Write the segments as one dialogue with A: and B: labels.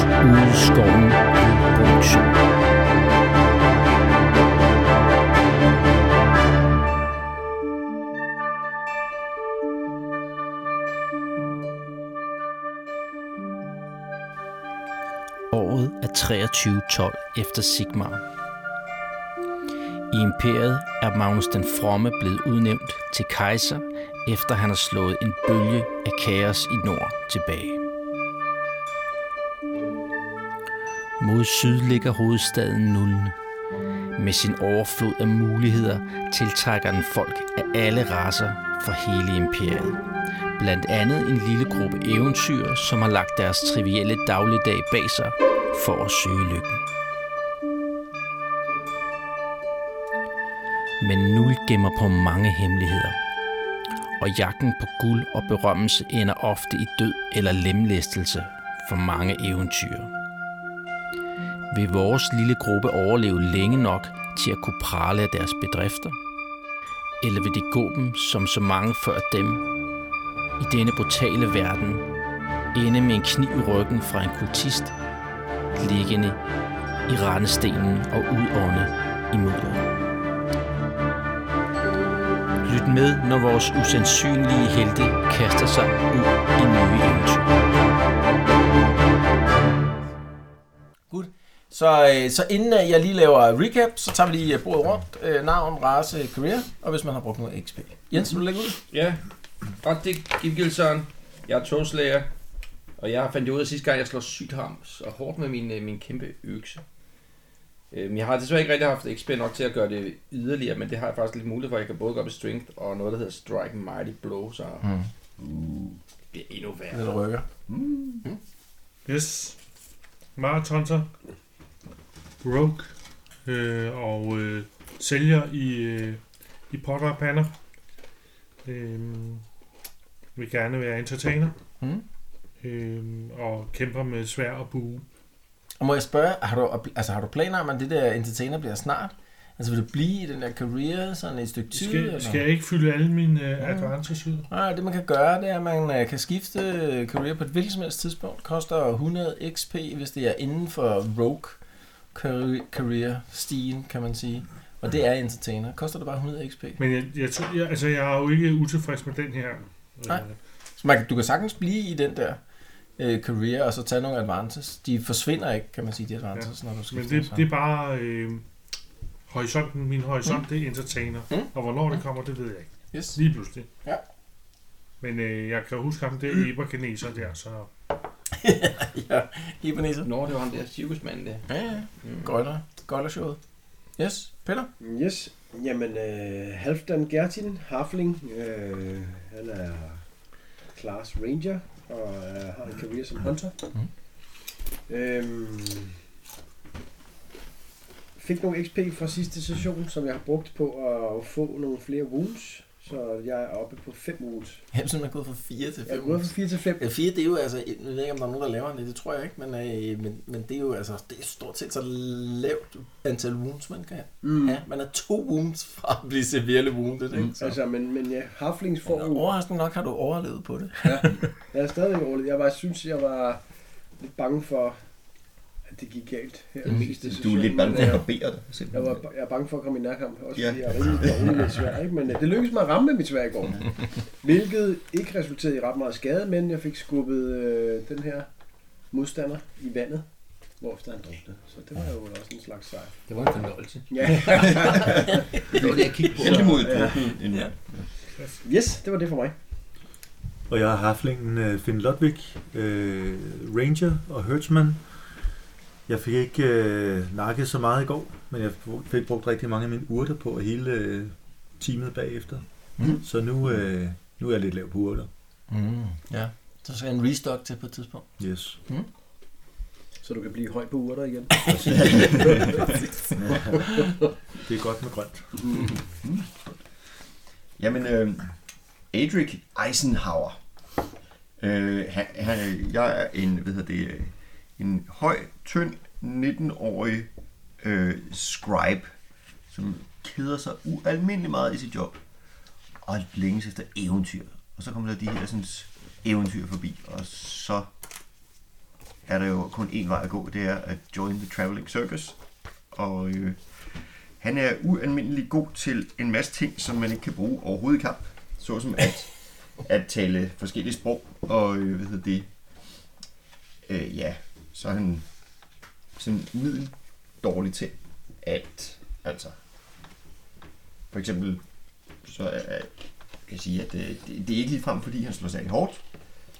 A: Skoven Produktion. Året er 2312 efter Sigmar. I imperiet er Magnus den Fromme blevet udnævnt til kejser, efter han har slået en bølge af kaos i nord tilbage. Mod syd ligger hovedstaden Nullen. Med sin overflod af muligheder tiltrækker den folk af alle raser fra hele imperiet. Blandt andet en lille gruppe eventyr, som har lagt deres trivielle dagligdag bag sig for at søge lykken. Men Nul gemmer på mange hemmeligheder. Og jagten på guld og berømmelse ender ofte i død eller lemlæstelse for mange eventyr vil vores lille gruppe overleve længe nok til at kunne prale af deres bedrifter? Eller vil det gå dem, som så mange før dem, i denne brutale verden, ende med en kniv i ryggen fra en kultist, liggende i rendestenen og udånde i mudderet? Lyt med, når vores usandsynlige helte kaster sig ud i nye eventyr.
B: Good. Så, øh, så inden øh, jeg lige laver recap, så tager vi lige øh, bordet rundt. Øh, navn, race, career, og hvis man har brugt noget XP. Jens, vil du lægge ud?
C: Ja, Radik Gilgilsson. Jeg er togslæger. Og jeg fandt det ud af sidste gang, jeg slår sygt hams og hårdt med min, øh, min kæmpe økse. Øhm, Jeg har desværre ikke rigtig haft XP nok til at gøre det yderligere, men det har jeg faktisk lidt mulighed for. Jeg kan både gå op i strength og noget, der hedder strike mighty blow, så mm. det bliver endnu værre.
B: Eller rykker?
D: Yes. Marathonter. Rogue. Øh, og øh, sælger i, øh, i potter og pander. Øh, vil gerne være entertainer.
B: Mm.
D: Øh, og kæmper med svær og bue.
B: Og må jeg spørge, har du, altså, har du planer om, at det der entertainer bliver snart? Altså vil du blive i den der career sådan et stykke tid? eller?
D: Skal, skal jeg ikke fylde alle mine øh, advances ud?
B: Nej, det man kan gøre, det er, at man øh, kan skifte øh, career på et hvilket som helst tidspunkt. Koster 100 XP, hvis det er inden for rogue career- career-stigen, kan man sige. Og det er entertainer. Koster det bare 100 XP?
D: Men jeg, jeg, tror- jeg, altså, jeg er jo ikke utilfreds med den her.
B: Nej.
D: Øh,
B: Så man, kan- du kan sagtens blive i den der øh, career, og så tage nogle advances. De forsvinder ikke, kan man sige, de advances, ja. når du
D: Men
B: skifter.
D: det,
B: så.
D: det er bare øh, horisonten. Min horisont, mm. det er entertainer.
B: Mm.
D: Mm. Og hvornår det kommer, det ved jeg ikke.
B: Yes.
D: Lige pludselig.
B: Ja.
D: Men øh, jeg kan jo huske ham, det er Ebergeneser der, så...
B: ja, Ibanese.
C: Nå, det var ham der cirkusmanden der.
B: Ja, ja.
C: Mm.
B: Gøjler. Gøjlershowet. Yes, Peter.
E: Yes. Jamen, øh, Halfdan Gertin, Hafling, øh, han er class ranger og øh, har en karriere som hunter. Mm. Øhm, fik nogle XP fra sidste session, som jeg har brugt på at få nogle flere wounds. Så jeg er oppe på 5 wounds.
B: Hemsen er gået fra 4 til
E: Jeg er
B: 5.
E: gået fra 4 til 5.
B: Ja, 4, det er jo altså, jeg ved ikke, om der er nogen, der laver det, det tror jeg ikke, men, øh, men, men det er jo altså, det er stort set så lavt antal wounds, man kan have.
E: Mm.
B: Ja, man er to wounds fra at blive severely wounded, ikke? Så.
E: Altså, men, men ja, Haflings får
B: Men
E: jo...
B: overraskende nok har du overlevet på det.
E: Jeg er stadigvæk rolig. Jeg var, synes, jeg var lidt bange for, at det gik galt. Her i sidste
F: Du
E: sæson,
F: er lidt bange for
E: men,
F: at
E: øh,
F: barbere dig.
E: Jeg
F: simpelthen.
E: var jeg er bange for at komme i nærkamp, også
F: Ja.
E: fordi jeg er rimelig dårlig med svær, ikke? men øh, det lykkedes mig at ramme med mit svær i går, hvilket ikke resulterede i ret meget skade, men jeg fik skubbet øh, den her modstander i vandet, hvorefter han druknede. Så det var jo også en slags sejr.
C: Det var en fornøjelse.
E: Ja.
C: Det var det, jeg kiggede på.
F: Heldig mod et
E: Ja.
F: druknet en mand.
E: Yes, det var det for mig.
G: Og jeg har haflingen øh, Finn Lodvig, øh, Ranger og Hertzman. Jeg fik ikke øh, nakket så meget i går, men jeg fik brugt rigtig mange af mine urter på og hele øh, teamet bagefter.
B: Mhm.
G: Mm. Så nu, øh, nu er jeg lidt lav på urter.
B: Mm. Ja. Så skal en restock til på et tidspunkt.
G: Yes.
F: Mm.
E: Så du kan blive høj på urter igen.
G: Det er godt med grønt.
F: Jamen, øh, Adric Eisenhower. Øh, han, han, jeg er en, hvad hedder det, øh, en høj, tynd, 19-årig øh, scribe, som keder sig ualmindelig meget i sit job, og længes efter eventyr. Og så kommer der de her sådan, eventyr forbi, og så er der jo kun én vej at gå, det er at join the traveling circus. Og øh, han er ualmindelig god til en masse ting, som man ikke kan bruge overhovedet i kamp. Såsom at, at tale forskellige sprog, og øh, hvad hedder det? Øh, ja, så er han sådan middel dårlig til alt. Altså, for eksempel, så er, er- kan jeg sige, at øh, det, det er ikke ligefrem, fordi han slår særlig hårdt,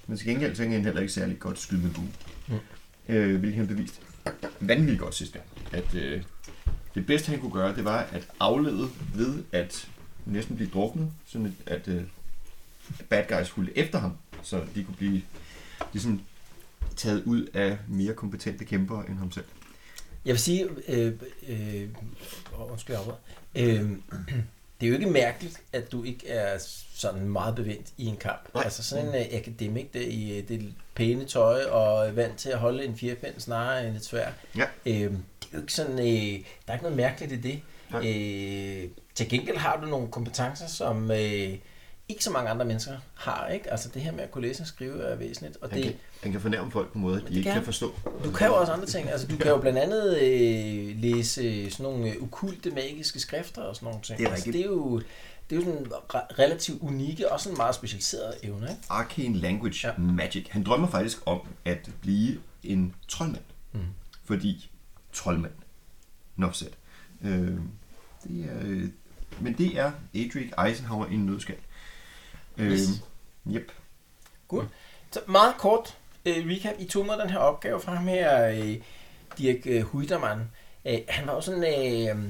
F: men til gengæld så kan han heller ikke særlig godt skyde med buen. Mm. Øh, hvilket han beviste vanvittigt godt sidste gang. At øh, det bedste, han kunne gøre, det var at aflede ved at næsten blive druknet, sådan at, at øh, bad guys fulgte efter ham, så de kunne blive ligesom taget ud af mere kompetente kæmper end ham selv.
B: Jeg vil sige, øh, øh, åh, undskyld, jeg afbryder. øh, det er jo ikke mærkeligt, at du ikke er sådan meget bevendt i en kamp. Nej.
F: Nej.
B: Altså sådan en øh, akademik der i øh, det pæne tøj og er vant til at holde en firpind snarere end et svær.
F: Ja.
B: Øh, det er jo ikke sådan, øh, der er ikke noget mærkeligt i det.
F: Nej.
B: Øh, til gengæld har du nogle kompetencer, som øh, ikke så mange andre mennesker har. ikke. Altså det her med at kunne læse og skrive er væsentligt. Og
F: Han
B: det,
F: kan, han kan fornærme folk på måder, de
B: det
F: ikke
B: kan
F: kan
B: han.
F: forstå.
B: du kan jo også andre ting. Altså, du kan jo blandt andet øh, læse sådan nogle øh, okulte magiske skrifter og sådan nogle ting.
F: Det er
B: altså,
F: rigtigt.
B: det er jo, det er jo sådan re- relativt unikke og sådan meget specialiserede evner. Ikke?
F: Arcane Language
B: Ja.
F: ja. Magic. Han drømmer faktisk om at blive en troldmand. Mm. Fordi troldmand. Nofset. Øh, det er, øh, men det er Adric Eisenhower i en nødskal. Øh,
B: Yes.
F: Yep.
B: Så meget kort øh, recap. I tog med den her opgave fra ham her, øh, Dirk øh, Huitermann. Øh, han var jo sådan... Øh,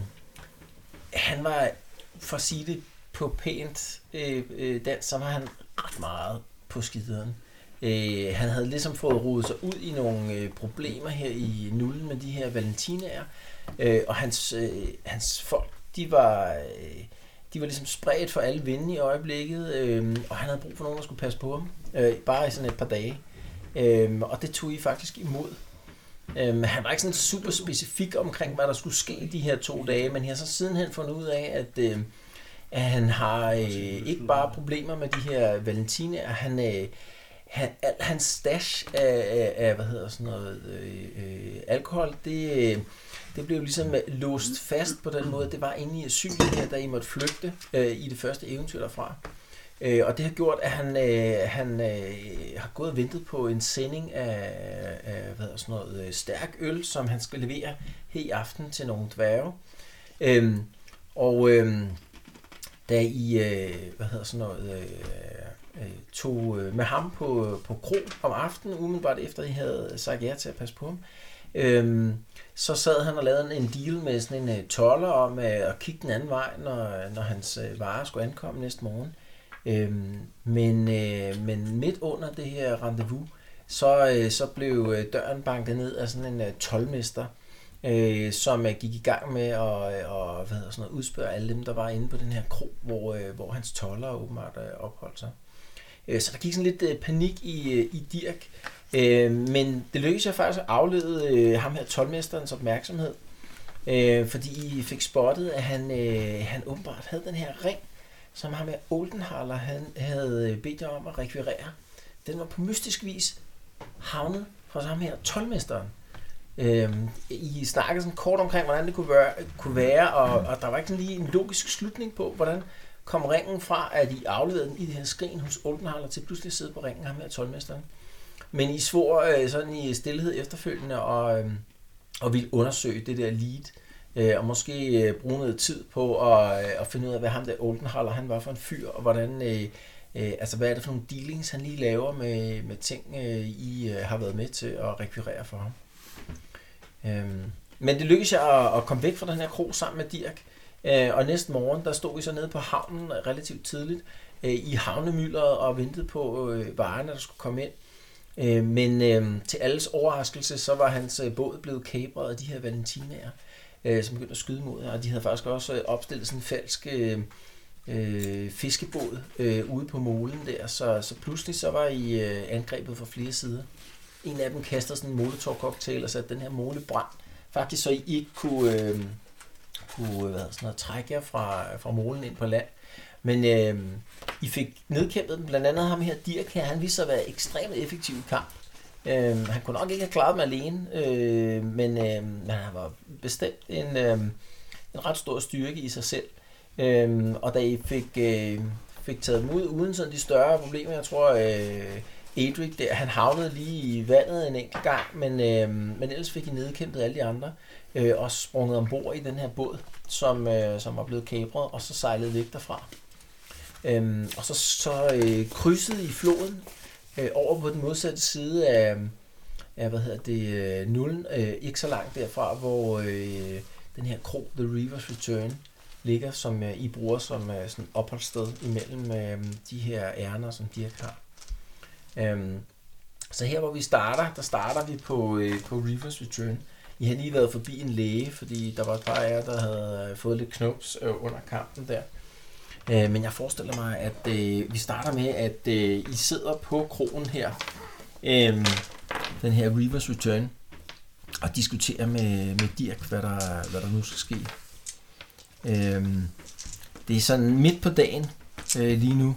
B: han var, for at sige det på pænt øh, øh, dans, så var han ret meget på skideren. Øh, han havde ligesom fået rodet sig ud i nogle øh, problemer her i nullen med de her valentinaer. Øh, og hans, øh, hans folk, de var... Øh, de var ligesom spredt for alle vinde i øjeblikket, øh, og han havde brug for nogen, der skulle passe på ham, øh, bare i sådan et par dage. Øh, og det tog I faktisk imod. Øh, han var ikke sådan super specifik omkring, hvad der skulle ske i de her to dage, men jeg har så sidenhen fundet ud af, at, øh, at han har øh, ikke bare problemer med de her valentiner, han... Øh, han, al, hans stash af, af, af, hvad hedder sådan noget, øh, øh, alkohol, det, øh, det blev ligesom øh, låst fast på den måde. Det var inde i asylet her, da I måtte flygte øh, i det første eventyr derfra. Øh, og det har gjort, at han, øh, han øh, har gået og ventet på en sending af, af hvad hedder sådan noget, øh, stærk øl, som han skal levere her i aften til nogle dværge. Øh, og øh, da I, øh, hvad hedder sådan noget, øh, øh, tog øh, med ham på, på kro om aftenen, umiddelbart efter I havde sagt ja til at passe på ham, øh, så sad han og lavede en en deal med sådan en øh, toller om øh, at kigge den anden vej, når, når hans øh, varer skulle ankomme næste morgen. Øhm, men, øh, men midt under det her rendezvous, så, øh, så blev øh, døren banket ned af sådan en øh, tolmester, øh, som øh, gik i gang med at øh, og, hvad hedder sådan noget, udspørge alle dem, der var inde på den her kro, hvor, øh, hvor hans toller åbenbart øh, opholdt sig. Øh, så der gik sådan lidt øh, panik i, øh, i Dirk, øh, men det lykkedes jeg faktisk at aflede øh, ham her tolmesterens opmærksomhed, øh, fordi I fik spottet, at han, øh, han åbenbart havde den her ring, som ham her Oldenhaler han havde øh, bedt jer om at rekvirere. Den var på mystisk vis havnet hos ham her tolmesteren. Øhm, I snakkede sådan kort omkring, hvordan det kunne være, kunne være og, og der var ikke sådan lige en logisk slutning på, hvordan kom ringen fra, at I afleverede den i det her skrin hos Oldenhaler, til pludselig at sidde på ringen ham her tolmesteren. Men I svor øh, sådan i stillhed efterfølgende og, øh, og ville undersøge det der lead, øh, og måske øh, bruge noget tid på at, øh, at finde ud af, hvad ham der Oldenhaler han var for en fyr, og hvordan, øh, øh, altså, hvad er det for nogle dealings, han lige laver med, med ting, øh, I øh, har været med til at rekvirere for ham. Øhm, men det lykkedes jeg at, at komme væk fra den her krog sammen med Dirk, øh, og næste morgen, der stod vi så nede på havnen relativt tidligt, øh, i havnemylderet og ventede på øh, varerne, der skulle komme ind. Øh, men øh, til alles overraskelse, så var hans øh, båd blevet kapret af de her valentinaer, øh, som begyndte at skyde mod jer, og de havde faktisk også øh, opstillet sådan en falsk øh, øh, fiskebåd øh, ude på molen der, så, så pludselig så var I øh, angrebet fra flere sider. En af dem kastede sådan en molotov-cocktail og satte den her mole brand. Faktisk så I ikke kunne, øh, kunne hvad hedder sådan noget, trække jer fra, fra molen ind på land. Men øh, I fik nedkæmpet den, blandt andet ham her, Dirk her, han viste sig at være ekstremt effektiv i kamp. Øhm, han kunne nok ikke have klaret dem alene, øh, men, øh, men han var bestemt en, øh, en ret stor styrke i sig selv. Øhm, og da I fik, øh, fik taget dem ud uden sådan de større problemer, jeg tror, øh, Adric der, han havnede lige i vandet en enkelt gang, men, øh, men ellers fik I nedkæmpet alle de andre, øh, og sprunget ombord i den her båd, som, øh, som var blevet kapret, og så sejlede væk derfra. Øhm, og så, så øh, krydsede I floden øh, over på den modsatte side af, af hvad hedder det, øh, nullen, øh, ikke så langt derfra, hvor øh, den her kro, The Reaver's Return, ligger, som øh, I bruger som øh, sådan opholdssted imellem øh, de her ærner, som Dirk har. Øhm, så her hvor vi starter, der starter vi på, øh, på Reaver's Return. I har lige været forbi en læge, fordi der var et par af jer, der havde øh, fået lidt knops øh, under kampen der. Øh, men jeg forestiller mig, at øh, vi starter med, at øh, I sidder på krogen her, øh, den her Reaver's Return, og diskuterer med, med Dirk, hvad der, hvad der nu skal ske. Øh, det er sådan midt på dagen øh, lige nu,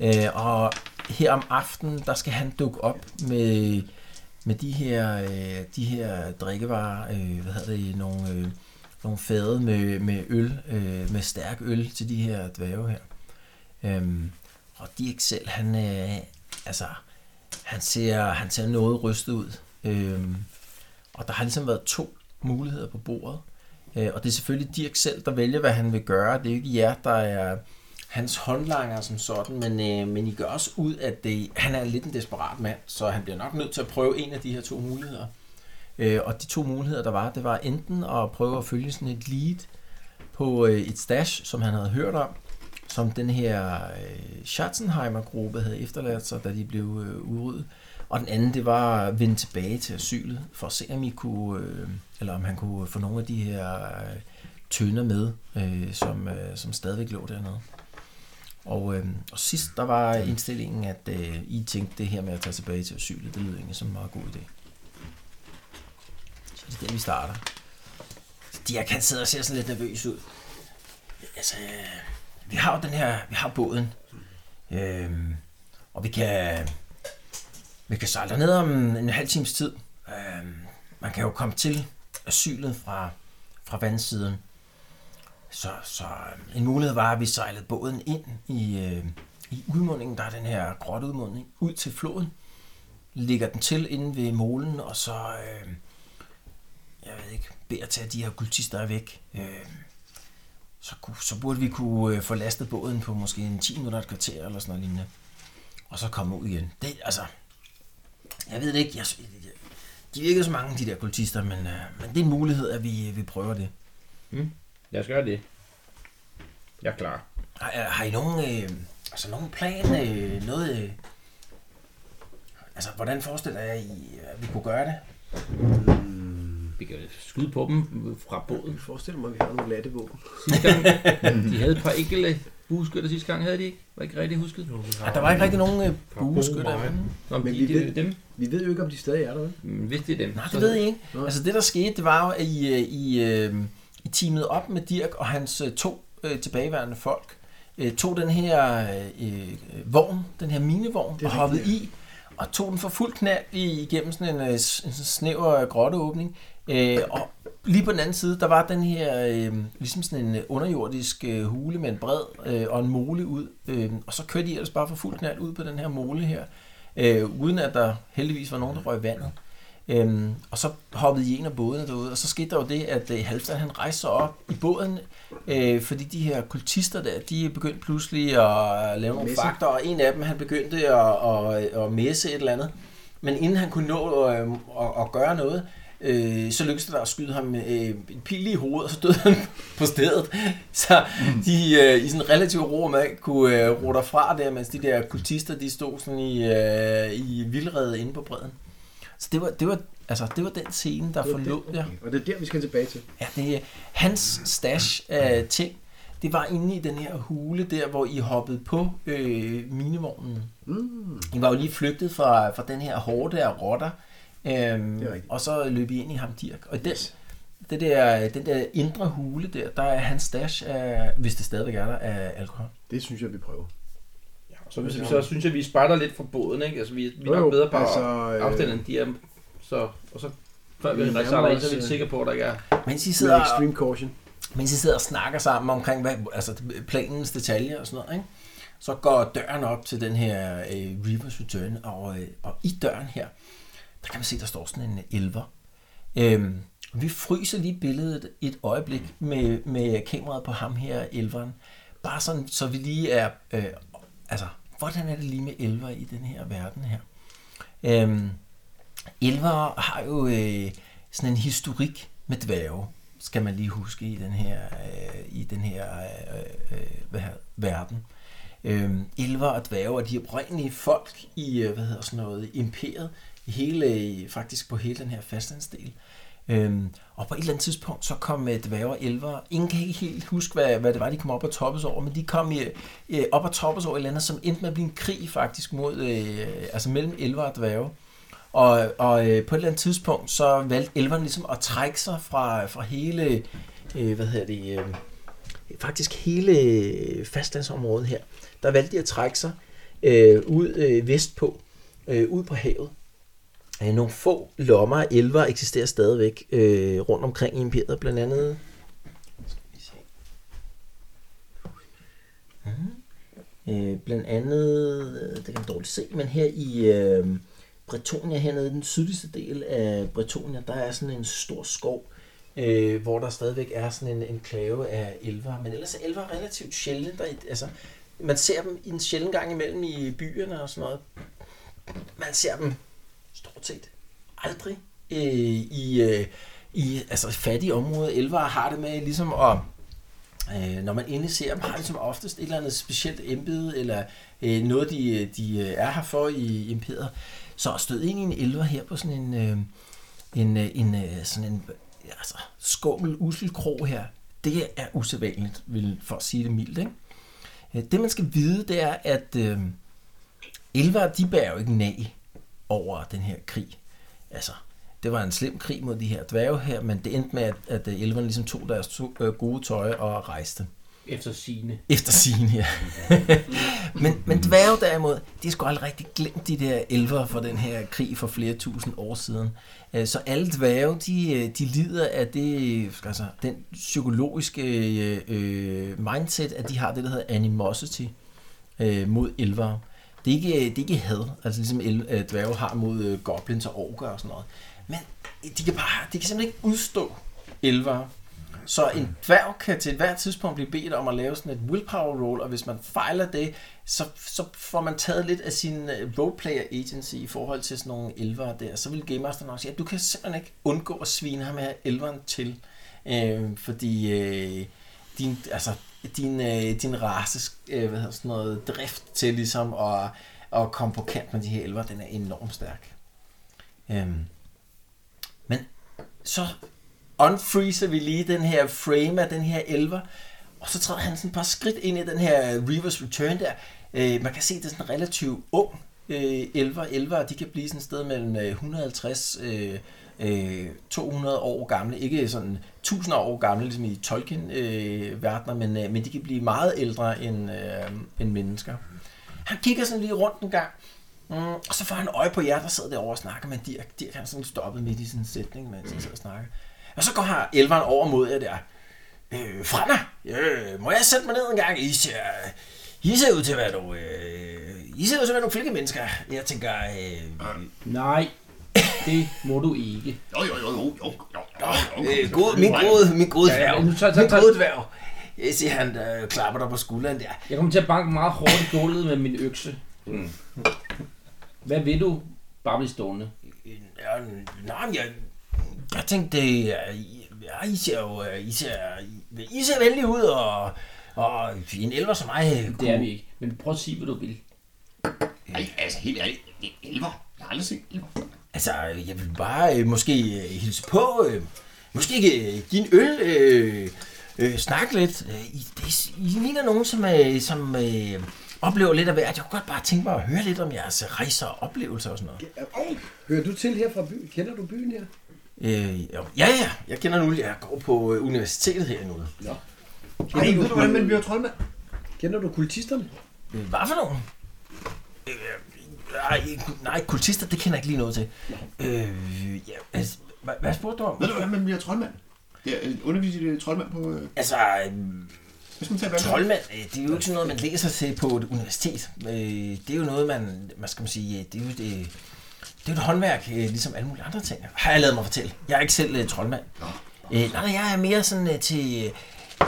B: øh, og her om aftenen, der skal han dukke op med, med de her, øh, de her drikkevarer, øh, hvad hedder det, nogle... Øh, nogle fade med, med øl, øh, med stærk øl til de her dværge her. Øhm, og Dirk selv, han, øh, altså, han, ser, han ser noget rystet ud. Øhm, og der har ligesom været to muligheder på bordet. Øh, og det er selvfølgelig Dirk selv, der vælger, hvad han vil gøre. Det er jo ikke jer, der er hans håndlanger som sådan, men, øh, men I gør også ud, at det, han er lidt en desperat mand, så han bliver nok nødt til at prøve en af de her to muligheder. Øh, og de to muligheder, der var, det var enten at prøve at følge sådan et lead på øh, et stash, som han havde hørt om, som den her øh, Schatzenheimer-gruppe havde efterladt sig, da de blev øh, udryddet. Og den anden, det var at vende tilbage til asylet, for at se, om, I kunne, øh, eller om han kunne få nogle af de her øh, tønder med, øh, som, øh, som stadigvæk lå dernede. Og, øh, og sidst, der var indstillingen, at øh, I tænkte det her med at tage tilbage til asylet, det lød egentlig som en meget god idé. Så det er der, vi starter. Dirk, han sidder og ser sådan lidt nervøs ud. Altså, vi har jo den her, vi har båden. Øhm, og vi kan, vi kan sejle ned om en halv times tid. Øhm, man kan jo komme til asylet fra, fra vandsiden. Så, så øhm, en mulighed var, at vi sejlede båden ind i, øh, i udmundingen. Der er den her grotteudmunding ud til floden. Ligger den til inde ved molen, og så... Øh, jeg ved ikke, beder til, at de her kultister er væk, øh, så, ku- så burde vi kunne øh, få lastet båden på måske en 10 minutter, et kvarter eller sådan noget lignende. Og så komme ud igen. Det, altså, jeg ved det ikke. Jeg, sy- de virker så mange, de der kultister, men, øh, men det er en mulighed, at vi, vi prøver det.
C: Mm. Lad os gøre det. Jeg er klar.
B: Har, øh, har I nogen, øh, altså nogen plan? Øh, noget, øh, altså, hvordan forestiller jeg, I, at vi kunne gøre det?
C: Vi kan skyde på dem fra båden.
E: Jeg forestiller mig, at vi har nogle lattevåben.
C: Sidste gang, de havde et par enkelte bueskytter sidste gang, havde de ikke? Var ikke rigtig husket?
D: Jo, vi har
B: Ah, der var ikke rigtig nogen øh,
D: par
B: bueskytter.
D: gode
B: i
D: veje.
C: Nå, men,
E: Men
C: de,
E: vi
C: det,
E: ved-
C: er dem.
E: Vi ved jo ikke, om de stadig er der, vel?
C: Mm, Hvis det er dem.
B: Nej,
C: så-
B: det ved jeg ikke.
E: Nej.
B: Altså det, der skete, det var jo, at I, øh, I, øh, I teamede op med Dirk og hans øh, to øh, tilbageværende folk, øh, tog den her øh, øh, vogn, den her minevogn,
E: er
B: og hoppede
E: rigtigt,
B: i, og tog den for fuld knald i, igennem sådan en, øh, s- en sådan snæver øh, grotteåbning. Øh, og lige på den anden side, der var den her, øh, ligesom sådan en øh, underjordisk øh, hule med en bred øh, og en mole ud. Øh, og så kørte de ellers bare for fuld knald ud på den her mole her, øh, uden at der heldigvis var nogen, der røg i vandet. Øhm, og så hoppede I en af bådene derude, og så skete der jo det, at øh, Halvdan han rejste sig op i båden, øh, fordi de her kultister der, de begyndte pludselig at øh, lave nogle
E: Messe.
B: fakter, og en af dem han begyndte at, øh, at, at messe et eller andet. Men inden han kunne nå øh, at, at gøre noget, øh, så lykkedes det der at skyde ham øh, en pil i hovedet, og så døde han på stedet. Så de øh, i sådan relativt ro med kunne øh, ro derfra der, mens de der kultister, de stod sådan i, øh, i vildrede inde på bredden. Så det var, det var, altså, det var den scene, der
E: Det var det,
B: forlod jer.
E: Og det er der, vi skal tilbage til.
B: Ja, det er hans stash af ting. Det var inde i den her hule der, hvor I hoppede på øh, minevognen.
E: Mm.
B: I var jo lige flygtet fra, fra den her hårde af rotter. Øhm,
E: Det er rigtigt.
B: og så løb I ind i ham, Dirk. Og i den,
E: Yes.
B: det der, den der indre hule der, der er hans stash af, hvis det stadigvæk er der, af alkohol.
E: Det synes jeg, vi prøver.
C: Ja, Så, så, så synes jeg, vi spejder lidt fra båden, ikke? Altså, vi, vi er nok bedre på altså,
E: øh,
C: afstanden, end de er. Så, og så før vi
E: Vi
C: rejser
E: nærmer
C: af, så er
E: os,
C: vi
E: øh,
C: sikre på, at der ikke er...
B: Mens I
E: Med
B: sidder,
E: extreme caution.
B: mens I sidder og snakker sammen omkring hvad, altså, planens detaljer og sådan noget, ikke? så går døren op til den her øh, Reaper's Return, og, øh, og i døren her, der kan man se, der står sådan en elver. Øhm, vi fryser lige billedet et øjeblik med, med kameraet på ham her, elveren. Bare sådan, så vi lige er... Øh, altså, hvordan er det lige med elver i den her verden her? Øhm, elver har jo øh, sådan en historik med dværge, skal man lige huske i den her, øh, i den her øh, øh, hvad her, verden. Øhm, elver og dværge er de oprindelige folk i, øh, hvad hedder sådan noget, imperiet, i hele, øh, faktisk på hele den her fastlandsdel. Øhm, og på et eller andet tidspunkt, så kom øh, dværge og elver. Ingen kan ikke helt huske, hvad, hvad det var, de kom op og toppes over, men de kom øh, øh, op og toppes over et eller andet, som endte med at blive en krig faktisk mod, øh, altså mellem elver og dværge. Og, og øh, på et eller andet tidspunkt, så valgte elverne ligesom at trække sig fra, fra hele, øh, hvad hedder det, øh, faktisk hele øh, fastlandsområdet her. Der valgte de at trække sig øh, ud øh, vestpå, øh, ud på havet. Øh, nogle få lommer af elver eksisterer stadigvæk øh, rundt omkring i imperiet, blandt andet... Skal vi se. Mhm. Øh, blandt andet, øh, det kan man dårligt se, men her i øh, Bretonia, hernede i den sydligste del af Bretonia, der er sådan en stor skov, øh, hvor der stadigvæk er sådan en enklave af elver. Men ellers er elver relativt sjældent. Der, i- altså, man ser dem en sjælden gang imellem i byerne og sådan noget. Man ser dem stort set aldrig øh, i, øh, i altså, fattige områder. Elver har det med ligesom at Øh, når man endelig ser dem, har de som oftest et eller andet specielt embede, eller øh, noget, de, øh, de øh, er her for i imperiet. Så at støde ind i en elver her på sådan en, øh, en, øh, en, øh, sådan en øh, altså, skummel, usel krog her, det er usædvanligt, vil, for at sige det mildt. Ikke? Øh, Det, man skal vide, det er, at øh, elver, de bærer jo ikke nag over den her krig. Altså, det var en slem krig mod de her dværge her, men det endte med, at, at øh, elverne ligesom tog deres to, øh, gode tøj og rejste.
C: Efter sine.
B: Efter sigende, ja. men, men dværge derimod, de skulle aldrig rigtig glemt de der elver fra den her krig for flere tusind år siden. Øh, Så alle dværge, de, øh, de lider af det, altså, den psykologiske øh, øh, mindset, at de har det, der hedder animosity øh, mod elver. Det er, ikke, det er ikke had, altså ligesom el, øh, dværge har mod øh, goblins og orker og sådan noget. Men de kan, bare, de kan simpelthen ikke udstå elver. Så en dværg kan til hvert tidspunkt blive bedt om at lave sådan et willpower roll, og hvis man fejler det, så, så får man taget lidt af sin øh, roleplayer agency i forhold til sådan nogle elvere der. Så vil Game Master nok sige, at du kan simpelthen ikke undgå at svine ham her elveren til, øh, fordi øh, din, altså, din, øh, din race, øh, hvad hedder sådan noget, drift til ligesom at, at komme på kant med de her elver, den er enormt stærk. Øh, men så unfreezer vi lige den her frame af den her elver, og så træder han sådan et par skridt ind i den her Reavers Return der. Øh, man kan se, det er sådan en relativt ung øh, elver. Elver, de kan blive sådan et sted mellem øh, 150 øh, øh, 200 år gamle, ikke sådan 1000 år gamle, ligesom i Tolkien-verdener, men, øh, men de kan blive meget ældre end, øh, end mennesker. Han kigger sådan lige rundt en gang, Mm, og så får han øje på jer, der sidder derovre og snakker med Dirk. Dirk han er sådan stoppet midt i sådan en sætning, mens han sidder og snakker. Og så går her elveren over mod jer der. Øh, Fremad, øh, må jeg sætte mig ned en gang? I ser, I ser ud til at være nogle, øh, I ser ud til at være nogle flinke mennesker. Jeg tænker, øh,
C: Nej, det må du ikke.
F: Jo, jo, jo, jo, jo, jo, jo,
B: øh, gode, min gode, min gode
C: Ja, ja,
B: dværg,
C: nu tager- tager-
B: min
C: tager-
B: gode dværg. Jeg siger, han øh, klapper dig på skulderen der.
C: Jeg kommer til at banke meget hårdt i gulvet med min økse. Hvad vil du? Bare blive stående.
B: Ja, nej, men jeg, jeg tænkte, øh, I- ja, I ser jo, øh, I ser, I, I ser venlige ud, og, og en elver som mig øh,
C: Det er vi
B: kunne,
C: ikke. Men prøv at sige, hvad du vil.
F: Nej, altså helt ærligt, det er elver. Jeg har aldrig set elver.
B: altså, jeg vil bare øh, måske øh, hilse på, øh, måske ikke øh, give en øl, øh, øh, snakke lidt. Øh, I, det, I ligner nogen, som, øh, som øh, oplever lidt af hvert. Jeg kunne godt bare tænke mig at høre lidt om jeres rejser og oplevelser og sådan noget.
E: Hører du til her fra byen? Kender du byen her?
B: Øh, jo. ja, ja, jeg kender nu, jeg går på øh, universitetet her nu.
E: Kender
F: Nej, ved du, hvordan man bliver troldmand?
E: kender du kultisterne?
B: Øh, Hvad for nogen? Øh, nej, nej, kultister, det kender jeg ikke lige noget til. Øh, ja, altså, hvad, hvad spurgte du om?
F: Ved du, hvordan man bliver troldmand? Det er øh, underviser i troldmand på... Øh,
B: Altså, øh,
F: hvad skal man tage vandring?
B: Troldmand, øh, det er jo ikke sådan noget, man læser til på et universitet. Øh, Det er jo noget, man, hvad skal man sige, øh, det er jo et, øh, det er et håndværk, øh, ligesom alle mulige andre ting. Har jeg lavet mig fortælle. Jeg er ikke selv øh, troldmand. Øh, Nej, jeg er mere sådan øh, til øh,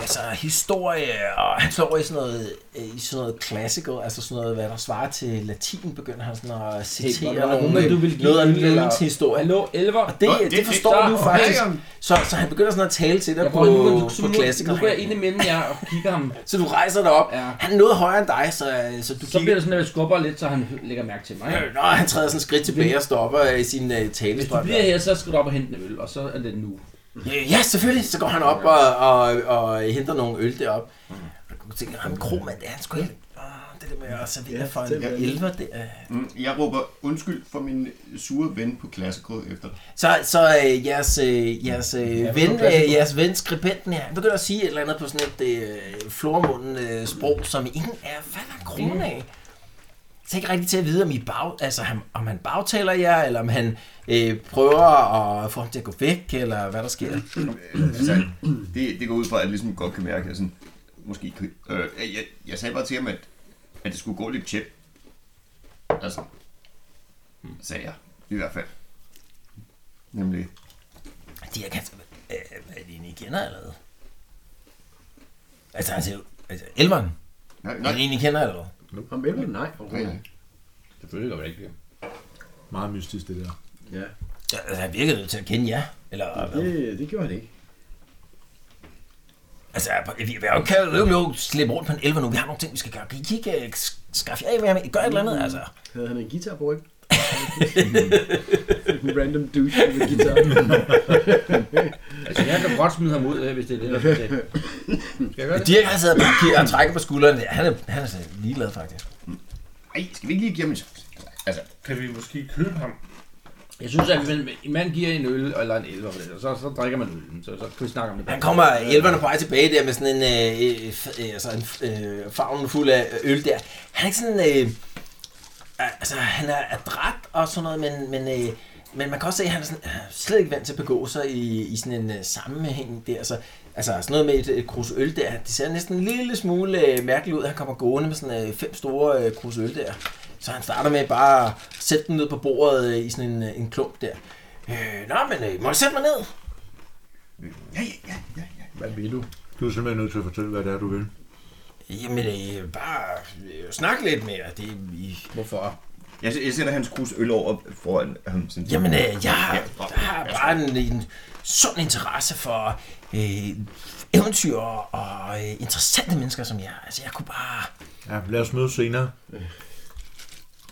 B: altså, historie, og han slår over i sådan noget, øh, i sådan noget classical, altså sådan noget, hvad der svarer til latin, begynder han sådan at citere
C: hvor er der
B: nogle,
C: nogen, du vil
B: øh,
C: give
B: noget af
C: en eller-
B: nødvendig historie.
C: Hallo, elver.
B: Og det,
F: Nå,
B: det,
F: det
B: det
F: fik-
B: forstår du
F: der-
B: faktisk.
F: Ej, jamen.
B: Så, så han begynder sådan at tale til dig
C: Jeg
B: på,
C: prøver nu, nu,
B: på,
C: nu, nu,
B: classical.
C: nu går jeg ind imellem jer og kigger ham.
B: Så du rejser dig op.
C: Ja.
B: Han er noget højere end dig, så, så du
C: Så
B: kigger...
C: bliver det sådan, at jeg skubber lidt, så han lægger mærke til mig.
B: Øh, Nå, han træder sådan et skridt tilbage og stopper i sin øh,
C: Hvis du
B: talestrøm.
C: bliver her, så skal du op og hente en øl, og så er det nu.
B: Øh, Ja, selvfølgelig. Så går han op og, og, og henter nogle øl derop.
C: Mm.
B: Og du tænker, ham kromand, det er han sgu helt... Åh, det der med at servere for en
F: det er-
B: elver, det er...
F: Mm, Jeg råber undskyld for min sure ven på klassekode efter dig.
B: Så, så øh, jeres, øh, jeres, øh, ven, øh, jeres ven, skribenten her, han begynder at sige et eller andet på sådan et øh, flormunden øh, sprog, som ingen er fatter kronen af. Så ikke rigtig til at vide, om, I bag, altså, ham, om han bagtaler jer, eller om han øh, prøver at få ham til at gå væk, eller hvad der sker.
F: Øh, altså, det, det går ud fra, at jeg ligesom godt kan mærke, at jeg sådan, måske, kan- øh, jeg, jeg sagde bare til ham, at, at det skulle gå lidt tjep. Altså, sagde jeg, i hvert fald. Nemlig,
B: De her kan... Øh, er de egentlig kender allerede? Altså, han siger jo... Altså, Elveren,
F: nej,
B: er de
F: nej,
B: egentlig kender allerede?
E: Ham vælger nej.
F: nej,
C: Selvfølgelig gør det ikke det.
G: Meget mystisk, det der.
E: Ja.
B: Ja, Altså, han virkede til at kende jer, eller hvad?
E: Det, det gjorde han ikke.
B: Altså, vi vi er jo kan jo ikke jo slippe rundt på en elver nu. Vi har nogle ting, vi skal gøre. Kan I ikke uh, skaffe jer af med ham? Gør et eller andet, altså.
E: Havde han en guitar på, ikke? en random douche med guitar.
C: Altså, jeg kan godt smide ham ud, øh, hvis det er det, der skal til. Skal jeg gøre det?
B: Dirk har siddet og parkeret og trækket på skulderen. Han er, han er så ligeglad, faktisk.
F: nej, skal vi ikke lige give ham en chance? Altså,
D: Kan vi måske købe ham?
C: Jeg synes, at hvis en mand giver en øl eller en elver, for det, og så, så drikker man øl. Så, så kan vi snakke om det.
B: Han kommer elverne på vej tilbage der med sådan en, øh, øh, f- øh, altså en øh, favn fuld af øl der. Han er ikke sådan... Øh, altså, han er adræt og sådan noget, men, men, øh, men man kan også se, at han er sådan, øh, slet ikke vant til at begå sig i, i sådan en øh, sammenhæng der. Så, altså sådan noget med et, et krus øl der. Det ser næsten en lille smule øh, mærkeligt ud. Han kommer gående med sådan øh, fem store øh, krus øl der. Så han starter med bare at sætte den ned på bordet øh, i sådan en, øh, en klump der. Øh, nå, men øh, må jeg sætte mig ned?
F: ja, ja, ja, ja, ja.
C: Hvad vil du?
G: Du er simpelthen nødt til at fortælle, hvad det er, du vil.
B: Jamen, øh, bare øh, snak lidt mere. Det, I...
C: Hvorfor?
F: Jeg, jeg sætter hans krus øl over foran ham. Sådan,
B: Jamen, øh, jeg har,
F: Ja,
B: jeg har bare en, en sund interesse for øh, eventyr og øh, interessante mennesker som jer. Altså, jeg kunne bare...
G: Ja, lad os mødes senere.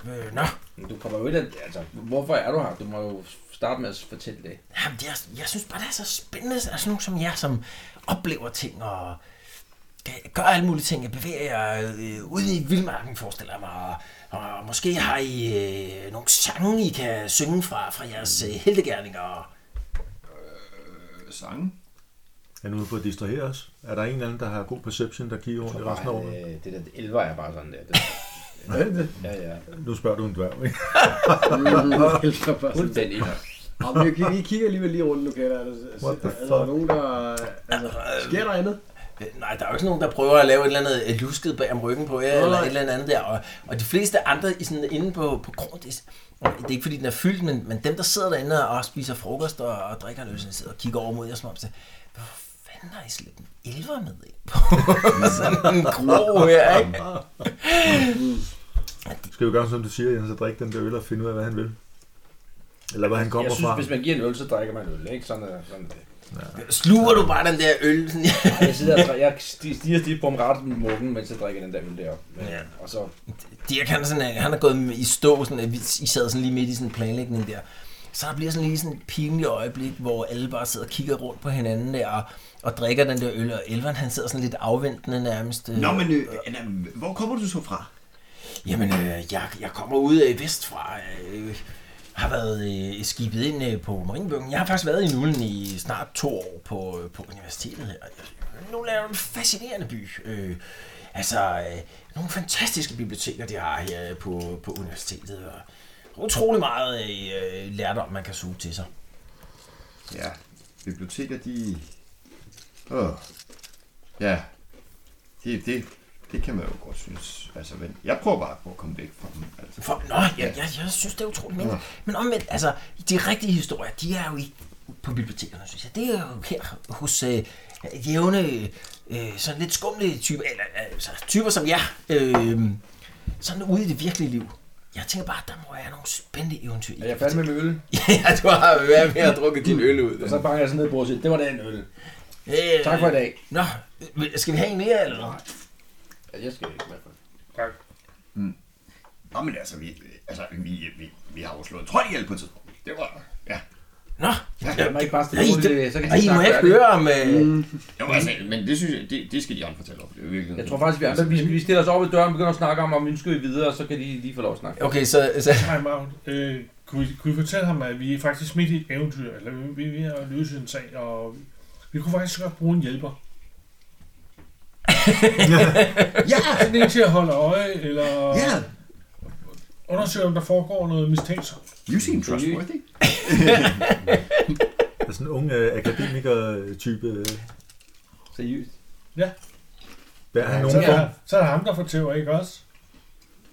B: Øh, nå,
C: Du kommer jo ikke... at- Altså, hvorfor er du her? Du må jo starte med at fortælle det.
B: jamen, jeg, jeg synes bare, det er så spændende, at sådan nogen som jer, som oplever ting og øh, gør alle mulige ting. Jeg bevæger jer øh, ude i vildmarken, forestiller jeg mig. Og, og måske har I øh, nogle sange, I kan synge fra, fra jeres øh, heltegærninger. Og,
F: Sange?
G: Er nu på at distrahere os? Er der en eller anden, der har god perception, der kigger rundt i resten af rummet?
C: Øh, det der elver er bare sådan der. Det,
E: Er det det?
C: ja, ja.
G: Nu spørger du en dværg, ikke?
E: Mm, jeg elsker bare sådan.
C: Fuldstændig.
E: Nå, men jeg kigger- vi kigger alligevel lige rundt i lokalet. Er der, altså,
G: What the
E: er der nogen,
G: fuck?
E: der... Altså, sker der andet?
B: Øh, Nej, der er jo ikke nogen, der prøver at lave et eller andet øh, lusket bag om ryggen på jer,
E: Nej.
B: eller et eller andet der. Og, og de fleste andre i sådan, inde på, på grund, det, er- det er ikke fordi, den er fyldt, men, men dem, der sidder derinde og spiser frokost og, og drikker løs, de sidder og kigger over mod jer, som om, så, hvor fanden har I slæbt en elver med ind på sådan en kro her, ikke?
G: Skal vi gøre, som du siger, Jens, og drikke den der øl og finde ud af, hvad han vil? Eller hvor han kommer
C: Jeg synes,
G: fra?
C: hvis man giver en øl, så drikker man øl. Ikke? Sådan er sådan er det.
B: Sluger du bare den der øl? Sådan, ja.
C: Ej, Jeg sidder og dri- jeg stiger stiger stiv på om ret med mukken, mens jeg drikker den der øl deroppe.
B: Ja.
C: Og så
B: Dirk, han er, sådan, øh, han er gået i stå, sådan, at vi- I sad sådan lige midt i sådan en planlægning der. Så der bliver sådan lige sådan et pinligt øjeblik, hvor alle bare sidder og kigger rundt på hinanden der, og, og drikker den der øl, og Elveren han sidder sådan lidt afventende nærmest. øh,
F: Nå, men øh, Anna, hvor kommer du så fra?
B: Jamen, øh, jeg, jeg kommer ud af vestfra, øh, har været øh, skibet ind øh, på Marienbøgen. Jeg har faktisk været i Nullen i snart to år på, øh, på universitetet her. Jeg- Nullen er jo en fascinerende by. Øh, altså, øh, nogle fantastiske biblioteker, de har her øh, på, på universitetet. Og utrolig meget øh, lærdom, man kan suge til sig.
F: Ja, biblioteker, de... Åh. Ja, det, det, det kan man jo godt synes. Altså, men jeg prøver bare på at komme væk fra dem. Altså.
B: For, nå, jeg, jeg, jeg synes, det er utroligt mindre. Men omvendt, altså, de rigtige historier, de er jo ikke på bibliotekerne, synes jeg. Det er jo her hos øh, jævne, øh, sådan lidt skumle typer, eller altså, typer som jeg, øh, sådan ude i det virkelige liv. Jeg tænker bare, der må være nogle spændende eventyr. i
C: Er jeg færdig med min øl?
B: ja, du har jo været med at drukke din øl ud.
C: Og så banker jeg sådan ned på bordet og siger, det var den øl.
B: Øh,
C: Tak for i dag.
B: Nå, øh, skal vi have en mere, eller hvad?
C: Ja, jeg skal ikke med for det.
F: Nå, men altså, vi, altså, vi, vi, vi har jo slået trøjhjæl på et tidspunkt. Det var... Ja.
B: Nå,
F: Ja,
C: Kan man ikke bare stille
B: Ej,
C: ud,
B: det-
C: øh, så kan de
B: ej,
C: snakke
B: må jeg ikke
C: færdigt?
B: høre om... Øh,
F: Jo, altså, men det synes jeg, det, det skal de andre fortælle om. Det er jo virkelig...
C: Jeg tror faktisk, vi, andre, vi, vi stiller os over ved døren og begynder at snakke om, om ønsker vi videre, og så kan de lige få lov at snakke.
B: okay, så, så
D: Time out. Øh, kunne, I, kunne I fortælle ham, at vi er faktisk midt i et eventyr, eller vi, vi er ved at løse en sag, og vi kunne faktisk godt bruge en hjælper.
F: Ja!
D: Sådan en til at holde øje, eller
F: Ja!
D: undersøge, om der foregår noget mistænksomt.
F: You seem trustworthy.
G: Der er sådan en ung øh, akademiker-type. Øh,
C: Seriøst.
G: bærer han
D: Så
G: nogen
D: er,
G: form?
D: der, så er der ham, der fortæller, ikke også?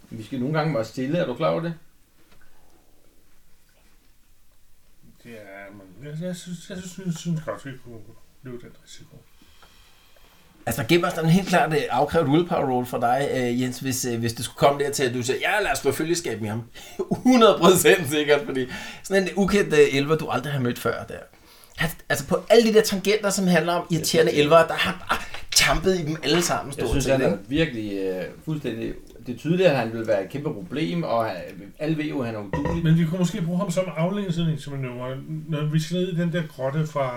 C: Vi skal nogle gange være stille, er du klar over det?
D: Ja, men jeg, jeg, synes, jeg synes, synes godt, vi kunne løbe den risiko.
B: Altså, der gemmer sig en helt klart øh, afkrævet willpower roll for dig, øh, Jens, hvis, øh, hvis det skulle komme dertil, at du siger, ja, lad os slå følgeskab med ham. 100% sikkert, fordi sådan en ukendt øh, elver, du aldrig har mødt før der. Han, altså, på alle de der tangenter, som handler om irriterende elver, der har han bare champet i dem alle sammen.
C: Jeg
B: stort
C: synes,
B: set,
C: han er
B: ikke?
C: virkelig øh, fuldstændig... Det er tydeligt, at han vil være et kæmpe problem, og han, alle ved jo, at han er udulig.
D: Men vi kunne måske bruge ham som afledningsmanøvre. Når vi skal ned i den der grotte fra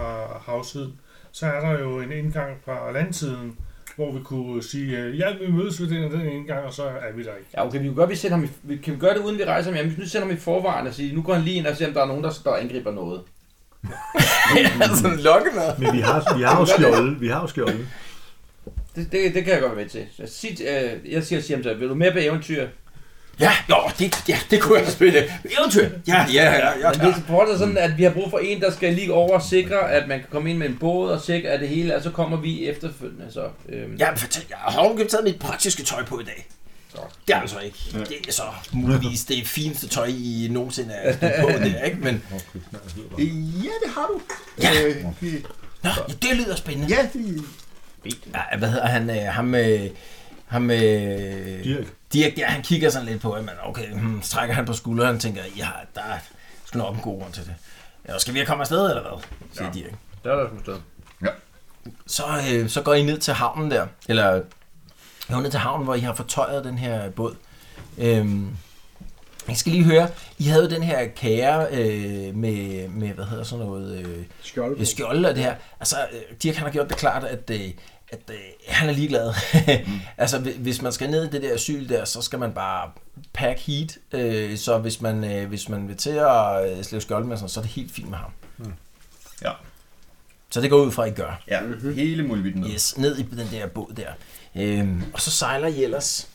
D: havsiden, så er der jo en indgang fra landsiden, hvor vi kunne sige, øh, ja, vi mødes ved den og den indgang, og så er vi der ikke.
C: Ja, okay, vi kan godt vi sender ham i, vi, kan vi gøre det, uden vi rejser ham hjem? Hvis vi nu sender ham i forvejen og siger, nu går han lige ind og ser, om der er nogen, der, der angriber noget.
B: altså, en lokkemad.
G: Men vi har, vi har jo skjolde. Vi har jo skjolde.
C: Det, det, det kan jeg godt være med til. Så sig, øh, jeg siger til ham så, vil du med på eventyr?
B: Ja, jo, det, ja, det kunne jeg spille. Eventyr. Ja, ja, ja, ja.
C: Men det er fortsat sådan, at vi har brug for en, der skal lige over og sikre, at man kan komme ind med en båd og sikre, at det hele, og så kommer vi efterfølgende. Så, øhm,
B: Ja, fortæl, jeg har ovenkøbt taget mit praktiske tøj på i dag. Det er altså ikke. Det er så muligvis det fineste tøj, I nogensinde er stødt på, det er, ikke? Men
F: Øh, Ja, det har du.
B: Ja.
F: Øh, vi-
B: Nå, ja, det lyder spændende.
F: ja, det...
B: Ja, hvad hedder han? Øh, ham, øh, ham, øh,
G: Dirk.
B: Dirk, ja, han kigger sådan lidt på, at man, okay, hmm, strækker han på skulderen og tænker, ja, der er sgu nok en god grund til det. Ja, skal vi komme afsted, eller hvad? Siger ja. Dirk.
C: Der er der forstået.
B: Så, øh, så går I ned til havnen der, eller jeg er ned til havnen, hvor I har fortøjet den her båd. Øhm, jeg skal lige høre, I havde jo den her kære øh, med, med, hvad hedder sådan noget, øh,
E: Skjold på.
B: øh, skjolde og det her. Altså, øh, Dirk han har gjort det klart, at, øh, at øh, han er ligeglad. altså, hvi- hvis man skal ned i det der asyl der, så skal man bare pack heat. Øh, så hvis man, øh, hvis man vil til at øh, slæve skjolde med, sådan, så er det helt fint med ham.
F: Ja.
B: Så det går ud fra, at I gør.
F: Ja,
C: Mhm.
F: hele muligheden. Yes.
B: Yes, ned i den der båd der. Øhm, og så sejler I ellers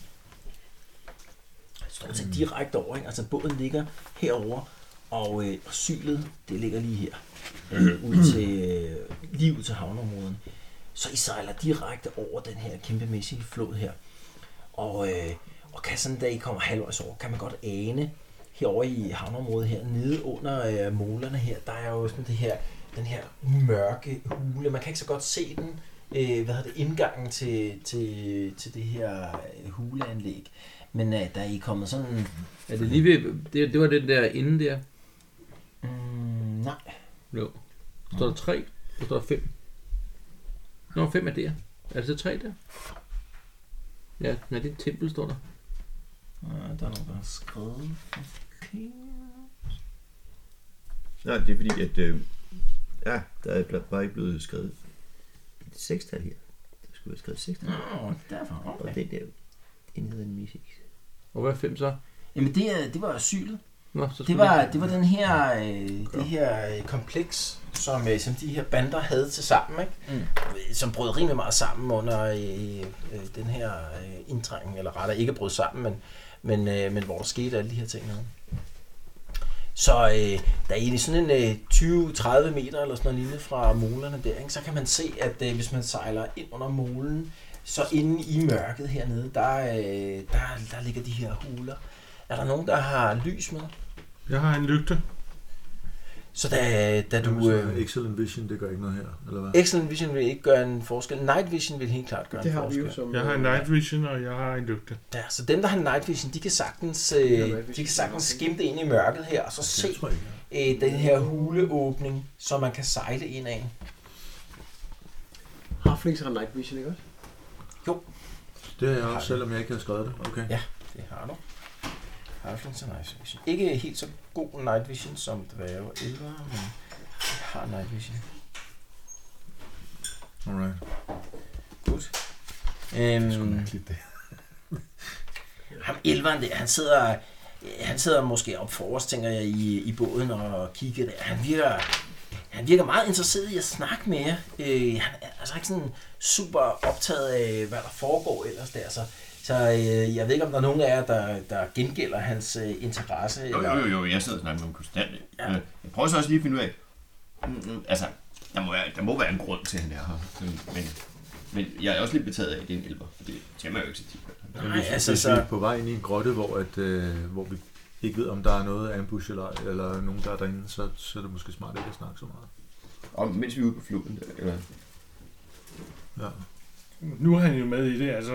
B: stort set direkte over. Ikke? Altså båden ligger herover og øh, og sylet, det ligger lige her. Øh, ud til, øh, lige ud til havneområden. Så I sejler direkte over den her kæmpemæssige flod her. Og, øh, og kan sådan, da I kommer halvvejs over, kan man godt ane herovre i havneområdet her, nede under øh, målerne her, der er jo sådan det her, den her mørke hule. Man kan ikke så godt se den, øh, hvad hedder det, indgangen til, til, til det her øh, huleanlæg. Men øh, da I er kommet sådan...
C: Er det lige ved, det, det var den der inden der?
B: Mm, nej.
C: Jo. Står der 3? Der står 5. Nå, 5 er der. Er det så 3 der? Ja, nej, det er et tempel, står der.
B: Ah, Der er nogen, der har skrevet. Okay.
H: Nej, det er fordi, at... Øh, ja, der er bl- bare ikke blevet skrevet... Det er sekstal her. Der skulle være skrevet sekstal.
B: Nå, derfor.
H: Og
B: Okay.
H: det der enhed af en misik.
C: Og hvad er 5 så?
B: Jamen, det, er- det var asylet.
C: Nå, så
B: Det var, det var den her, øh, det her øh, kompleks, som, øh, som de her bander havde til sammen, ikke? Mm. som brød rimelig meget sammen under øh, øh, den her øh, indtrængen, eller rettere ikke brød sammen, men, men, øh, men hvor der skete alle de her ting. Her. Så øh, der er i sådan en øh, 20-30 meter eller sådan noget lignende fra molerne der, ikke? så kan man se, at øh, hvis man sejler ind under molen, så inde i mørket hernede, der, øh, der, der ligger de her huler. Er der nogen, der har lys med?
D: Jeg har en lygte.
B: Så da, da du...
G: Øh...
B: Øh,
G: Excellent Vision, det gør ikke noget her, eller hvad?
B: excellent Vision vil ikke gøre en forskel. Night Vision vil helt klart gøre
E: Det
B: en
E: har vi
B: forskel.
E: jo som... øh,
D: Jeg har en night vision, og jeg har en lygte.
B: Ja, så dem, der har Night Vision, de kan sagtens,
E: Ja, hvad
B: øh,
E: hvis
B: de
E: vi-
B: kan sagtens skimte ind i mørket her, og så se
G: Det tror jeg ikke.
B: øh, den her huleåbning, som man kan sejle ind af.
E: Halflings har night vision, ikke også?
G: Det er jeg også, selvom jeg ikke har skrevet det. Okay.
B: Ja. Det har du. Halflings og Night Vision. Ikke helt så god Night Vision som dværge og elver, men de har Night Vision.
G: Alright.
B: Godt. Øhm,
G: det.
B: Ham elveren der, han sidder, øh, han sidder måske op forrest, tænker jeg, i, i båden og kigger der. Han virker, han virker meget interesseret i at snakke med jer. Øh, han er altså ikke sådan super optaget af, hvad der foregår ellers der. Så, så øh, jeg ved ikke, om der er nogen af jer, der, der gengælder hans øh, interesse.
F: Jo,
B: Eller...
F: jo, jo, jo, jeg sidder og snakker med ham konstant.
B: Ja.
F: Ja. Jeg prøver så også lige at finde ud af, Mm, mm, altså, der må, være, der må være en grund til, at han er her. Så, Men, men jeg er også lidt betaget af, at det er en elver, for det tæmmer jeg jo ikke så tit.
B: Nej, altså,
G: Hvis vi
B: så,
G: er på vej ind i en grotte, hvor, at, øh, hvor vi ikke ved, om der er noget ambush eller, eller nogen, der er derinde, så, så er det måske smart ikke at snakke så meget.
F: Og mens vi er ude på floden, der, eller,
G: Ja.
D: Nu er han jo med i det, altså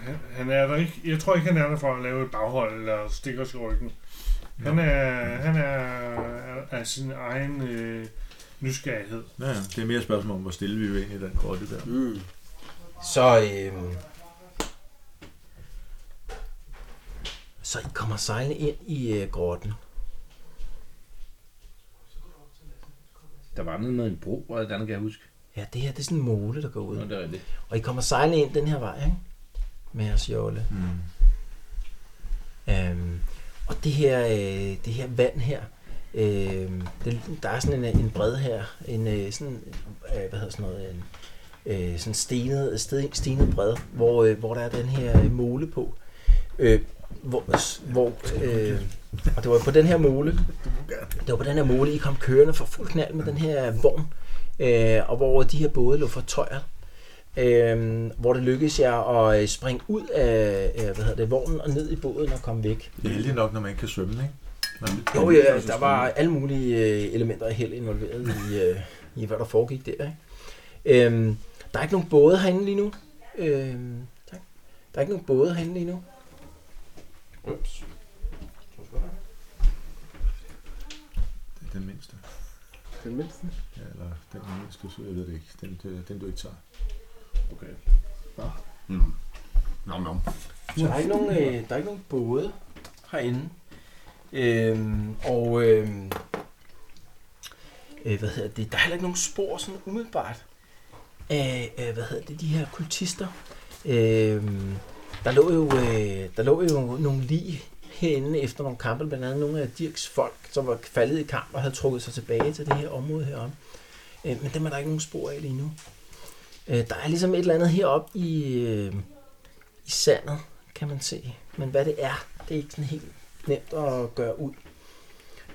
D: han, han er der ikke, jeg tror ikke, han er der for at lave et baghold eller stikke os i ryggen. Han er, han er af sin egen øh, nysgerrighed.
G: Ja, ja. det er mere et spørgsmål om, hvor stille vi er inde i den grotte der.
E: Mm.
B: så, øh, så I kommer sejlende ind i øh, grotten.
C: Der var noget med en bro, og et andet kan jeg huske.
B: Ja, det her det er sådan en måle, der går ud.
C: Nå, det er rigtigt.
B: Og I kommer sejlende ind den her vej, ikke? Med jeres jolle.
G: Mm.
B: Øhm, og det her, øh, det her vand her, øh, det, der er sådan en, en bred her, en øh, sådan, øh, hvad hedder sådan noget, en, øh, sådan stenet, sten, stenet bred, hvor, øh, hvor der er den her øh, måle på. Øh, hvor, hvor øh, og det var på den her måle, det var på den her måle, I kom kørende for fuld knald med den her vogn, øh, og hvor de her både lå for tøjet øh, hvor det lykkedes jer at øh, springe ud af øh, hvad hedder det, vognen og ned i båden og komme væk.
G: Det er heldigt nok, når man ikke kan svømme, ikke? Man,
B: Jo, ja, der var alle mulige øh, elementer af held involveret i, øh, i, hvad der foregik der. Ikke? Øhm, der er ikke nogen både herinde lige nu. Øhm, tak. Der er ikke nogen både herinde lige nu. Ups.
G: Det er den mindste.
E: Den mindste.
G: Ja, eller den mindste, så jeg ved det ikke. Den, øh, den du ikke tager.
C: Okay.
F: mm, nom, nom.
B: Så der er ikke nogen, øh, der er ikke nogen både herinde. Øhm, og øhm, øh, hvad hedder det? Der er heller ikke nogen spor sådan umiddelbart af, øh, hvad hedder det, de her kultister. Øhm, der lå jo, øh, der lå jo nogle lige herinde efter nogle kampe, blandt andet nogle af Dirks folk, som var faldet i kamp og havde trukket sig tilbage til det her område herom. Øh, men dem er der ikke nogen spor af lige nu. Øh, der er ligesom et eller andet heroppe i, øh, i sandet, kan man se. Men hvad det er, det er ikke sådan helt nemt at gøre ud.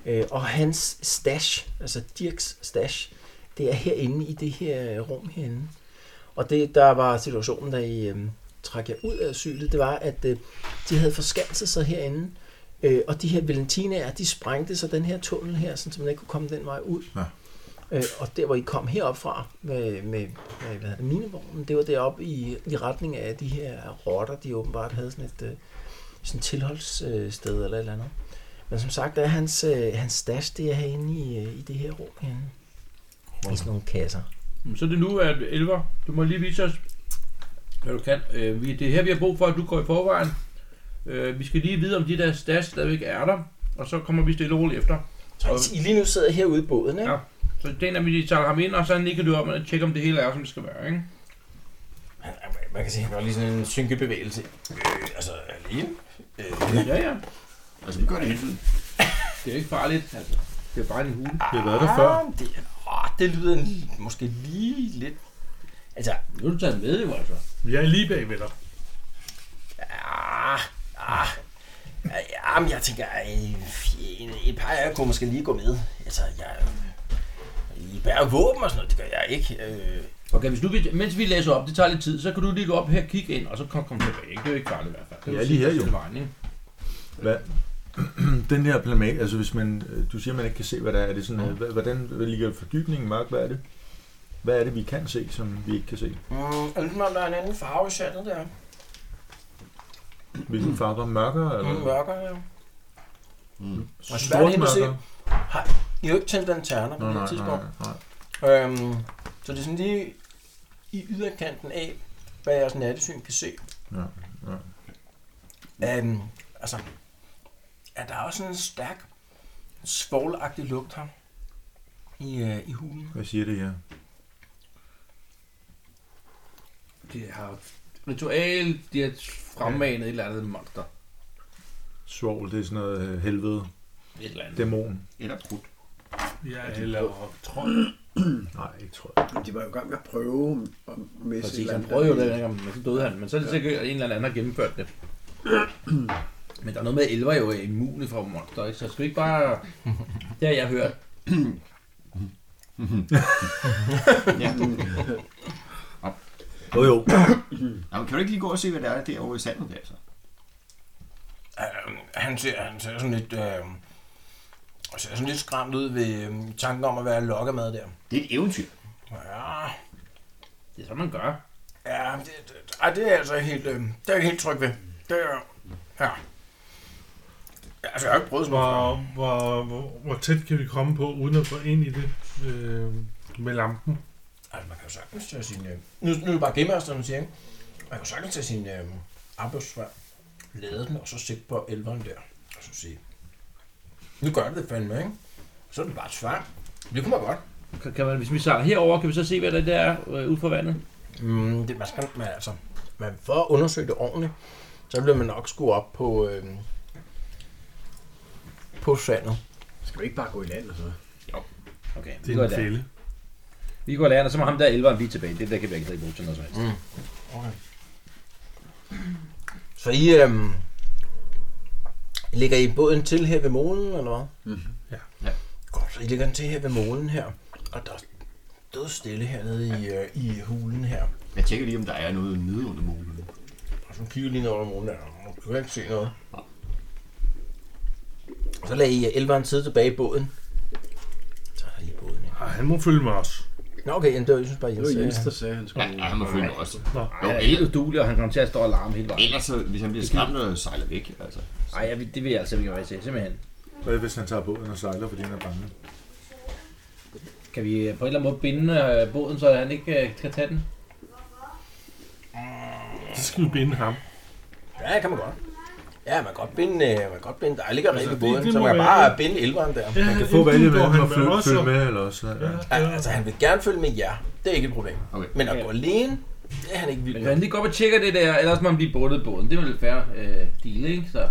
B: Øh, og hans stash, altså Dirks stash, det er herinde i det her rum herinde. Og det, der var situationen, da I øh, trak jer ud af asylet, det var, at øh, de havde forskanset sig herinde. Øh, og de her Valentinaer, de sprængte så den her tunnel her, sådan, så man ikke kunne komme den vej ud.
G: Ja.
B: Øh, og der, hvor I kom herop fra med, med, med hvad hedder det, minevognen, det var deroppe i, i retning af de her rotter, de åbenbart havde sådan et øh, sådan tilholdssted øh, sted eller et eller andet. Men som sagt, er hans, øh, hans stash, det er herinde i, øh, i det her rum herinde. I sådan nogle kasser.
C: Så er det nu, at Elver, du må lige vise os, hvad du kan. Øh, vi, det er her, vi har brug for, at du går i forvejen. Øh, vi skal lige vide, om de der stads stadigvæk er der, og så kommer vi stille og roligt efter.
B: Så I, I lige nu sidder herude i båden, ikke?
C: Ja. Så det er, at vi tager ham ind, og så nikker du om og tjekker, om det hele er, som det skal være, ikke?
B: Man kan se, han gør lige sådan en synkebevægelse. Øh, altså alene.
C: Ja, ja.
F: Altså, vi gør det hele tiden.
C: Det er jo ikke farligt. Altså, det er bare en hule.
G: Vi har været der før.
B: Ah, Det, åh, det lyder en, måske lige lidt... Altså,
C: Nu er du taget med, jo altså.
D: Vi er lige bag ved dig.
B: ah, ah, ah, jamen, jeg tænker, ej, en, et par af jer kunne måske lige gå med. Altså, jeg... I bærer våben og sådan noget, det gør jeg ikke. Øh,
C: Okay, hvis du, vil- mens vi læser op, det tager lidt tid, så kan du lige gå op her, kigge ind, og så kom, kom tilbage. ikke? Det er jo ikke farligt i hvert fald. Det
G: Ja,
C: jo
G: lige her,
C: sidste
G: jo.
C: Vejen, ikke?
G: Hvad? Den her planet, altså hvis man, øh, du siger, man ikke kan se, hvad der er, er det sådan, øh, hva- hvordan ligger fordybningen mørk, hvad er det? Hvad er det, vi kan se, som vi ikke kan se?
B: mm, og ligesom om der er en anden farve i sandet der.
G: Hvilken farve er mørkere?
B: Mm,
G: Eller?
B: mørkere, ja.
G: Sort
B: svært lige at se.
G: mørkere?
B: I har jo ikke tændt lanterner på
G: Nå,
B: det
G: nej,
B: her tidspunkt.
G: nej, nej.
B: Øhm, så det er sådan lige i yderkanten af, hvad jeres nattesyn kan se.
G: Ja,
B: ja. Øhm, altså, er der er også sådan en stærk, svovlagtig lugt her i, øh, i hulen.
G: Hvad siger det her?
C: De har ritual, de har fremmanet et eller andet monster.
G: Svogl, det er sådan noget øh, helvede,
C: Et eller andet.
G: dæmon.
F: Eller brudt.
D: Jeg hælder op, tror
G: Nej, ikke tror jeg.
E: Men de var jo i gang med at prøve at messe et
C: Præcis,
E: eller
C: han
E: andet.
C: prøvede jo det, dengang, men så døde han. Men så er det sikkert, at en eller anden har gennemført det. Men der er noget med, at elver jo er immune for monster, ikke? så skal vi ikke bare... Det har jeg hørt.
G: Jo, jo.
F: Jamen, kan du ikke lige gå og se, hvad der er derovre i sandet der, så?
B: Øhm, han, ser, han ser sådan lidt... Øh, ser sådan lidt skræmt ud ved øh, tanken om at være lokkemad der.
F: Det er et eventyr.
B: Ja,
C: Det er så, man gør.
B: ja det, det, ej, det er jeg altså ikke helt, øh, det er jeg ikke helt tryg ved. Det er, ja. Altså, jeg har ikke prøvet sådan noget før.
D: Hvor, hvor, hvor, hvor tæt kan vi komme på, uden at gå ind i det øh, med lampen?
B: Altså, man kan jo sagtens tage sin... Øh, nu, nu er det bare gamemasteren, siger, ikke? Man kan jo sagtens tage sin øh, arbejdsvær, lade den, og så sigte på elveren der, og så sige... Nu gør det det fandme, ikke? Så er det bare et svær. Det kunne man godt.
C: Kan, kan man, hvis vi sejler herover, kan vi så se, hvad det der er øh, ude for vandet?
B: Mm, det, man skal, man, altså, man, for at undersøge det ordentligt, så bliver man nok skue op på, øh, på sandet.
E: Skal vi ikke bare gå i land og så?
C: Okay,
D: Det
C: vi
D: er
C: går
D: en
C: der.
D: fælde.
C: Vi går der, og så må ham der elveren blive tilbage. Det der kan vi ikke rigtig bruge til noget som helst.
B: Så I, øh, ligger I båden til her ved målen, eller hvad?
E: Mm-hmm.
D: Ja.
F: Ja.
B: Godt, så I ligger den til her ved målen her, og der er død stille hernede i, øh, i hulen her.
F: Jeg tjekker lige, om der er noget nede under målen.
B: Og så kigger lige ned over målen her, og du kan ikke se noget. Og så lader I øh, elveren sidde tilbage i båden. Så er der lige båden, ikke?
D: Ej, han må følge med os.
B: Nå, okay, jamen, det var, jeg synes bare,
E: Det var
B: Jens,
E: Jens,
B: øh,
E: der sagde, at han skulle...
F: Ja, han må følge med os.
C: Ej, jeg er helt udulig, og han kommer til at stå og larme hele vejen.
F: Ellers, så, hvis han bliver skræmt og sejler væk, altså.
C: Nej, jeg, vil- det vil jeg altså ikke være til, simpelthen.
G: Hvad hvis han tager båden og sejler, fordi han er bange?
C: Kan vi øh, på en eller anden måde binde øh, båden, så han ikke øh, kan tage den?
D: Så skal vi binde ham.
B: Ja, det kan man godt. Ja, man kan godt binde, øh, man kan godt binde. Der ligger altså,
D: Altså,
B: i
D: det-
B: båden,
D: det
B: så
D: må
B: man kan
D: være-
B: bare binde elveren der.
D: Ja,
G: Man kan få valget med, om han følger følge
D: med.
G: med, eller også. Ja.
B: Al- Altså, han vil gerne følge med jer. Det er ikke et problem.
F: Okay.
B: Men at
C: Ja.
B: gå alene, det er han ikke vild med.
C: Men kan han lige gå op og tjekke det der, ellers må han blive bundet i båden. Det er jo lidt færre øh, deal, ikke? Så.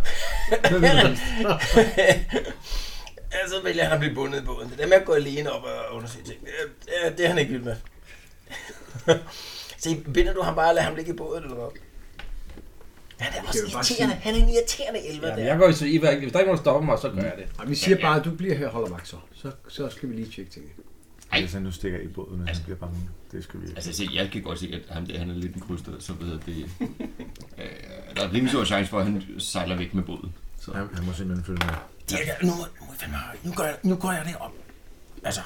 C: Hvad vil du helst?
B: Ja, så vælger han at blive bundet i båden. Det der med at gå alene op og undersøge ting, det er- det er, det er han ikke vild med. så binder du ham bare og lader ham ligge i båden, eller hvad? Han er også
E: jo bare
B: irriterende. Han er en irriterende elver
C: Ja, men
B: der.
C: jeg går i så i hver- Hvis der ikke er nogen, der stopper mig, så gør jeg det.
E: Ej, vi siger bare, at du bliver her og holder vagt så. så. Så skal vi lige tjekke tingene.
G: Hvis han nu stikker i båden, og han bliver bange. Det skal vi ikke.
F: Altså, se, jeg kan godt se, at ham der, han er lidt en krydster, så ved jeg, det... Øh, der er rimelig stor chance for, at han sejler væk med båden.
G: Han, han må simpelthen følge med.
B: Dirk, nu, må- nu, må I fandme, nu, gør jeg, nu går jeg det op. Altså,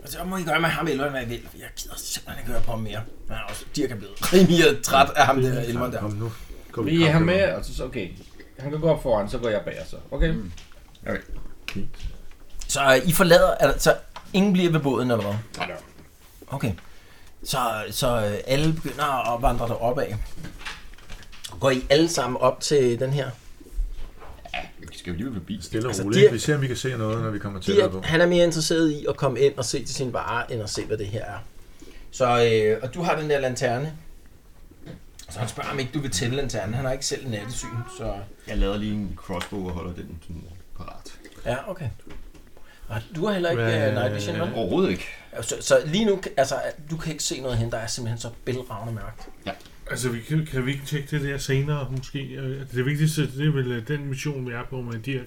B: altså, så må I gøre med ham elveren, hvad I vil. for Jeg gider simpelthen ikke høre på ham mere. Men også, Dirk er blevet rimelig træt af ham der elveren der.
G: Kom nu. Går i
C: Vi
G: kamp,
C: er ham
G: eller
C: med,
G: hvad?
C: og så, så- okay. Han kan gå op foran, så går jeg bag, og så. Okay. Mm.
B: Så øh, I forlader, altså, så ingen bliver ved båden, eller hvad?
C: Nej, nej.
B: Okay. Så, så øh, alle begynder at vandre derop af. Går I alle sammen op til den her?
F: Vi skal jo lige forbi.
G: Stille og
B: Altså,
G: roligt.
B: Dirk-
G: Vi ser, om vi kan se noget, når vi kommer tættere på.
B: Dirk, han er mere interesseret i at komme ind og se til sin vare, end at se, hvad det her er. Så, øh, og du har den der lanterne. Så han spørger, om ikke du vil tænde lanternen. Han har ikke selv nattesyn, så...
F: Jeg lader lige en crossbow og holder den sådan parat.
B: Ja, okay. Og du har heller ikke
G: Øh,
B: øh, night vision, vel?
F: Overhovedet ikke.
B: Så, så lige nu, altså, du kan ikke se noget hen, der er simpelthen så bælragende mørkt.
D: Altså, vi kan, kan vi ikke tjekke det der senere, måske? Øh, Det vigtigste, det er vel øh, den mission, vi er på med Dirk.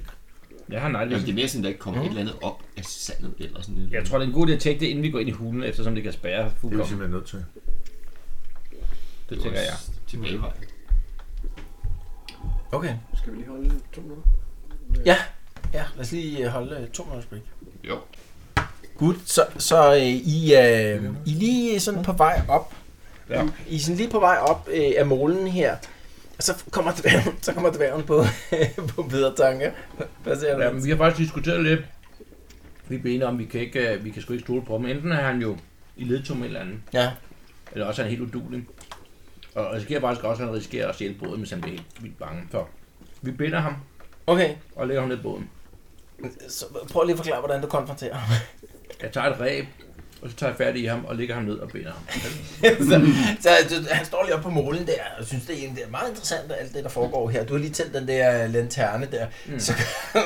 C: Jeg
F: Altså,
C: har
F: det
C: nejligvis.
F: er mere sådan, der ikke kommer et eller andet op af sandet eller sådan noget.
C: Jeg tror, det er en god idé at tjekke det, inden vi går ind i hulen, eftersom det kan spære
G: Det er vi
C: fuldkommen.
G: simpelthen nødt til.
C: Det, det tænker jeg.
F: Tilbagevej.
B: Okay.
E: Skal vi lige holde to minutter?
B: Ja, lad os lige øh, holde øh, to minutters break.
F: Jo.
B: Gud, så, så øh, I, øh, I er lige sådan på vej op.
C: Ja.
B: I er sådan lige på vej op øh, af målen her. Og så kommer dværgen, så kommer dværgen på, på bedre tanker. Hvad siger du?
C: Ja, men vi har faktisk diskuteret lidt. Vi blev enige om, at vi kan, ikke, øh, vi kan sgu ikke stole på ham. Enten er han jo i ledtum eller andet,
B: ja.
C: eller også er han helt udulig. Og risikerer faktisk også, at han risikerer at stjæle båden, hvis han bliver helt vildt bange. Så vi binder ham
B: Okay,
C: og lægger ham ned i båden.
B: så prøv lige at forklare, hvordan du konfronterer ham.
C: Jeg tager et ræb, og så tager jeg fat i ham og lægger ham ned og binder ham.
B: så, så du- han står lige oppe på målen der, og synes, det er, egentlig- det er meget interessant, alt det, der foregår her. Du har lige tændt den der øh, lanterne der. Mm.
C: Mm.
B: Så,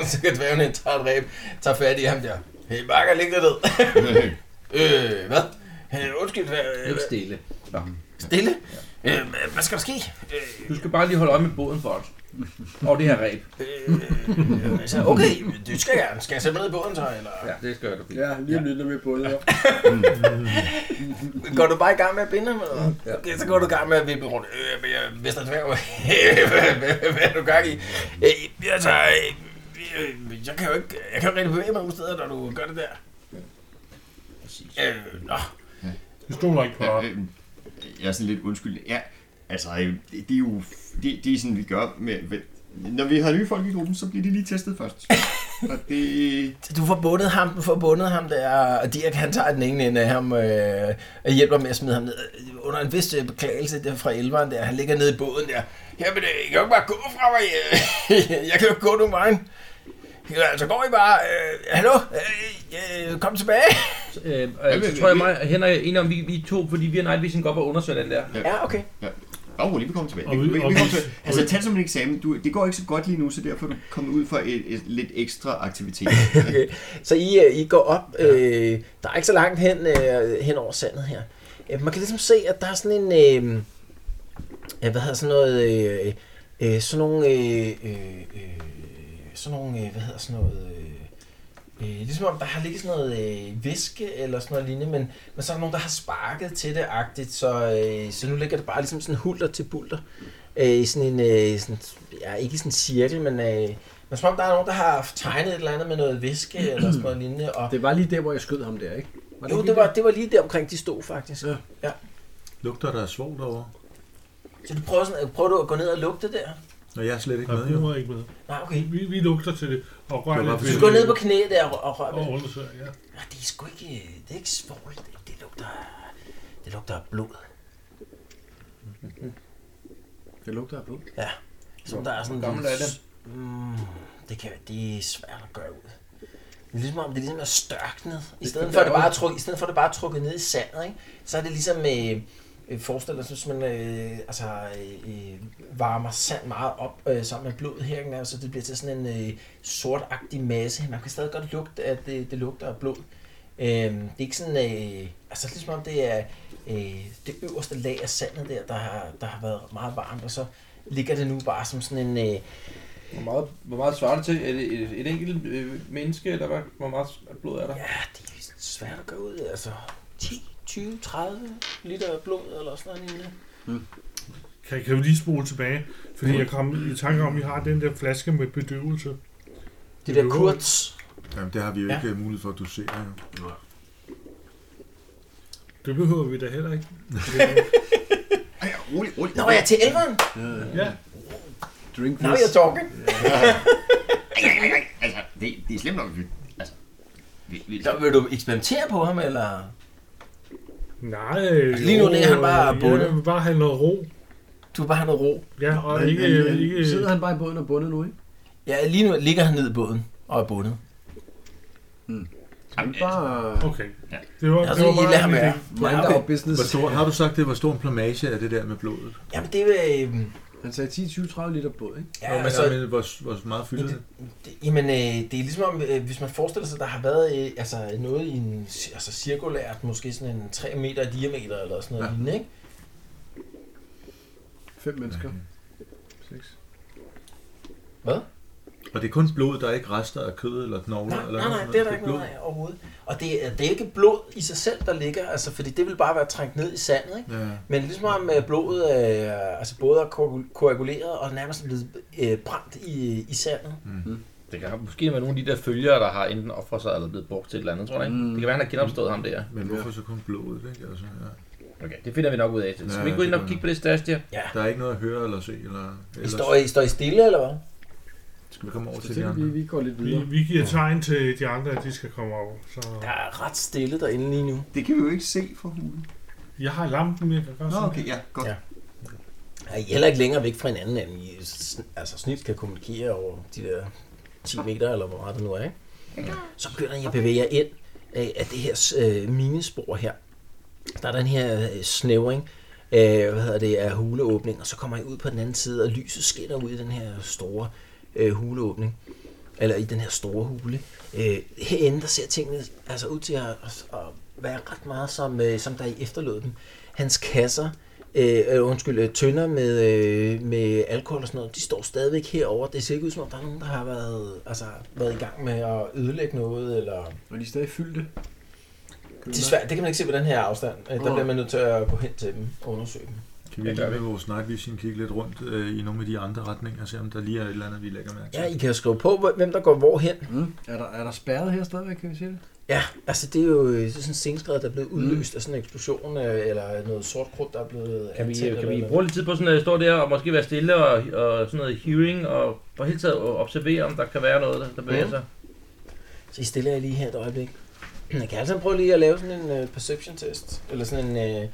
B: så kan dværgen ind, tager et ræb, tager fat i ham der. Hey, bakker, læg dig ned. øh, hvad? Øh, undskyld, hvad?
C: Helt
B: Øh,
C: stille. Nå.
B: Stille? Ja. Øh, hva- hvad skal der ske?
C: Du skal bare lige holde øje med båden for os. Og det her ræb.
B: Øh, altså, okay, det skal jeg. Skal jeg sætte mig ned i båden så, eller?
C: Ja, det skal jeg da blive.
E: Ja, lige om lidt, når vi er på det her.
B: Går du bare i gang med at binde ham, eller? Ja. Okay, så går du i gang med at vippe rundt. Øh, men jeg mister dværg. Hvad- hvad- Hvad er du gang i? Øh, altså, øh, øh, jeg kan jo ikke, jeg kan jo ikke rigtig bevæge mig nogen steder, når du gør det der.
C: Præcis.
B: Øh, nå.
D: Vi stoler ikke på
F: Ja,
D: ham.
F: øh, jeg er sådan lidt undskyld. Ja, altså, øh, det, det er jo det, det er sådan, vi gør med... med- Når vi har nye folk i gruppen, så bliver de lige testet først. Og det...
B: Så Du får bundet ham, du får bundet ham der, og Dirk han tager den ene ende af ham øh, og hjælper med at smide ham ned. Øh, Under en vis øh, beklagelse der fra elveren der, han ligger nede i båden der. Jamen, øh, I kan jo ikke bare gå fra mig. øh. Jeg kan jo ikke gå nogen vejen. Ja, Så går I bare. Øh, hallo? Øh, øh, kom tilbage.
C: Så, øh, øh, så tror jeg mig og Henrik er enige om, vi, vi er to, fordi vi og Night Vision går op og undersøger den der.
B: Ja, okay.
F: Åh, oh, lige vi kommer tilbage.
D: Og vi-
F: Vi, vi, vi
D: og vi-
F: kommer tilbage. Altså, tag det som en eksamen. Du, det går ikke så godt lige nu, så derfor er du kommet ud for et, et, lidt ekstra aktivitet. Altså,
B: okay. Så I, øh, I går op, øh, der er ikke så langt hen, øh, hen over sandet her. Øh, man kan ligesom se, at der er sådan en, øh, øh, hvad hedder sådan noget, øh, øh, sådan nogle, øh, øh, øh, sådan nogle, øh, hvad hedder sådan noget, øh, øh, ligesom om der har ligget sådan noget øh, væske eller sådan noget lignende, men, men så er der nogen, der har sparket til det agtigt, så, øh, så nu ligger det bare ligesom sådan hulter til bulter. Øh, i sådan en, øh, sådan, ja, ikke i sådan en cirkel, men øh, men som om der er nogen, der har tegnet et eller andet med noget væske eller sådan noget lignende. Og...
E: Det var lige der, hvor jeg skød ham der, ikke? Var
B: Jo,
E: ikke
B: det
E: lige
B: var, det var lige der omkring, de stod faktisk. Ja.
G: Lugter der er svovl derovre?
B: Så du prøver, sådan, prøver du at gå ned og lugte der?
G: Nå, jeg er slet ikke
D: Og
G: med,
D: vi
G: jo.
D: må ikke med.
B: Nej, okay.
D: Vi, vi lugter til det, og rører
G: Det var
D: lidt
G: bare
B: Du
D: ved
B: går
D: det,
B: ned på knæ der og, og rører ved
D: Og
B: det.
D: undersøger, ja.
B: Nej, det er sgu ikke, øh, det er ikke svovl. Det, det lugter, det lugter af blod.
E: der. Det lugter af blod.
B: Som der er sådan...
C: Hvor gammel er det?
B: Mm, det, kan, det er svært at gøre ud. Det er ligesom om, det er ligesom er størknet. I stedet for, at det bare er trukket, i stedet for, at det bare er trukket ned i sandet, ikke? så er det ligesom... Øh, øh, forestiller sig, hvis man øh, altså, øh, øh, varmer sand meget op øh, sammen med blod her, ikke? så det bliver til sådan en øh, sortagtig masse. Man kan stadig godt lugte, at det, det lugter af blod. Øh, det er ikke sådan, øh, altså ligesom om det er øh, det øverste lag af sandet der, der har, der har været meget varmt, og så ligger det nu bare som sådan en... Øh,
C: Hvor meget, hvor meget svarer det til? Er det et, et enkelt øh, menneske, eller hvad? Hvor meget blod er der?
B: Ja, det er svært at gøre ud, altså 10, 20, 30 liter blod eller sådan noget lignende.
D: Kan, kan vi lige spole tilbage? Fordi jeg kom i tanke om, at vi har den der flaske med bedøvelse.
B: Det
D: Det
B: der
D: er
B: kurz.
G: Jamen, det har vi jo
B: Ja.
G: ikke øh, mulighed for at dosere, jo.
D: Det behøver vi da heller ikke.
F: Ej, rolig, rolig.
B: Nå, jeg er til elveren.
D: Ja,
E: Drink
B: Nå,
E: this.
B: jeg er talking.
F: Ej, ej, ej, ej. Altså, det, det er slemt nok. vi- Altså, vi, vi,
B: Så vil du eksperimentere på ham, eller?
D: nej.
B: lige nu
D: jo,
B: ligger han bare
D: øh,
B: bundet.
D: Jeg vil bare have noget ro.
B: Du vil bare have noget ro.
D: Ja, og
E: Men,
D: ikke...
E: øh,
D: ikke
E: sidder han bare i båden og bundet nu, ikke?
B: Ja, lige nu ligger han ned i båden og er bundet.
E: Han bare...
D: okay.
F: Ja.
D: Det var,
B: Altså,
D: det var
B: I lader
D: bare
B: ham
D: en
B: være.
D: idé.
E: Mind
B: Ja, okay.
E: our business.
G: Hvor stor, har du sagt det? Hvor stor en plamage er det der med blodet?
B: Jamen, det er... Øh,
E: Han sagde 10, 20, 30 liter båd, ikke?
G: Ja, men, altså, men, hvor, hvor meget fylder det?
B: Det- Jamen, øh, det er ligesom om, øh, hvis man forestiller sig, der har været øh, altså, noget i en ci- altså, cirkulært, måske sådan en 3 meter i diameter eller sådan noget ja. lignende, ikke?
E: 5 mennesker. 6.
G: Og det er kun blod, der er ikke rester af kød eller knogler?
B: Nej,
G: eller
B: nej, nej,
G: noget.
B: det er der ikke noget af overhovedet. Og det, er- det er ikke blod i sig selv, der ligger, altså, fordi det vil bare være trængt ned i sandet, ikke?
G: Ja.
B: Men ligesom om øh, blodet øh, altså både er koagul- koaguleret og nærmest blevet øh, brændt i, i sandet.
C: Det kan måske være nogle af de der følgere, der har enten offret sig eller blevet brugt til et eller andet, tror jeg. Mm. Det kan være, han har genopstået ham der.
G: Men hvorfor så kun blodet? Ikke? Altså, ja.
C: Okay, det finder vi nok ud af. Skal
G: Ja,
C: vi ikke gå ind
G: det
C: og
G: gør
C: kigge på det stash der?
G: Der er ikke noget at høre eller se? Eller,
B: I
G: eller
B: står, I, står I stille, eller hvad?
G: skal vi komme over
E: Så
G: til de
E: tænker vi,
G: andre?
E: vi går lidt
D: Vi,
E: videre.
D: vi giver tegn til de andre, at de skal komme over. Så
B: Der er ret stille derinde lige nu.
F: Det kan vi jo ikke se for hulen.
D: jeg har lampen, jeg kan gøre
F: Nå,
D: sådan.
F: okay, ja, godt.
B: Ja. Er I heller ikke længere væk fra hinanden, end I sn- altså snit kan kommunikere over de der 10 meter, eller hvor meget det nu er, ikke? Så begynder I at bevæge jer ind af, af det her øh, minespor her. Der er den her øh, snævring, øh, hvad hedder det, af huleåbning, og så kommer I ud på den anden side, og lyset skinner ud i den her store øh, huleåbning. Eller i den her store hule. Øh, herinde, der ser tingene altså ud til at, at, at være ret meget, som, øh, som der I efterlod dem. Hans kasser, øh, øh, undskyld, øh, tønder med, øh, med alkohol og sådan noget, de står stadigvæk herover. Det ser ikke ud som om, der er nogen, der har været, altså, været i gang med at ødelægge noget, eller...
E: Og de er stadig fyldte.
B: Det, er svært, det kan man ikke se på den her afstand. Øh, Der
E: Nå.
B: bliver man nødt til at gå hen til dem og undersøge dem.
G: Kan vi
C: Ja, gør
G: lige
C: vi.
G: med vores night vision kigge lidt rundt øh, i nogle af de andre retninger og se, om der lige er et eller andet, vi lægger mærke til?
B: Ja, I kan jo skrive på, hvor- hvem der går hvor hen.
E: Mm. Er, der, er der spærret her stadigvæk, kan vi se det?
B: Ja, altså det er jo øh, det er sådan en stenskred, der er blevet udløst af sådan en eksplosion, øh, eller noget sort krudt, der er blevet
C: Kan vi,
B: antændt,
C: kan
B: eller
C: vi
B: hvad?
C: bruge lidt tid på sådan at stå der og måske være stille og, og sådan noget hearing og på hele taget observere, om der kan være noget, der- der bevæger
B: Mm.
C: sig?
B: Så I stiller jer lige her et øjeblik. Jeg kan altså prøve lige at lave sådan en øh, perception test, eller sådan en øh,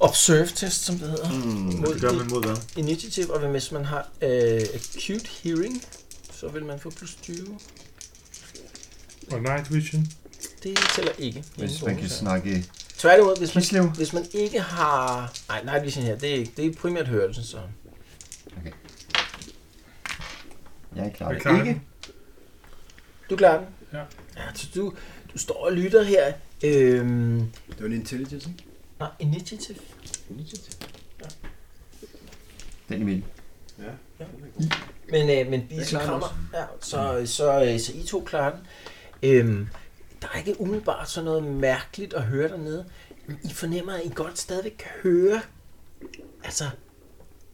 B: observe test, som det hedder.
F: Mm.
G: Det gør man mod hvad?
B: Initiativ, og hvis man har øh, acute hearing, så vil man få plus 20.
D: Og night vision.
B: Det tæller ikke.
F: Hvis
B: Ingen
F: man kan
B: bonus her.
F: snakke
B: Tværtimod, hvis man,
F: Kislev.
B: hvis man ikke har... Nej, nej, vision her, det er, ikke, det er primært hørelsen, så...
F: Jeg klarer
D: Jeg
F: det
D: klarer
F: ikke.
B: Du klarer den?
D: Ja.
B: ja så du, du står og lytter her. Øhm,
E: Det var en intelligence, ikke?
B: nej, initiativ.
F: Den imellem.
B: Men, øh, men
E: Jeg
B: Bisse
E: klarer den
B: krammer. Ja, så, så, øh, så I to klarer den. Øhm, der er ikke umiddelbart sådan noget mærkeligt at høre dernede. Men I fornemmer, at I godt stadigvæk kan høre, altså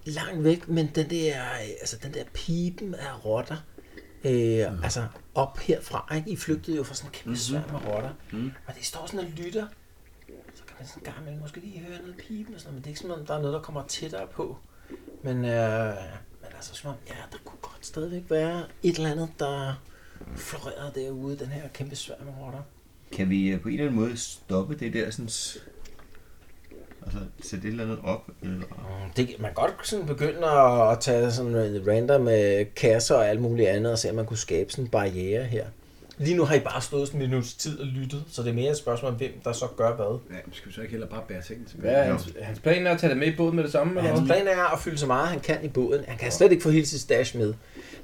B: langt væk, men den der, øh, altså, den der pipen af rotter, øh, ja. altså op herfra, ikke? I flygtede jo fra sådan en kæmpe sværm af rotter. Mm-hmm. Mm. Og det står sådan og lytter, så kan man sådan en gang imellem måske lige høre noget pipen og sådan noget, men det er ikke som om, der er noget, der kommer tættere på. Men, øh, men altså som om, ja, der kunne godt stadigvæk være et eller andet, der florerede derude, den her kæmpe sværm af rotter.
F: Kan vi øh, på en eller anden måde stoppe det der sådan... s- Altså, sætte et eller andet op, eller...
B: Mm, Det, man kan godt sådan begynde at, at tage sådan en random øh, kasser og alt muligt andet, og se, om man kunne skabe sådan en barriere her. Lige nu har I bare stået sådan en minuts tid og lyttet, så det er mere et spørgsmål om, hvem der så gør hvad.
E: Ja, men skal vi så ikke heller bare bære tingene tilbage?
C: Hvad er hans, hans plan er at tage det med i båden med det samme?
B: Men
C: Eller?
B: hans
C: hvad?
B: plan er at fylde så meget, han kan i båden. Han kan slet ikke få hele sit stash med.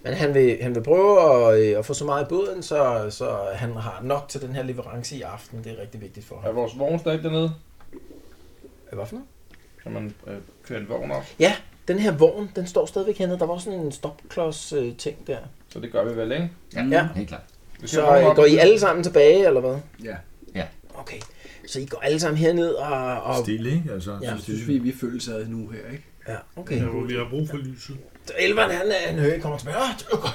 B: Men han vil, han vil prøve at, øh, at få så meget i båden, så, så han har nok til den her leverance i aften. Det er rigtig vigtigt for
C: Er
B: ham.
C: vores vogn stadig dernede?
B: Hvad for noget?
C: Kan man øh, køre en vogn op?
B: Ja, den her vogn, den står stadigvæk hernede. Der var sådan en stopklods-ting der.
C: Så det gør vi vel, ikke?
B: Ja.
F: Helt klart.
C: Vi kører
B: Så
C: vognen
B: øh,
C: op.
B: går I alle sammen tilbage, eller hvad?
E: Ja,
B: Okay, så I går alle sammen herned og... og
G: Stille, ikke? Altså,
B: Ja,
E: jeg synes vi, vi føles ad nu her, ikke?
B: ja, okay.
D: Ja, hvor vi har brug for lyset.
B: Så Elveren, han, er- han hører, kommer tilbage. Åh, du-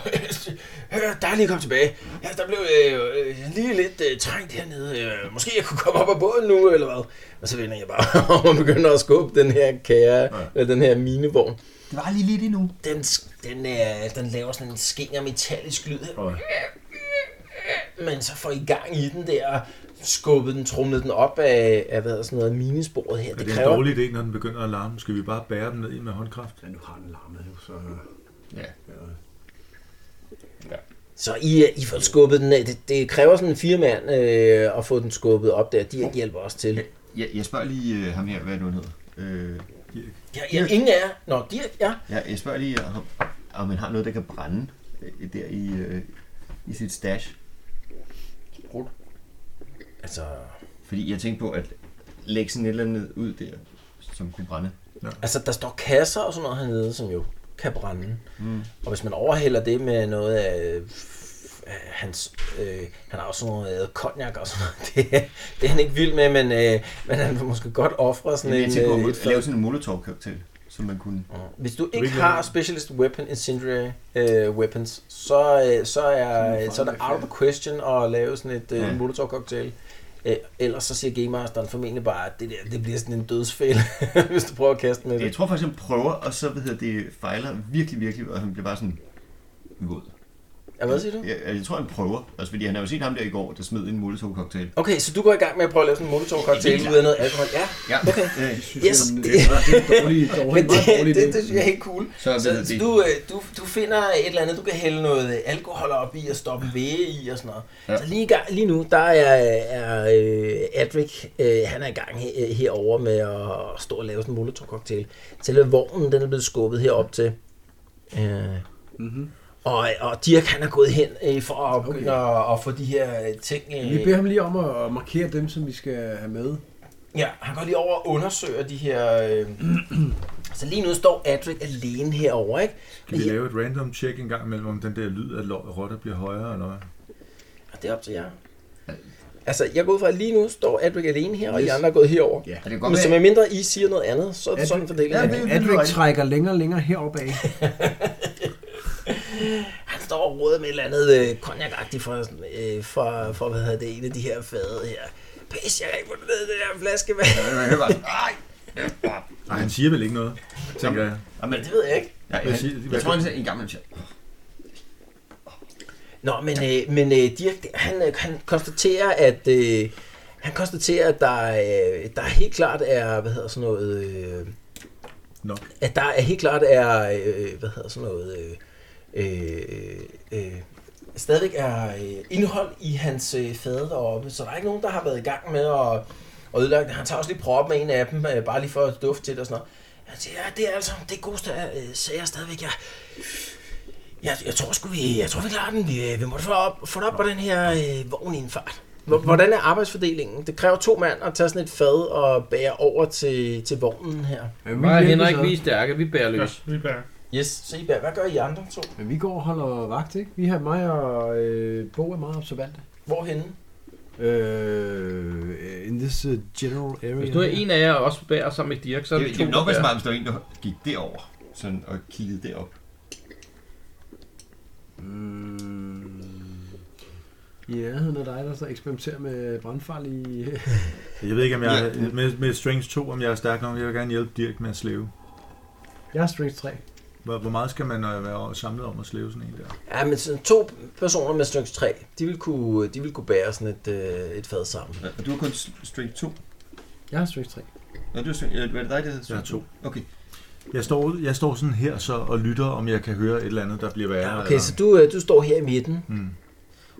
B: øh, dejligt at komme tilbage. Ja, der blev øh, øh, lige lidt øh, trængt hernede. Øh, måske jeg kunne komme op af båden nu, eller hvad? Og så vender jeg bare om og begynder at skubbe den her kære, ja. eller den her minevogn.
F: Det var lige lidt endnu.
B: Den, sk- den, øh, den laver sådan en skinger metallisk lyd.
G: Og
B: Men så får I gang i den der, skubbet den, trumlet den op af, af hvad hedder sådan noget, minesporet her.
G: er det en dårlig idé, når den begynder at larme? Skal vi bare bære den ned i med håndkraft?
E: Ja, nu har den larmet jo, så...
F: Ja.
B: Så I, øh, I får skubbet den af. Det, det kræver sådan en firemand øh, at få den skubbet op der. De hjælper også til.
F: Jeg, jeg spørger lige øh, ham her, hvad du hedder. Øh,
G: Dirk.
B: Ja, ja, ingen af jer. Nå, Dirk, ja.
F: Ja, jeg spørger lige, om, om han har noget, der kan brænde øh, der i, øh, i sit stash.
B: Altså,
F: Fordi jeg tænkte på at lægge sådan et eller andet ud der, som kunne brænde.
B: altså, der står kasser og sådan noget hernede, som jo kan brænde. Mm. Og hvis man overhælder det med noget af f- af hans, øh, han har også sådan noget øh, cognac og sådan noget. Det, er- det er han ikke vild med, men, øh, men han vil måske godt ofre sådan
F: Men jeg
B: en...
F: tænkte på
B: øh,
F: at
B: et
F: lave sådan en molotov-cocktail, som man kunne...
B: Mm. Hvis du ikke
G: ikke
B: har
G: lave-
B: specialist weapon incendiary uh, weapons, så, uh, så, er,
F: Sådan
B: så er det
F: en
B: out of the question at lave sådan et uh,
F: Ja.
B: molotov cocktail. Uh, ellers så siger Game Masteren formentlig bare, at det, der, det bliver sådan en dødsfælde, hvis du prøver at kaste med
F: Jeg
B: det.
F: tror faktisk, han prøver, og så ved jeg, det fejler virkelig, virkelig, og han bliver bare sådan våd.
B: Ja, hvad siger du?
F: Jeg, jeg tror, han prøver. Altså, fordi han har jo set ham der i går, der smed en molotov-cocktail.
B: Okay, så du går i gang med at prøve at lave sådan en molotov
F: Helt
B: cocktail
F: klart.
B: ud af noget alkohol. Ja,
F: Ja, okay. Øh,
B: Yes,
E: det,
B: det-
E: det, er en dårlig, dårlig,
B: men det,
E: meget dårlig
B: det, det,
E: idé.
B: det synes jeg er helt cool.
F: så ved
B: Så,
F: jeg
B: så
F: det.
B: du, øh, du, du finder et eller andet, du kan hælde noget øh, alkohol op i og stoppe væge i og sådan noget. Ja.
F: Ja.
B: Så lige, i gang, lige nu, der er, er øh, Adric, øh, han er i gang he, herover med at stå og lave sådan en molotov-cocktail. Selve vognen, den er blevet skubbet herop til. Øh. Mm-hmm. Og, og Dirk, han er gået hen øh, for at
E: Okay.
B: begynde okay. at, at få de her øh, ting... Øh,
E: Vi beder ham lige om at markere dem, som vi skal have med.
B: Ja, han går lige over og undersøger de her... Øh. så lige nu står Adric alene herover, ikke?
G: Skal vi lave et random check en gang imellem, om den der lyd af lo- rotter bliver højere eller hvad?
B: Og det er op til jer. Altså, jeg går ud fra, at lige nu står Adric alene her, og yes. I andre er gået herover.
F: Ja, det kan
B: Men
F: godt
B: så
F: være.
B: med mindre I siger noget andet, så er det
E: Adric-
B: sådan fordeling.
F: Ja,
B: Ja,
F: det-
E: Adric trækker længere og længere heroppe af.
B: Han står og råder med et eller andet øh, cognac-agtigt for, øh, for, for, hvad hedder det, en af de her fade her. Pis, jeg kan ikke få det ned, i den her flaske, vand.
F: Jeg hører bare sådan, "Ej!"
G: Nej, han siger vel ikke noget, tænker jeg.
F: Jamen,
B: Det ved jeg ikke.
F: Nej,
G: Hvad
F: jeg,
G: siger-
F: jeg,
G: hvad-
F: tror, han sagde en gammel chat.
B: Nå, men, øh, men øh, Dirk, han, øh, han konstaterer, at... Øh, han konstaterer, at der, øh, der helt klart er, hvad hedder sådan noget, øh,
G: Nå.
B: at der er helt klart er, øh, hvad hedder sådan noget, øh, øh, øh, stadigvæk er øh, indhold i hans øh, fade deroppe, så der er ikke nogen, der har været i gang med at, at ødelægge det. Han tager også lige prop med en af dem, øh, bare lige for at dufte til det og sådan noget. Han siger, ja, det er altså, det er gode stager, øh, sager stadigvæk. Jeg, jeg, jeg tror sgu, vi, jeg tror, vi klarer den. Vi, øh, vi måtte få, op, få den op på den her øh, vogn i en fart. Hvor- Hvordan er arbejdsfordelingen? Det kræver to mand at tage sådan et fad og bære over til, til vognen her.
E: Men
C: Mig og
E: hjælper
C: Henrik,
E: så.
C: vi er stærke, vi bærer løs.
D: Ja, vi bærer.
B: Yes. Så I, hvad, hvad gør I andre to?
E: Men vi går og holder vagt, ikke? Vi har mig og øh, Bo er meget observante.
B: Hvorhenne?
E: Øh, in this uh, general area.
C: Hvis du er en af jer og også bærer sammen med Dirk, så
F: Det,
C: er
F: det,
C: vi
F: det
C: to,
F: er nok
C: der
F: være
C: bærer.
F: smart, hvis der var en, der gik derover sådan, og kiggede derop.
E: Mm. Ja, han er dig, der så eksperimenterer med brandfarlige...
G: Jeg ved ikke, om jeg
F: Ja.
G: er, med, med Strings 2, om jeg er stærk nok. Jeg vil gerne hjælpe Dirk med at slæve.
E: Jeg er strength 3.
G: Hvor, hvor meget skal man øh, være samlet om at slæve sådan en der?
B: Ja, men sådan to personer med styrke 3, de vil kunne, de vil kunne bære sådan et, øh, et fad sammen.
F: Og du har kun strength 2.
E: Jeg er strength 3.
F: Nå, du er, strength- øh, var det dig, der hedder
G: Jeg har
F: strength
G: to.
F: Okay.
G: Jeg står, ud- jeg står sådan her så og lytter, om jeg kan høre et eller andet, der bliver værre.
B: Ja, okay,
G: eller-
B: så du, øh, du står her i midten,
G: Mm.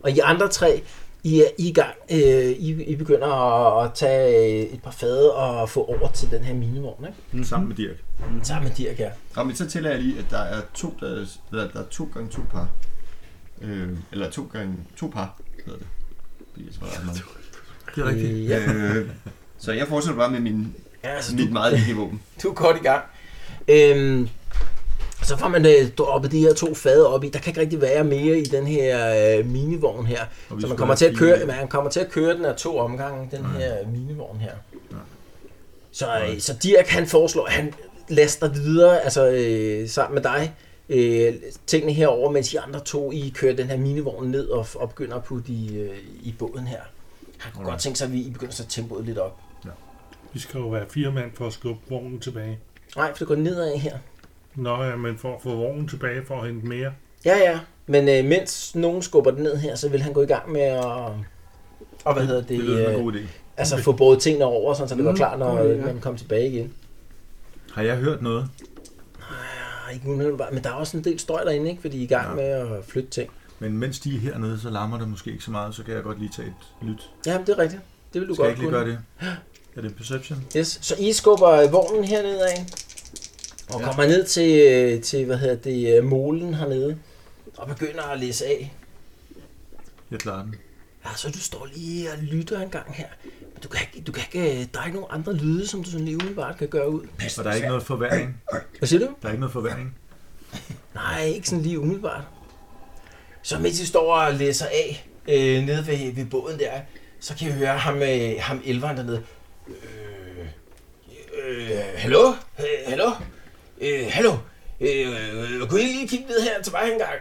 B: og I andre tre, I er I er i gang. Øh, I, I begynder at, at tage øh, et par fade og få over til den her minevogn, ikke?
G: Mm-hmm. Sammen med Dirk.
B: Sammen med Dirk her.
F: Nå, men så tæller jeg lige, at der er to, der, der, der er to gange to par. Øh, eller to gange to par, hedder det. Fordi jeg tror, der er mange.
G: Det er rigtigt.
B: Ja,
F: Øh, så jeg fortsætter bare med min,
B: ja altså,
F: mit
B: du,
F: meget lille våben.
B: du er godt i gang. Øhm, så får man øh, droppet de her to fade op i. Der kan ikke rigtig være mere i den her øh, minivogn her.
G: Og vi
B: Så man
G: skulle
B: kommer
G: have
B: til at
G: fire-
B: køre, man kommer til at køre den her to omgange, den her minivogn her. Så, øh, så Dirk han foreslår, at han laster videre, altså øh, sammen med dig, øh, tingene herover, mens de andre to, I kører den her minivogn ned og, og begynder at putte i, øh, i båden her. Han kunne godt tænke sig, at vi I begynder at sætte tempoet lidt op.
D: Vi skal jo være fire mand for at skubbe vognen tilbage.
B: Nej, for det går nedad her.
D: Nå ja, men for at få vognen tilbage for at hente mere.
B: Ja, ja. Men øh, mens nogen skubber den ned her, så vil han gå i gang med at... Og hvad hedder det?
G: Det lyder som
B: øh,
G: en god idé.
B: Altså få båret tingene over, sådan, så det var
E: Mm,
B: klar, når
E: god idé,
B: øh,
E: ja.
B: man kom tilbage igen.
G: Har jeg hørt noget?
B: Nej, ikke umiddelbart, men der er også en del støj derinde, ikke? Fordi I er i gang
G: Ja.
B: med at flytte ting.
G: Men mens de er hernede, så larmer der måske ikke så meget, så kan jeg godt lige tage et lyt.
B: Ja, det er rigtigt. Det vil du
G: Skal jeg
B: godt
G: ikke lige
B: kunne.
G: gøre det? Er det en perception?
I: Yes.
B: Så I skubber øh, vognen hernede af, og
I: Ja.
B: kommer ned til, øh, til hvad hedder det, øh, molen hernede, og begynder at læse af.
G: Jeg klarer den.
B: Ja, så du står lige og lytter en gang her. Men du kan ikke, du kan ikke, øh, der er ikke nogen andre lyde, som du sådan lige umiddelbart kan gøre ud.
G: Og der er ikke noget forværring.
B: Hvad siger du?
G: Der er ikke noget forværring.
B: Nej, ikke sådan lige umiddelbart. Så mens I står og læser af øh, nede ved, ved båden der, så kan I høre ham, øh, ham elveren dernede. Øh, øh, hallo? Øh, hallo? Øh, hallo? Øh, øh, kunne I lige kigge ned her til mig en gang?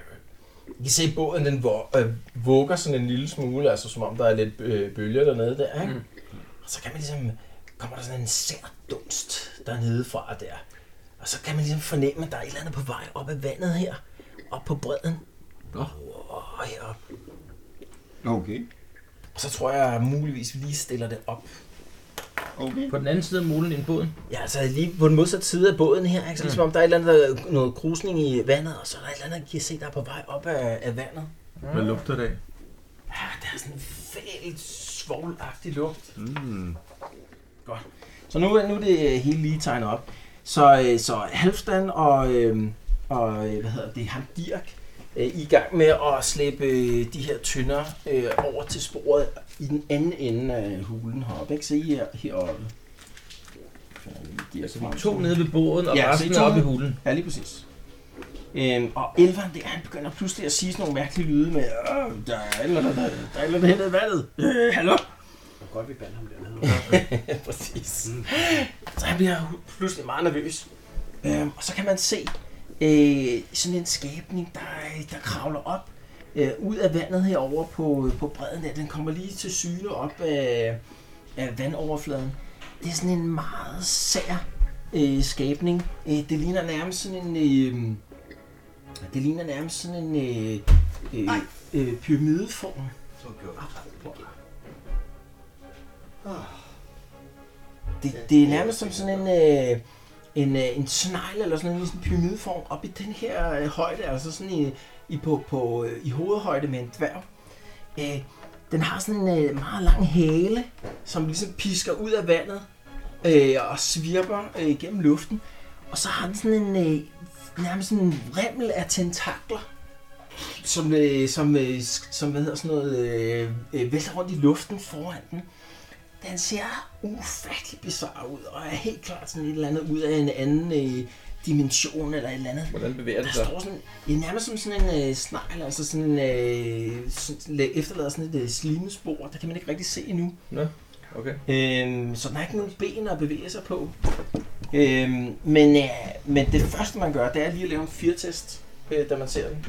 B: I kan se, at båden den vo- øh, vugger sådan en lille smule, altså som om der er lidt øh, bølger dernede der, ikke? Og så kan man ligesom, kommer der sådan en sær dunst dernede fra der. Og så kan man ligesom fornemme, at der er et eller andet på vej op ad vandet her. Op på bredden.
C: Nå.
B: Og herop.
J: Okay.
B: Og så tror jeg muligvis, vi lige stiller det op.
J: Okay.
C: På den anden side af molen end båden.
B: Ja, altså lige på den modsatte side af båden her. Ikke? Så ligesom om der er et eller andet, der er noget krusning i vandet, og så er der et eller andet, I kan se, der er på vej op af, af vandet.
G: Hvad lugter det af?
B: Ja, der er sådan en fælt svoglagtig lugt. Mm. Godt. Så nu, nu er det øh, hele lige tegnet op. Så, øh, så Halfdan og, øh, og øh, hvad hedder det, ham Dirk, øh, I er i gang med at slæbe øh, de her tynder øh, over til sporet i den anden ende af hulen heroppe. Ikke? Se her, heroppe.
C: Altså, vi to nede ved båden, og
B: Ja,
C: ja,
B: så I
C: resten
B: to
C: er oppe i
B: nede.
C: hulen.
B: Ja, lige præcis. Øhm, og elveren der, han begynder pludselig at sige sådan nogle mærkelige lyde med, "Åh, der er et eller andet, der er et eller andet henne i vandet. Øh, hallo?
E: Det er godt, vi bander ham dernede. Mm.
B: Ja, præcis. Så han bliver pludselig meget nervøs. Øhm, og så kan man se øh, sådan en skabning, der, øh, der kravler op øh, ud af vandet herover på, på bredden der. Den kommer lige til syne op af, af vandoverfladen. Det er sådan en meget sær øh, skabning. Øh, det ligner nærmest sådan en... Øh, det ligner nærmest sådan en øh, øh, øh, pyramideform. Ah. Det, det er nærmest som sådan en, øh, en, øh, en snegl eller sådan en sådan en pyramideform op i den her øh, højde, altså sådan i, i, på, på, øh, i hovedhøjde med en dværg. Øh, den har sådan en øh, meget lang hale, som ligesom pisker ud af vandet øh, og svirper øh, gennem luften. Og så har den sådan en øh, nærmest sådan en rimmel af tentakler, som, øh, som, øh, sk- som hvad hedder sådan noget, øh, øh, vælter rundt i luften foran den. Den ser ufattelig bizarre ud, og er helt klart sådan et eller andet ud af en anden øh, dimension eller et eller andet.
C: Hvordan bevæger det
B: Der
C: sig?
B: står sådan, ja, nærmest som sådan en øh, snegl, altså sådan en, øh, sådan, la- efterlader sådan et øh, slimespor, der kan man ikke rigtig se endnu.
C: Nå, okay.
B: Øhm, så den har ikke nogen ben at bevæge sig på. Øhm, men, øh, men det første man gør, det er lige at lave en firtest, øh, da man ser den.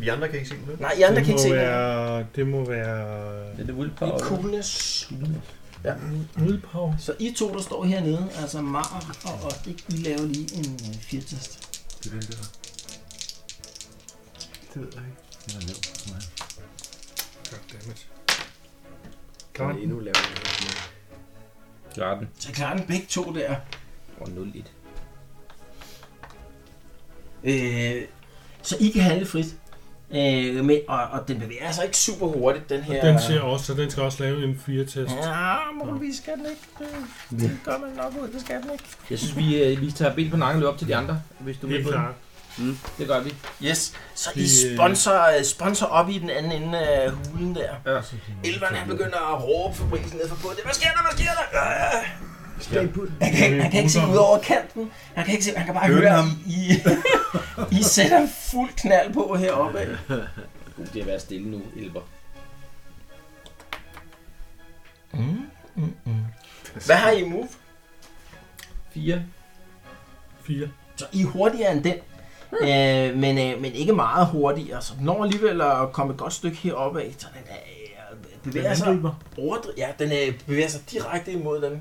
F: Vi andre kan ikke se den nu.
B: Nej, I andre
D: det
B: kan ikke
D: må
B: se den.
D: være, Det må være...
C: Det er det
B: Det er
C: willpower.
B: coolness.
D: Udpav.
B: Så I to, der står hernede, altså Mar og Odrik, I laver lige en øh, firtest.
G: Det venter jeg. Det ved jeg ikke. Den er lav for mig.
D: Goddammit.
E: Kan man endnu lave noget?
C: Klarer den.
B: Så I klarer den begge to der.
C: Og 0-1.
B: Øh, så I kan handle frit. Øh, men, og, og den bevæger sig ikke super hurtigt, den her...
D: Den ser også, så den skal også lave en 4-test.
B: Ja, muligvis skal den ikke. Det, det gør man nok ud, det skal den ikke.
C: Jeg synes, vi, øh, vi tager ben på nakken og løber op til de andre, hvis du vil
D: Helt
C: på den.
D: klart.
C: Det gør vi.
B: Yes, så I
D: Det-
B: sponsor, sponsor op i den anden ende af hulen der.
C: Ja.
B: Elveren han begynder at råbe Fabricen ned fra båden. Hvad sker der? Hvad sker der? Øh, Han
D: Det
B: kan,
D: er
B: han kan ikke se
D: brutalt.
B: ud over kanten. Han kan ikke se, han kan bare
G: Hører
B: høre,
G: den ham?
B: I, I, I sætter fuld knald på heroppe. af.
C: Uh, det er at være stille nu, Elber.
B: Mm, mm, mm. Hvad har I i move?
C: 4.
D: 4.
B: Så I er hurtigere end den. Øh, men, øh, men ikke meget hurtigere, så den når alligevel at komme et godt stykke heroppe af, så den øh, bevæger sig
G: angriber.
B: overdri- ja, den øh, bevæger sig direkte imod dem.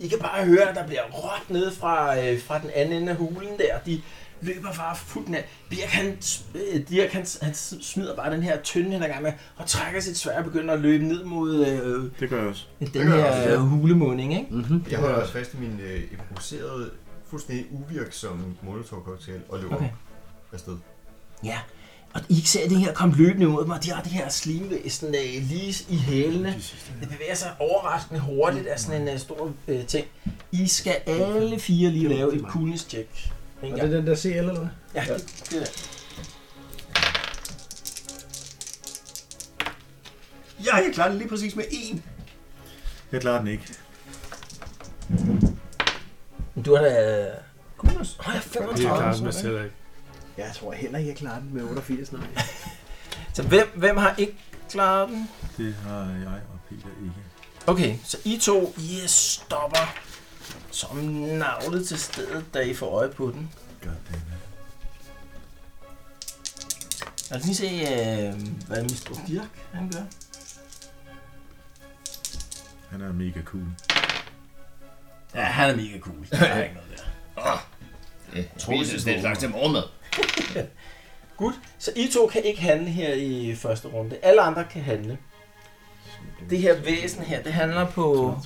B: I kan bare høre, at der bliver råt nede fra, øh, fra den anden ende af hulen der. De løber bare fuldt ned. Birk, han, øh, Dirk, han, han smider bare den her tynde, han er i gang med, og trækker sit svær og begynder at løbe ned mod øh,
F: Det gør jeg også.
B: den
F: gør jeg
B: her
F: også, ja.
B: øh, hulemunding, ikke?
F: Mm-hmm. Jeg holder også fast i min øh, improviserede, fuldstændig uvirksomme molotov cocktail og løber
B: Okay.
F: okay. afsted.
B: Ja. Og I kan se, at det her kom løbende mod mig. De har det her slimvæsen øh, lige i hælene. Det bevæger sig overraskende hurtigt af sådan en øh, stor øh, ting. I skal alle fire lige lave et coolness check. En
E: Og
B: gang.
E: det er den der CL, eller hvad?
B: Ja, det, det er.
F: Ja, jeg klarer det lige præcis med én.
G: Jeg klarer den ikke.
B: Men Du har da... Coolness? Åh, jeg er
D: Det er klart,
B: 35.
D: med selv ikke.
E: Jeg tror heller ikke, jeg klarer den med 88. Nej.
B: Så hvem, hvem har ikke klaret den?
G: Det har jeg og Peter ikke.
B: Okay, så I to, I stopper som navlet til stedet, da I får øje på den.
G: Goddammit.
B: Og lige se, øh, hvad Mr. Dirk han gør.
G: Han er mega cool.
B: Ja, han er mega cool. Der er ikke noget der.
K: Tror du, det er slags til morgenmad?
B: Godt. Så I to kan ikke handle her i første runde. Alle andre kan handle. Det her væsen her, det handler på...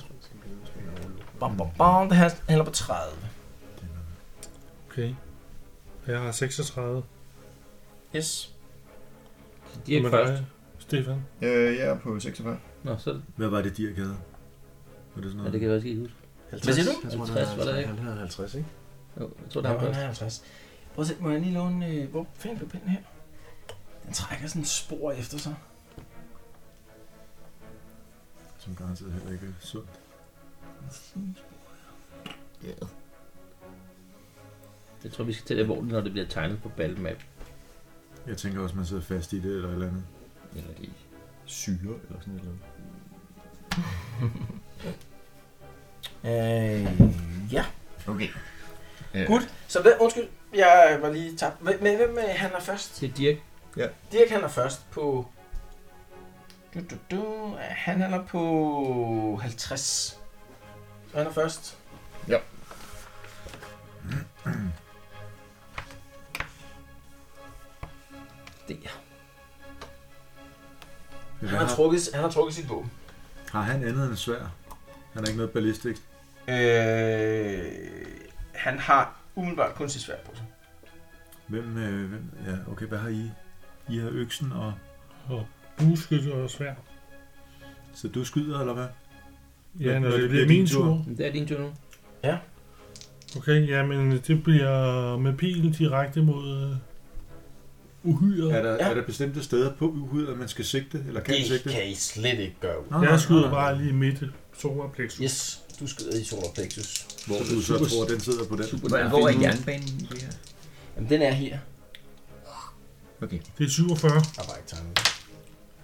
B: Bom, bom, bom. Det her handler på 30.
D: Okay. Jeg har 36.
B: Yes.
C: De er
D: Hvad med
C: først.
D: dig, Stefan.
F: Øh, jeg er på 46.
C: Nå, så er det.
G: Hvad var det, Dirk havde? Var det sådan
C: Ja,
G: noget?
C: det kan jeg også ikke huske.
E: Hvad
B: siger du?
E: Jeg tror,
C: 50 var
E: han,
C: der
E: har,
C: ikke.
E: han har 50, ikke?
C: Jo, jeg tror,
B: Der
C: det er
B: er
C: først.
B: 50. Prøv at se, må jeg lige låne... Øh, hvor fanden blev pinden her? Den trækker sådan spor efter sig.
G: Som garanteret heller ikke er sundt.
K: Ja.
C: Jeg tror, vi skal til det, hvor det, når det bliver tegnet på Battle-map.
G: Jeg tænker også, man sidder fast i det eller et eller andet.
K: Eller i syre eller sådan noget.
B: Øh, ja.
K: Okay.
B: Godt. Så hvad, undskyld, jeg var lige tabt. Hvem, men hvem øh, handler først?
C: Det er Dirk.
B: Dirk handler først på... Du, du, du. Han handler på 50. Han er først.
K: Ja.
B: Der. Han
G: Men Hvad
B: har
G: har,
B: trukket, han har trukket sit våben.
G: har han andet end svær? Han har ikke noget ballistik.
B: Øh, han har umiddelbart kun sit sværd på sig.
G: Hvem, øh, hvem, ja, okay, hvad har I? I har øksen, og
D: Og bueskytte og svær.
G: så du skyder, eller hvad?
D: Ja,
G: Når
D: når,
G: det
D: det
G: bliver
D: bliver min
G: din tur.
D: tur.
C: Men Det er din tur nu.
D: Okay, jamen det bliver med pilen direkte mod øh, uhyret.
G: Er der,
B: Ja.
G: er der bestemte steder på uhyret, at man skal sigte, eller kan sigte?
B: I slet ikke gøre.
G: Nå,
D: Jeg skyder bare lige i midten. Solarplexus.
B: Yes, du skyder i solar plexus.
G: Hvor du så tror, den sidder på den.
K: Hvor, hvor er jernbanen i det her?
B: Jamen, den er her.
D: Det er 47.
B: Der var ikke tegnet.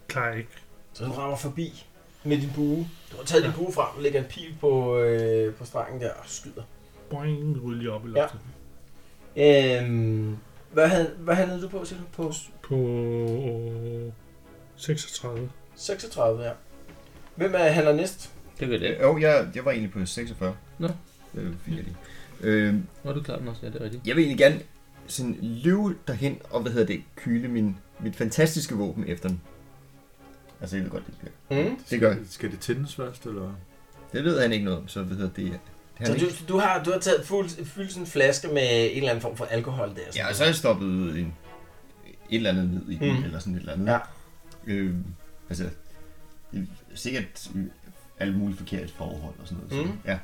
D: Klar ikke.
B: Så den rammer forbi med din bue. Du har taget din bue frem, lægger en pil på, øh, på strengen der og skyder.
D: Boing, ryger lige op i
B: Ja.
D: loftet.
B: Øhm, hvad, havde, hvad handlede du på, siger du? På
D: På øh, 36.
B: 36, ja. Hvem er handler næst?
C: Det gør det.
F: Øh, Jo, jeg, jeg var egentlig på 46.
C: Nå.
F: Øh, fik jeg lige. Øh,
C: Nå, du klarer den også. Ja, det er rigtigt.
F: jeg vil egentlig gerne sådan løbe derhen og hvad hedder det, kyle min, mit fantastiske våben efter den. Altså, jeg ved godt, det bliver.
B: Mm.
F: Det gør jeg.
G: Skal det tændes først, eller?
F: Det ved han ikke noget om, så hvad hedder det... Han
B: Så
F: er ikke,
B: du, du, har, du har taget fuld, fyldt sådan en flaske med en eller anden form for alkohol der.
F: ja, og så er jeg stoppet en, et eller andet ned i den,
B: Mm.
F: mm. eller sådan et eller andet.
B: Ja.
F: Øh, altså, det er sikkert øh, alt muligt forkert forhold og sådan noget.
B: Mm.
F: Så, ja.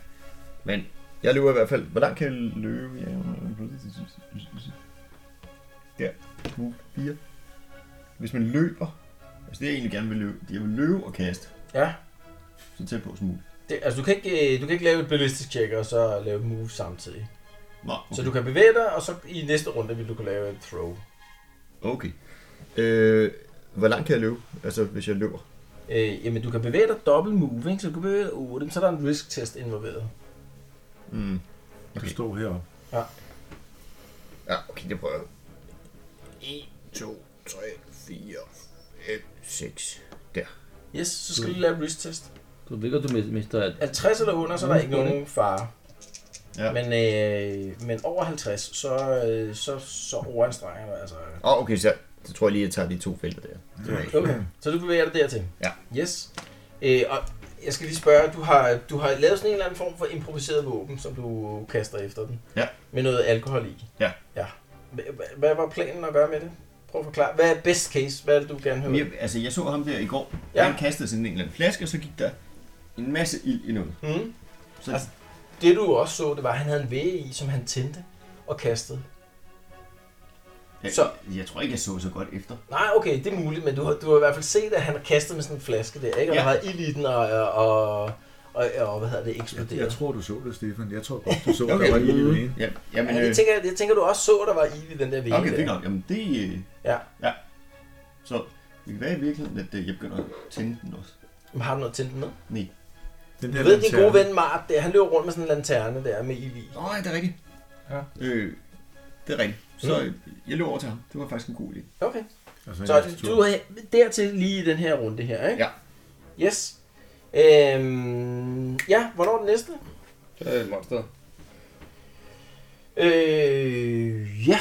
F: Men jeg løber i hvert fald. Hvor langt kan jeg løbe? Ja, der. Nu 4. Hvis man løber, altså det jeg egentlig gerne vil løbe, jeg vil løbe og kaste,
B: ja.
F: så tæt på som muligt.
B: Det, altså, du kan, ikke, øh, du kan ikke lave et ballistisk check og så lave et move samtidig.
F: Nå,
B: Okay. Så du kan bevæge dig, og så i næste runde vil du kunne lave et throw.
F: Okay. Øh, hvor langt kan jeg løbe, altså hvis jeg løber?
B: Øh, jamen, du kan bevæge dig dobbelt move, ikke? så du kan bevæge dig 8, men så er der en risk test involveret.
F: Mm.
G: Du
F: Okay.
G: står heroppe.
F: Ja, okay, det prøver jeg. 1, 2, 3, 4, 5, 6.
B: Yes, så skal du lige lave en risk test.
C: Du ved godt, du mis- mister... Mm. at-
B: Er 60 eller under, så er der ikke nogen fare. Ja.
F: Ja.
B: Men, øh, men over 50, så, øh, så, så overanstrenger du altså.
F: Åh, oh, okay, så, så tror jeg lige, jeg tager de to felter der.
B: Okay, så du bevæger dig dertil?
F: Ja.
B: Yes. Øh, og jeg skal lige spørge, du har, du har lavet sådan en eller anden form for improviseret våben, som du kaster efter den.
F: Ja.
B: Med noget alkohol i.
F: Ja.
B: ja. Hva- hva- Hvad var planen at gøre med det? Prøv at forklare. Hvad er best case? Hvad er det, du gerne
F: Men
B: hører?
F: jeg, altså, jeg så ham der i går.
B: Ja.
F: Ja. Han kastede sådan en eller anden flaske, og så gik der en masse ild i noget.
B: Mm.
F: Så
B: Altså- Det du jo også så, det var, at han havde en væge i, som han tændte og kastede.
F: jeg,
B: så-
F: jeg tror ikke, jeg så så godt efter.
B: Nej, okay, det er muligt, men du har, du har i hvert fald set, at han har kastet med sådan en flaske der, ikke? Og
F: Ja.
B: der var ild i den, og, og, og, og, og hvad hedder det, eksploderet.
G: Jeg tror, du så det, Stefan. Jeg tror godt, du så, okay.
F: Okay.
G: der var ild i den ene.
F: Ja, jamen,
B: Ja,
F: øh,
B: det tænker, jeg- det tænker du også så, der var ild i den der væge
F: okay, det er
B: der.
F: godt. Jamen, det... øh,
B: Ja.
F: ja. Så det kan være i virkeligheden, at øh, jeg begynder at tænde den også.
B: Men har du noget tændt med?
F: Nej.
G: Den
B: Du
G: der
B: ved, din
G: lanterne.
B: gode ven Mart der, han løber rundt med sådan en lanterne der med ild i.
F: Nej, det er rigtigt.
D: Ja.
F: Øh, det er rigtigt. Så øh, jeg løb over til ham. Det var faktisk en god idé.
B: Okay.
G: Altså,
B: Så du er dertil lige i den her runde her, ikke?
F: Ja.
B: Yes. Øhm, ja, hvornår er det næste?
C: Så er det monster.
B: Øh, ja,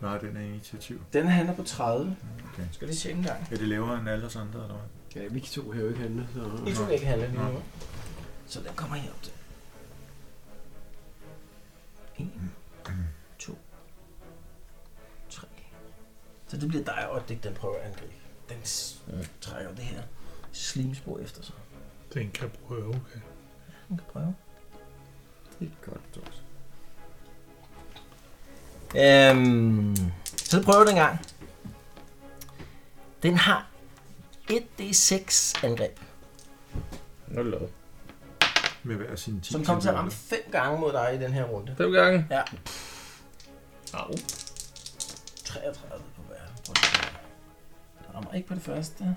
G: Nej, den er initiativ.
B: den han er på 30.
G: Okay.
B: Skal vi se engang?
G: Er det lavere end alle os andre, eller hvad?
E: Ja, vi to har jo ikke handlet, så...
B: I
G: Nå.
B: to kan ikke handle lige
G: Nå.
B: nu. hva'? Så den kommer herop til. 1, 2, 3. Så det bliver dig og Dick, den prøver at angribe. Den s- trækker det her slimspor efter sig.
D: Den kan prøve, okay.
B: Den kan prøve.
F: Det er godt, Claus.
B: Øhm, så prøver den gang. Den har 1d6 angreb,
C: Nå, det lavede.
G: Med hver sin 10
B: som kommer til at ramme 5 gange mod dig i den her runde.
C: Fem gange.
B: Ja,
F: Au.
B: 33 på hver. Prøv lige at se. Den rammer ikke på det første. Den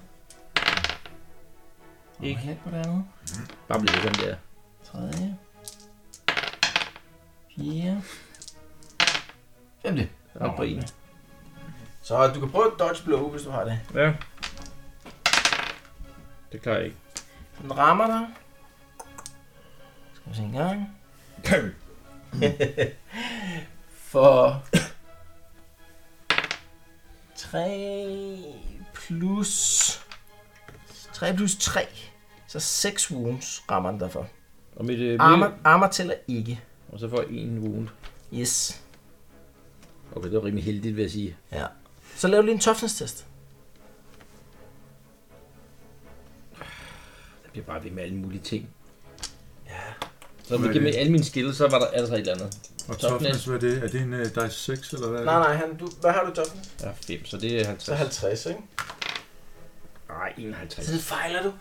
B: rammer
C: Ikke.
B: heller ikke på det andet.
C: Bare bliv sådan der.
B: Tredje. Fjerde. Femte. Op på en. Så du kan prøve at dodge blow, hvis du har det.
C: Ja. Det klarer jeg ikke.
B: Den rammer dig. Skal vi se en gang. For 3 plus 3 plus 3. Så 6 wounds rammer den derfor.
C: Og mit, øh,
B: Armer,
C: mit-
B: armer tæller ikke.
C: Og så får jeg en wound.
B: Yes.
C: Okay, det var rimelig heldigt, vil jeg sige.
B: Ja. Så lav lige en toughness-test.
C: Jeg bliver bare ved med alle mulige ting.
B: Ja.
C: Så med alle mine skills, så var der altså et eller andet.
G: Og toughness, hvad er det? Er det en uh, dice 6, eller hvad? er det?
B: Nej, nej, han, du, hvad har du i toughness?
C: Jeg har fem, så det er 50.
B: Så 50, ikke?
C: Nej, 51.
B: Så det fejler du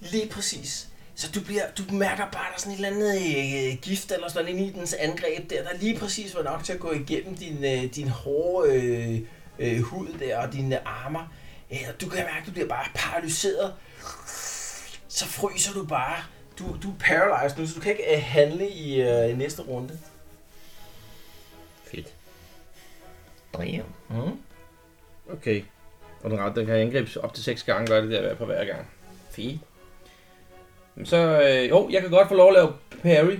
B: lige præcis. Så du, bliver, du mærker bare, at der er sådan et eller andet øh, gift eller sådan noget inde i dens angreb der, der lige præcis var nok til at gå igennem din, øh, din hårde øh, øh, hud der og dine armer. Ja, og du kan mærke, at du bliver bare paralyseret. Så fryser du bare. Du, du er paralyzed nu, så du kan ikke øh, handle i, øh, i næste runde.
C: Fedt.
L: Damn.
B: Mm.
C: Okay. Og den ret, den kan angribes op til 6 gange, gør det der hver på hver gang. Fedt. Men så, øh, jo, jeg kan godt få lov at lave parry.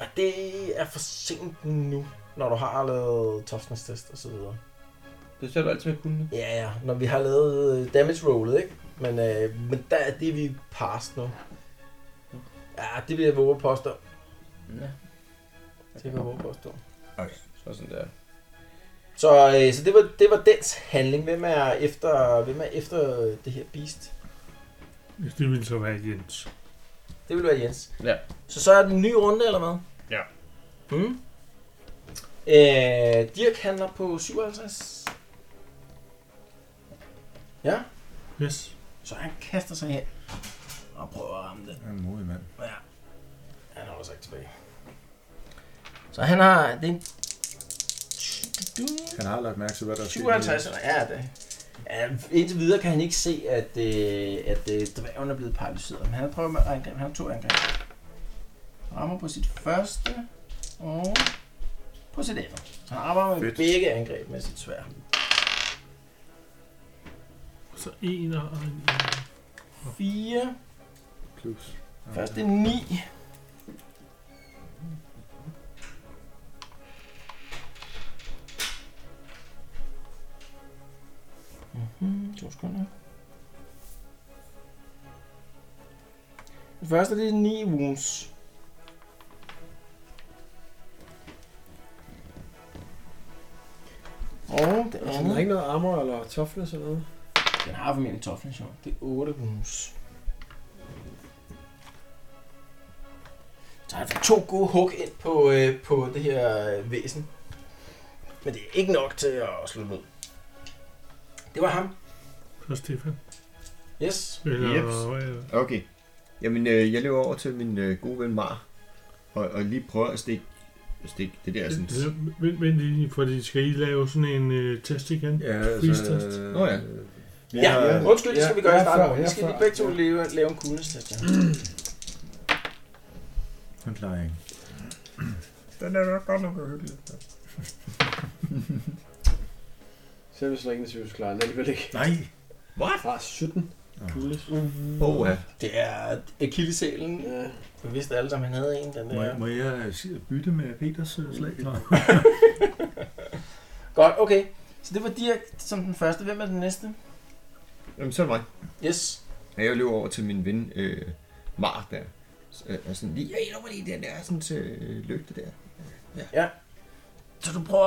B: Og det er for sent nu, når du har lavet toughness-test og så videre.
C: Det ser du altid med kunden.
B: Ja, ja. Når vi har lavet øh, damage rollet, ikke? Men, øh, men der, er det er vi past nu. Ja, det vil jeg våge at påstå.
C: Ja.
B: Det vil jeg våge at påstå.
C: Så sådan der.
B: Så, øh, så det, var, det var dens handling. Hvem er efter, hvem er efter øh, det her beast?
D: Det ville så være Jens.
B: Det vil være Jens.
C: Ja.
B: Så så er det en ny runde, eller hvad?
C: Ja.
B: Mm. Øh, Dirk handler på 57. Ja,
D: Yes.
B: så han kaster sig hen og prøver at ramme den.
G: Han er en modig mand.
B: Han holder sig ikke tilbage. Så han har... Det er en...
G: Han har lagt mærke til, hvad der er sket.
B: 57 eller ja, det. Ja, indtil videre kan han ikke se, at, øh, at øh, dværgen er blevet paralyseret. Men han prøver med at angribe. Han har to angreb. Rammer på sit første og på sit andet. Så han arbejder med
G: Fedt.
B: begge angreb med sit svær.
D: Så en og en.
B: 4.
G: Plus.
B: Første 9. Mhm, to sekunder. Det første det er 9 wounds. Oh,
E: Altså, ikke noget armor eller toughness eller noget?
B: Den har formentlig toughness, jo. Det er 8 bonus. Så han får to gode hug ind på, øh, på det her øh, væsen. Men det er ikke nok til at slå ned. Det var ham.
D: Så Stefan.
B: Yes.
D: Eller, øh,
F: Jeps.
D: eller-
F: Okay. Jamen, øh, jeg løber over til min øh, gode ven Mar, og, og lige prøver at stikke, stikke det der sådan...
D: eller, vent, vent lige, for de skal I lave sådan en øh, test igen?
M: Ja,
G: altså,
D: Freeze test.
G: øh,
F: Nå ja.
B: Ja,
F: Jeg-
B: undskyld, det skal vi gøre i
N: ja,
B: starten.
N: før,
B: Vi
N: ja,
B: skal lige
N: før.
B: begge to lave, lave en coolness-test. Ja.
G: Den klarer jeg ikke.
M: Den er nok godt nok uhyggelig.
E: Selv hvis der ikke er en tvivl, så klarer den alligevel ikke.
G: Nej!
E: Bare 17. Coolest.
F: Åh, ja.
B: Det er akillesælen.
E: Ja.
B: Vi vidste alle sammen, han havde en, den
G: Må jeg,
B: der.
G: må jeg øh, si- bytte med Peters øh, slag? Nej.
B: Godt, okay. Så det var Dirk som den første. Hvem er den næste?
F: Jamen, så er det mig.
B: Yes.
F: Ja, jeg løber over til min ven øh, Mar der. Så, øh, og sådan lige, jeg løber lige den der sådan til øh, lygte der.
B: Så du prøver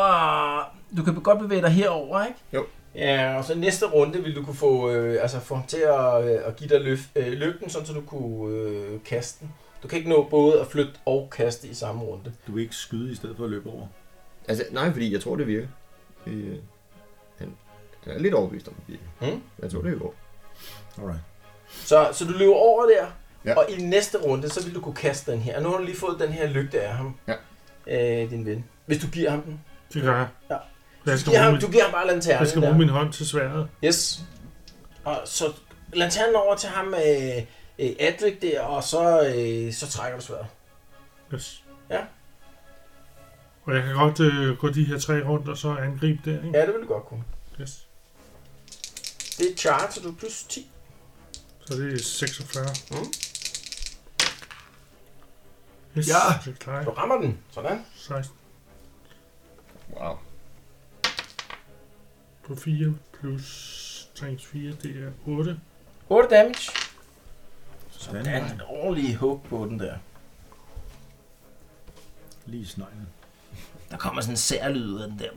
B: at- Du kan godt bevæge dig herover, ikke?
F: Jo.
B: Ja, og så næste runde vil du kunne få, øh, altså få ham til at, øh, at give dig løf, øh, lygten, sådan så du kunne øh, kaste den. Du kan ikke nå både at flytte og kaste i samme runde.
G: Du vil ikke skyde i stedet for at løbe over.
F: Altså, nej, fordi jeg tror, det virker. Det, øh, han, jeg er lidt overbevist om, at det virker.
B: Mm.
F: Jeg tror, det går.
G: Alright.
B: Så, så du løber over der,
F: Ja.
B: ja. og i næste runde, så vil du kunne kaste den her. Og nu har du lige fået den her lygte af ham,
F: Ja.
B: øh, din ven. Hvis du giver ham den.
D: Det gør jeg.
B: Ja.
D: Jeg
B: Du
D: skal,
B: giver,
D: bruge
B: ham,
D: min,
B: du giver ham bare
D: jeg skal
B: lanternen
D: bruge
B: der.
D: min hånd til sværet.
B: Yes. Og så lanternen over til ham, øh, øh, Adric der, og så, øh, så trækker du sværet.
D: Yes.
B: Ja.
D: Og jeg kan godt øh, gå de her tre rundt og så angribe der, ikke?
B: Ja, det vil du godt kunne.
D: Yes.
B: Det er charge, så du er plus 10.
D: Så det er 46.
B: Mm.
D: Yes,
B: Ja.
D: det klarer
B: Du
D: jeg.
B: rammer den. Sådan.
D: 16
F: Wow.
D: på 4 plus 3 4, det er 8.
B: 8 damage.
G: Sådan.
B: Der er en ordentlig hug på den der.
G: Lige i sneglen.
B: Der kommer sådan en særlyd ud af den der.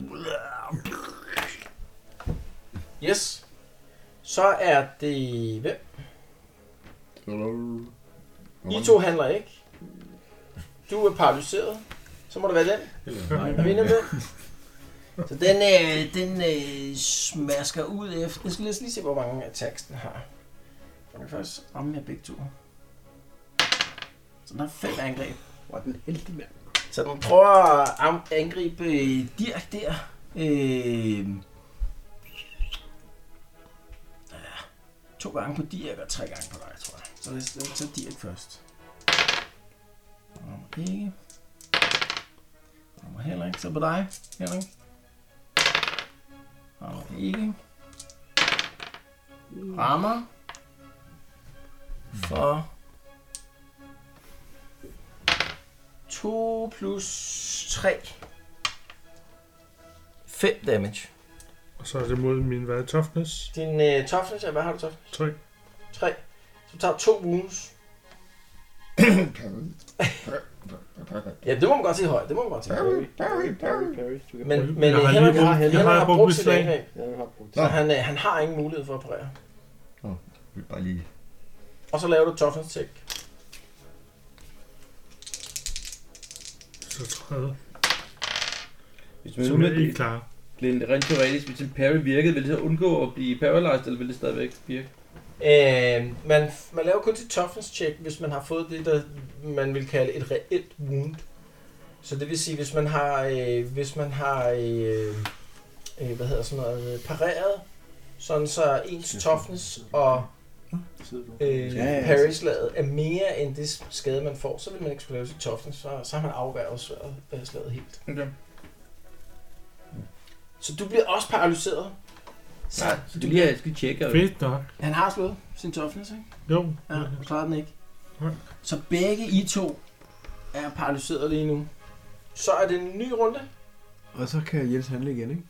B: Yes. Så er det... Hvem? I to handler ikke. Du er paralyseret. Så må det være den.
G: Eller, nej,
B: Er vi enige om
G: nej.
B: det? Så den, øh, den øh, smasker ud efter... Jeg skal lige, lige se, hvor mange attacks den har. Jeg kan faktisk ramme jer begge to. Så den har fem angreb.
E: Hvor er den heldig, mand.
B: Så den prøver at am- angribe øh, Dirk der. Øh, ja, to gange på Dirk og tre gange på dig, tror jeg. Så lad os lad os tage Dirk først. Den Rammer ikke. Den Rammer heller ikke. Så på dig, Henrik. Den Rammer ikke. Rammer. For 2 plus 3. 5 damage.
D: Og så er det mod min hvad, toughness.
B: Din øh, toughness, er- hvad har du toughness?
D: 3.
B: 3. Så du tager to wounds. Ja, det må man godt sige højt. Det må man godt sige højt.
E: Parry, parry, parry. Du kan...
B: Men,
D: Jeg
B: men
D: har
B: øh,
D: lige
B: Henrik,
D: brugt-
B: har,
D: jeg
B: Henrik
D: har
B: har
D: brugt
B: brugt
D: mit
B: sit
D: slag.
B: angreb,
E: Jeg har brugt
B: så han, øh, han har ingen mulighed for at operere.
F: Jeg vil bare lige...
B: Og så laver du toughness check.
D: Så 30.
C: Hvis man nu
D: Som jeg
C: med
D: ikke klarer.
C: Lind, rent teoretisk, hvis en parry virkede, ville det så undgå at blive paralyzed, eller ville det stadigvæk virke?
B: Øh, man, man laver kun sit toughness check, hvis man har fået det, der man vil kalde et reelt wound. Så det vil sige, hvis man har, øh, hvis man har øh, øh, hvad hedder sådan noget, øh, pareret, sådan så ens toughness og øh,
E: Ja, ja.
B: parry-slaget er mere end det skade, man får, så vil man ikke skulle lave sit toughness, så, så har man afværget slaget, øh, slaget helt.
C: Okay.
B: Så du bliver også paralyseret. Så
C: Nej, så du lige jeg skal tjekke. og-
D: Fedt nok.
B: han har slået sin toughness, ikke?
D: Jo.
B: Ja, du klarer den ikke.
D: Nej.
B: Så begge I to er paralyseret lige nu. Så er det en ny runde.
O: Og så kan Jens handle igen, ikke?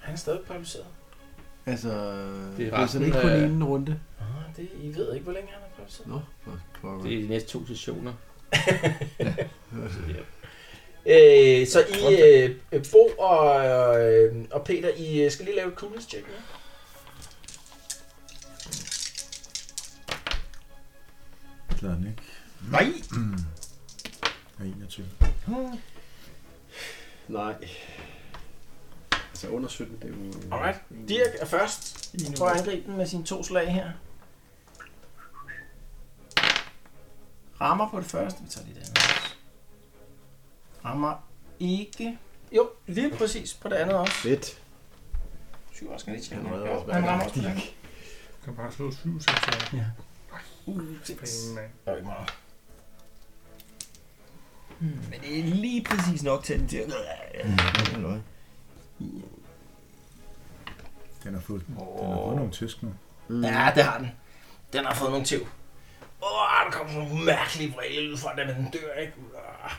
B: Han er stadig paralyseret.
O: Altså,
C: Det
O: det
C: er
O: er
C: resten
O: sådan ikke kun
C: af-
O: en runde.
B: Ah, det, I ved ikke, hvor længe han er paralyseret.
O: Nå, for pokker.
C: Det er de næste to sessioner.
B: Øh, så I, øh, Bo og, øh, og Peter, I øh, skal lige lave et coolness check. Ja?
G: Klarer den ikke?
F: Nej!
G: Ja, 21.
E: Nej. Altså under 17, det er jo...
B: Alright. Dirk er først. Prøv at angribe den med sine to slag her. Rammer på det første. Vi tager lige det andet. også. Rammer ikke. Jo, lige præcis på det andet også.
E: Fedt.
B: Syv også skal lige tjekke.
E: Han redder
B: Jo,
E: også
B: Han
E: hver
B: rammer også på det andet.
D: Kan bare slå syv, så jeg
B: Uh, seks.
D: pæne af.
P: Der er ikke meget.
Q: Men det er lige præcis nok til den til. Halløj.
G: Den har fået, den har fået nogle tysk nu.
B: Ja, det har den. Den har fået nogle tæv. Åh, der kommer sådan nogle mærkelige vrede lyd fra den, men den dør ikke. Åh.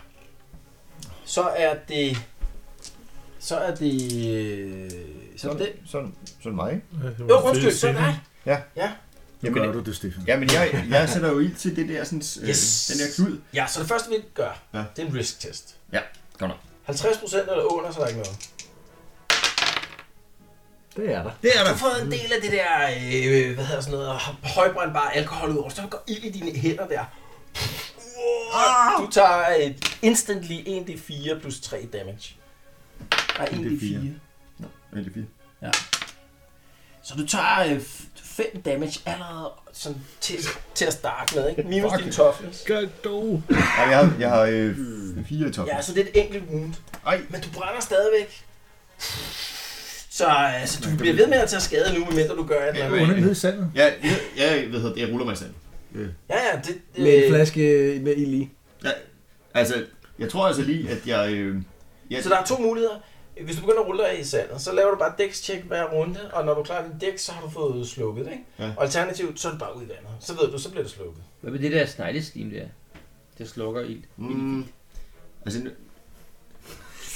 B: Så er det... Så er det... øh, Så er det...
F: Sådan, sådan, sådan mig.
B: Jo, undskyld, så er det dig.
G: Nu
F: Jamen,
G: gør du det, Stefan.
F: Jamen, jeg, jeg sætter jo ild til det der, sådan,
B: Yes.
F: øh, den der klud.
B: Ja, så det første, vi gør,
F: Ja.
B: det er en risk-test.
F: Ja, godt nok.
B: 50 procent eller under, så er der ikke noget.
R: Det er der.
F: Det er
B: Du
F: der.
B: har fået en del af det der, øh, hvad hedder sådan noget, højbrændbare alkohol ud over, så der går ild i dine hænder der. Wow.
F: Ah!
B: Du tager et instantly 1d4 plus 3 damage. Nej, 1d4.
G: 1d4.
F: Men det er fint.
B: Så du tager 5 damage allerede sådan til, til at starte med, ikke? Minus
F: Fuck.
B: din toughness.
R: Gør dog.
F: Ej, jeg har, jeg har øh, fire i toppen.
B: Hmm. Ja, så det er et enkelt wound.
F: Ej.
B: Men du brænder stadigvæk. Så altså, du bliver ved med at tage skade nu, medmindre du gør et eller andet.
G: Under nede i sandet.
F: Ja, jeg, jeg, ved, det, jeg ruller mig selv.
B: Ja, ja, det...
R: Med en flaske med ild i.
F: Ja, altså, jeg tror altså lige, at jeg... Øh, jeg
B: Så der er to muligheder. Hvis du begynder at rulle dig i sandet, så laver du bare dækstjek hver runde, og når du klarer din dæk, så har du fået slukket, ikke?
F: Ja.
B: Og alternativt, så er du bare ud i vandet. Så ved du, så bliver det slukket.
C: Hvad med det der snegleslim der? Det slukker ild.
F: mm, altså, nu-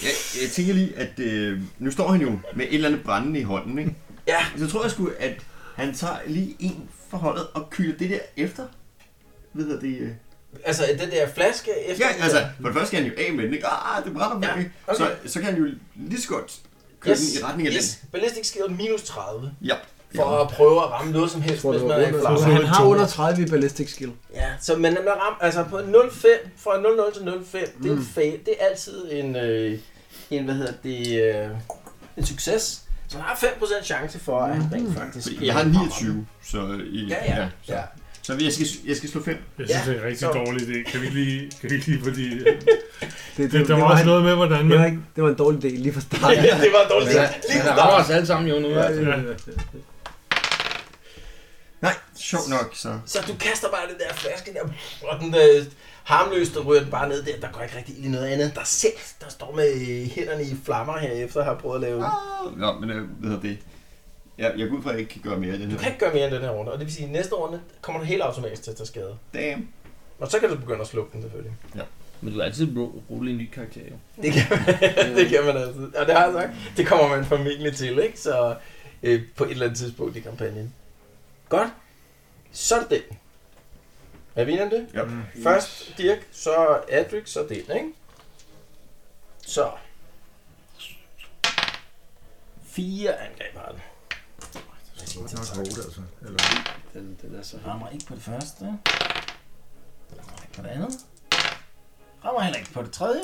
F: jeg, jeg tænker lige, at øh, nu står han jo med et eller andet brændende i hånden, ikke?
B: Ja.
F: Så tror jeg sgu, at han tager lige en for holdet og kyler det der efter. Ved jeg det? Øh.
B: Altså, den der flaske efter...
F: Ja, altså, for det første skal han jo af med den, ikke? Ah, det brænder mig,
B: Ja,
F: ikke?
B: okay.
F: Så, så kan han jo lige så godt køre yes. den i retning af yes. den.
B: yes. Ballistic skill minus 30,
F: Ja.
B: for at prøve at ramme noget som helst,
R: Tror,
B: hvis
R: det
B: man
R: var
B: er i
R: under-
B: flamme.
R: Han har under 30 i ballistic skill.
B: Ja, så men man rammer, altså på 0,5, fra 0,0 til 0,5, det er en fail, det er altid en, øh, en hvad hedder det, øh, en succes. Så man har 5% chance for, at han rent faktisk...
F: Fordi jeg har 29, så... øh, I,
B: Ja, ja,
F: så,
B: ja.
F: så jeg skal, jeg skal slå 5.
D: Jeg synes,
B: Ja,
D: det er en rigtig
B: så-
D: dårlig idé. Kan vi ikke lige, kan vi ikke lige fordi...
R: Det,
D: Det, der var også
R: han-
D: noget med, hvordan
R: det,
D: man...
R: var ikke, det var en dårlig del lige fra start.
B: Ja, det var dårligt.
C: Ja, Altså,
B: Lige
C: han
B: fra
C: rammer
B: start.
C: os alle sammen jo nu. altså.
D: Ja,
F: Nej, sjovt nok, så...
B: Så du kaster bare den der flaske der, og den øh, harmløst der ryger den bare ned der. Der går ikke rigtig ild i noget andet. Der er selv, der står med øh, hænderne i flammer her efter at have prøvet at lave det.
F: Nå, men øh, hvad hedder det? Jeg, jeg går ud fra, at jeg ikke kan gøre mere i
B: Du
F: den her.
B: kan ikke gøre mere end den her runde, og det vil sige, at næste runde kommer du helt automatisk til at tage skade.
F: Damn.
B: Og så kan du begynde at slukke den selvfølgelig.
C: Men du kan altid ru- rulle en ny karakter jo.
B: Det kan, man, det kan man altid. Og det har jeg sagt, det kommer man formentlig til, ikke? Så øh, på et eller andet tidspunkt i kampagnen. Godt. Så er det den. Er vi enige om det?
F: Ja.
B: Først Dirk, så Adric, så den, ikke? Så. Fire angreb har den.
G: Det er nok hårdt, altså. Eller,
E: Den, den er så
B: Rammer ikke på det første. Rammer ikke på det andet. Rammer heller ikke på det tredje.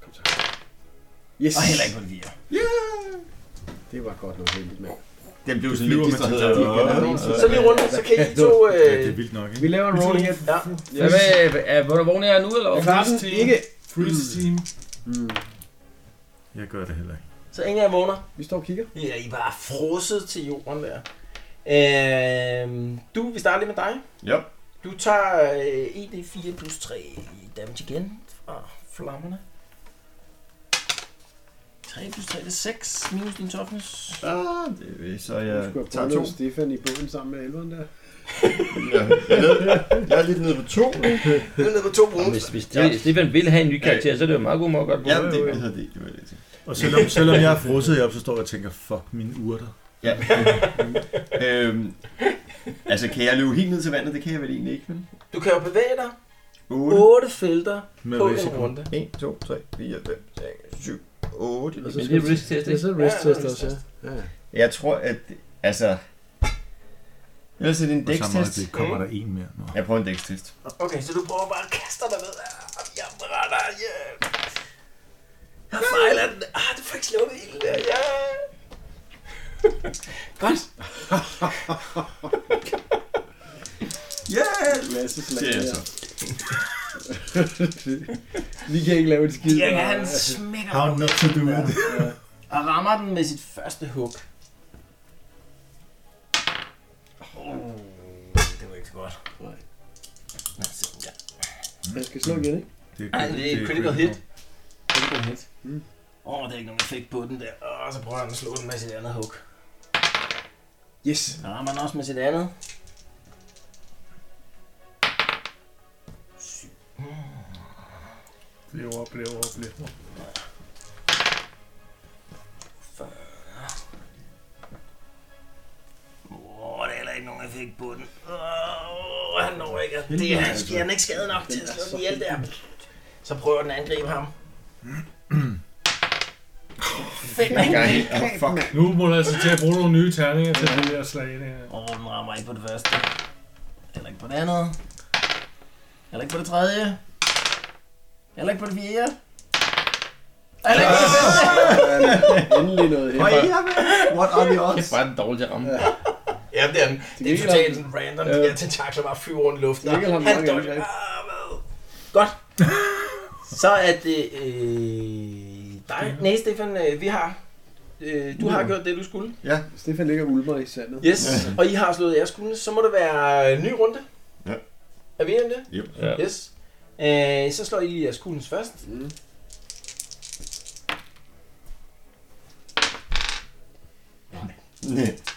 E: Kom så. Yes.
B: Og heller ikke på det fjerde.
E: Det var godt nok heldigt, mand.
F: Den blev sådan lidt distraheret. øh,
E: til Tatiana.
F: Ja, ja, ja.
B: Så lige rundt, så kan I to...
G: ja, det er
B: Øh,
G: vildt nok,
E: Vi
G: ikke?
E: laver en roll igen.
B: ja.
C: Hvad med, er, hvor vågen er jeg nu, eller
E: Jeg
C: hvad?
E: klarer den ikke.
D: Freeze team.
B: Øh.
G: Jeg gør det heller ikke.
B: Så ingen af jer vågner.
E: Vi står og kigger.
B: Ja, I var frosset til jorden der. Øhm, du, vi starter lige med dig.
F: Ja.
B: Du tager øh, 1d4 plus 3 i damage igen fra flammerne. 3 plus 3, det er 6 minus din toughness.
F: Ah, det, er- så
E: Nu
F: jeg
E: skulle jeg
F: tager
E: prøve
F: to.
E: noget Stefan i bogen sammen med elveren der.
F: Jeg, jeg, er nede- jeg er lidt nede på to.
B: Du er nede på to
C: Jamen,
B: bonus.
C: Hvis, hvis ja. Stefan vil have en ny karakter, så er det jo meget god måde at gøre det på.
F: Ja, men det, hvad hedder det? det, var det.
G: Og selvom, selvom jeg er frosset heroppe, så står jeg og tænker, fuck mine urter.
F: Ja. øhm, altså, kan jeg løbe helt ned til vandet? Det kan jeg vel egentlig ikke, men...
B: Du kan jo bevæge dig
F: 8.
B: 8 felter
S: Med
B: på
S: risiko.
B: en runde.
F: 1, 2, 3, 4, 5, 6, 7, 8.
E: Altså,
T: Og så
C: Men det
T: skal
C: er risk test,
T: Det er
C: ikke?
T: så risk
B: Ja,
T: test
B: ja,
T: også, ja. ja. ja.
F: Jeg tror, at... Altså... Ellers er det en
G: Og samme
F: dækstest.
G: øjeblik kommer der en mere. Nå.
F: Jeg prøver en dækstest.
B: Okay, så du prøver bare at kaste dig ved. Ah, Jeg brænder. Yeah. Jeg fejler den. Ah, du får ikke slukket ilden der. Ja. Godt.
F: Yeah!
E: Masse
F: Det er altså.
E: slag.
F: så.
E: Vi kan ikke lave et skid.
B: Dirk, han smækker
G: How not to do it.
B: og rammer den med sit første hug. Oh, det var ikke så godt.
E: Nej.
B: Lad os se den der.
E: Jeg skal slå igen, ikke?
G: Det
B: Ej, det er et critical hit. Critical hit.
E: Mm.
B: Åh, oh, der er ikke nogen effekt på den der. Åh, oh, så prøver han at slå den med sit andet hug.
E: Yes.
B: Så rammer han også med sit andet.
D: Lever, oplever, oplever.
B: 40. Åh, der er heller ikke nogen effekt på den. Åh, han når ikke. at- Det er, han, sker, han er ikke skadet nok til at slå den ihjel der. Så prøver den at angribe ham. Fem angreb.
F: Åh, fuck.
D: Nu må du altså til at bruge nogle nye terninger til det der slag der.
B: Åh, den rammer ikke på det første. Heller ikke på det andet. Heller ikke på det tredje. Heller ikke på det fjerde. Heller ikke på det femte.
E: Endelig noget her.
U: Høj, jamen, what are the odds?
C: Kæft, bare den dårlig til at ramme.
B: Ja, det er den. Det er
E: gengæld
B: totalt sådan random. De
E: Ja.
B: der tentakler bare flyver rundt i luften.
E: Til gengæld har
B: og
E: den
B: Han
E: mange
B: dør.
E: angreb.
B: Ah, hvad? Godt. Så er det øh, dig. Nej, Stefan, øh, vi har... Øh, du har gjort det, du skulle.
E: Stefan ligger og ulmer i sandet.
B: Yes. Og I har slået jeres skulder. Så må det være en ny runde.
F: Ja.
B: Er vi enige om det?
F: Yep.
C: Ja.
B: Yes. Øh, så slår I lige jeres kuglens først.
E: Mm.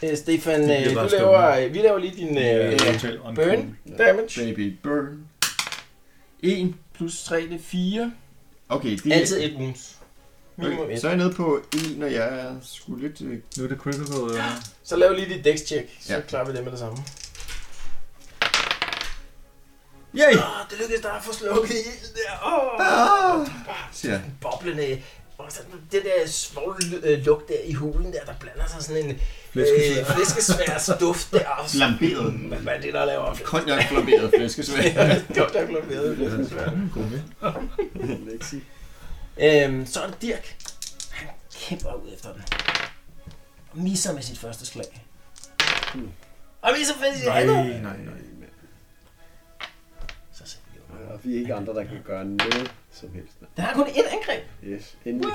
B: Øh, Stefan,
G: Det
B: øh,
G: bliver
B: du
G: bare
B: laver, vi laver lige din øh, burn damage.
F: Baby burn.
B: 1 plus 3, det er 4.
F: Okay, det er...
B: Altid et wounds. Minimum
F: Okay,
B: 1.
F: så er jeg nede på 1, og jeg er sgu lidt... øh,
G: Nu er det critical. Ja.
B: Så lav lige dit dex check, så
F: Ja.
B: klarer vi det med det samme.
F: Yay!
B: Åh, det lykkedes dig at få slukket ilden der. Åh,
F: Ah! Siger jeg.
B: boblende. Og så den der svogle øh, lugt der i hulen der, der blander sig sådan en øh,
G: Flæskesvær.
B: flæskesværs duft der. Og så,
F: Flamberet.
B: Mm, hvad er det, der laver flæskesvær?
F: Konjak flamberet flæskesvær.
B: Godt, der er flæskesvær.
E: Lexi.
B: Øhm, så er det Dirk. Han kæmper ud efter den. Og misser med sit første slag. Og misser med sit andet.
G: Hmm. Nej, nej, nej.
B: Så sætter vi over.
E: Og vi er ikke andre, der kan gøre noget som helst.
B: Den har kun ét angreb.
E: Yes, endelig.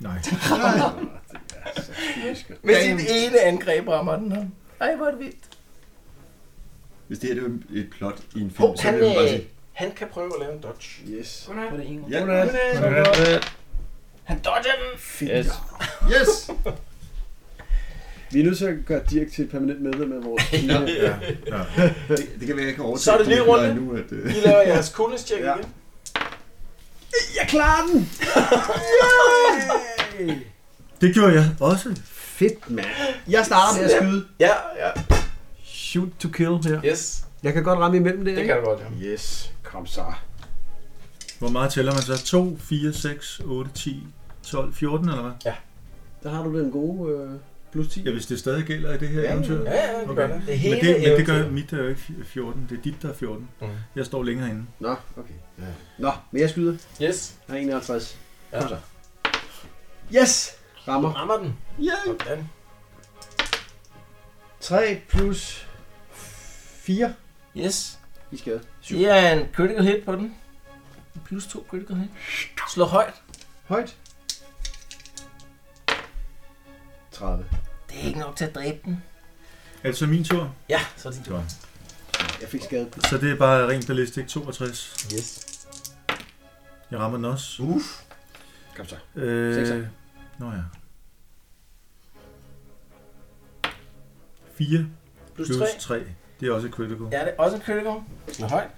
G: Nej.
B: Med sit ene angreb rammer den ham. Ej, hvor er det vildt.
F: Hvis det her det var et plot i en film,
B: Oh,
F: så
B: han,
F: ville jeg bare
B: øh,
F: sige...
B: han kan prøve at lave en dodge.
E: Yes.
B: På det ene.
F: Ja,
B: Han dodger den.
C: Yes.
F: yes!
E: Vi er nødt til at gøre Dirk til et permanent medlem af vores team.
G: Ja. ja.
F: Det, det kan være, jeg kan overtage.
B: Så er det ny
F: når jeg
B: runde.
F: Nu, at, øh,
B: I laver jeres coolness check ja. igen.
E: Jeg klarer den!
G: Det gjorde jeg også.
T: Fedt, mand.
E: Jeg starter med at skyde.
B: Ja, ja.
G: Shoot to kill her.
B: Yes,
T: Jeg kan godt ramme imellem det,
B: det
T: ikke?
B: kan du godt, ja.
E: Yes, kom så.
G: Hvor meget tæller man så? 2, 4, 6, 8, 10, 12, 14 eller hvad?
T: Der har du den gode øh, plus 10.
G: Ja, hvis det stadig gælder i det her eventyr.
B: Ja, ja, det gør
G: Okay.
B: det. Det
G: Men
B: hele
G: det, men det gør
B: eventyret.
G: mit er jo ikke 14. Det er dit, der er 14.
B: Mhm.
G: Jeg står længere inde.
E: Nå, okay. Ja. Nå, men jeg skyder.
B: Yes,
E: Jeg har 51.
B: Ja.
E: Kom så. Yes! Rammer.
B: rammer den.
E: Yay!
B: Sådan.
E: 3 plus 4
B: Yes.
E: i skade.
B: Det er en critical hit på den. Plus to critical hit. Slå højt.
E: Højt. 30.
B: Det er ikke nok til at dræbe den.
G: Er det så Altså min tur?
B: Ja, så er det din tur.
E: Jeg fik skade.
G: Så det er bare rent ballistik 62.
B: Yes.
G: Jeg rammer den også.
F: Uff.
E: Kom så.
G: Øh,
E: Sekser.
G: nå ja. 4
B: Plus
G: plus
B: tre.
G: 3. Det er også et critical.
B: Er det også en critical? Slå højt.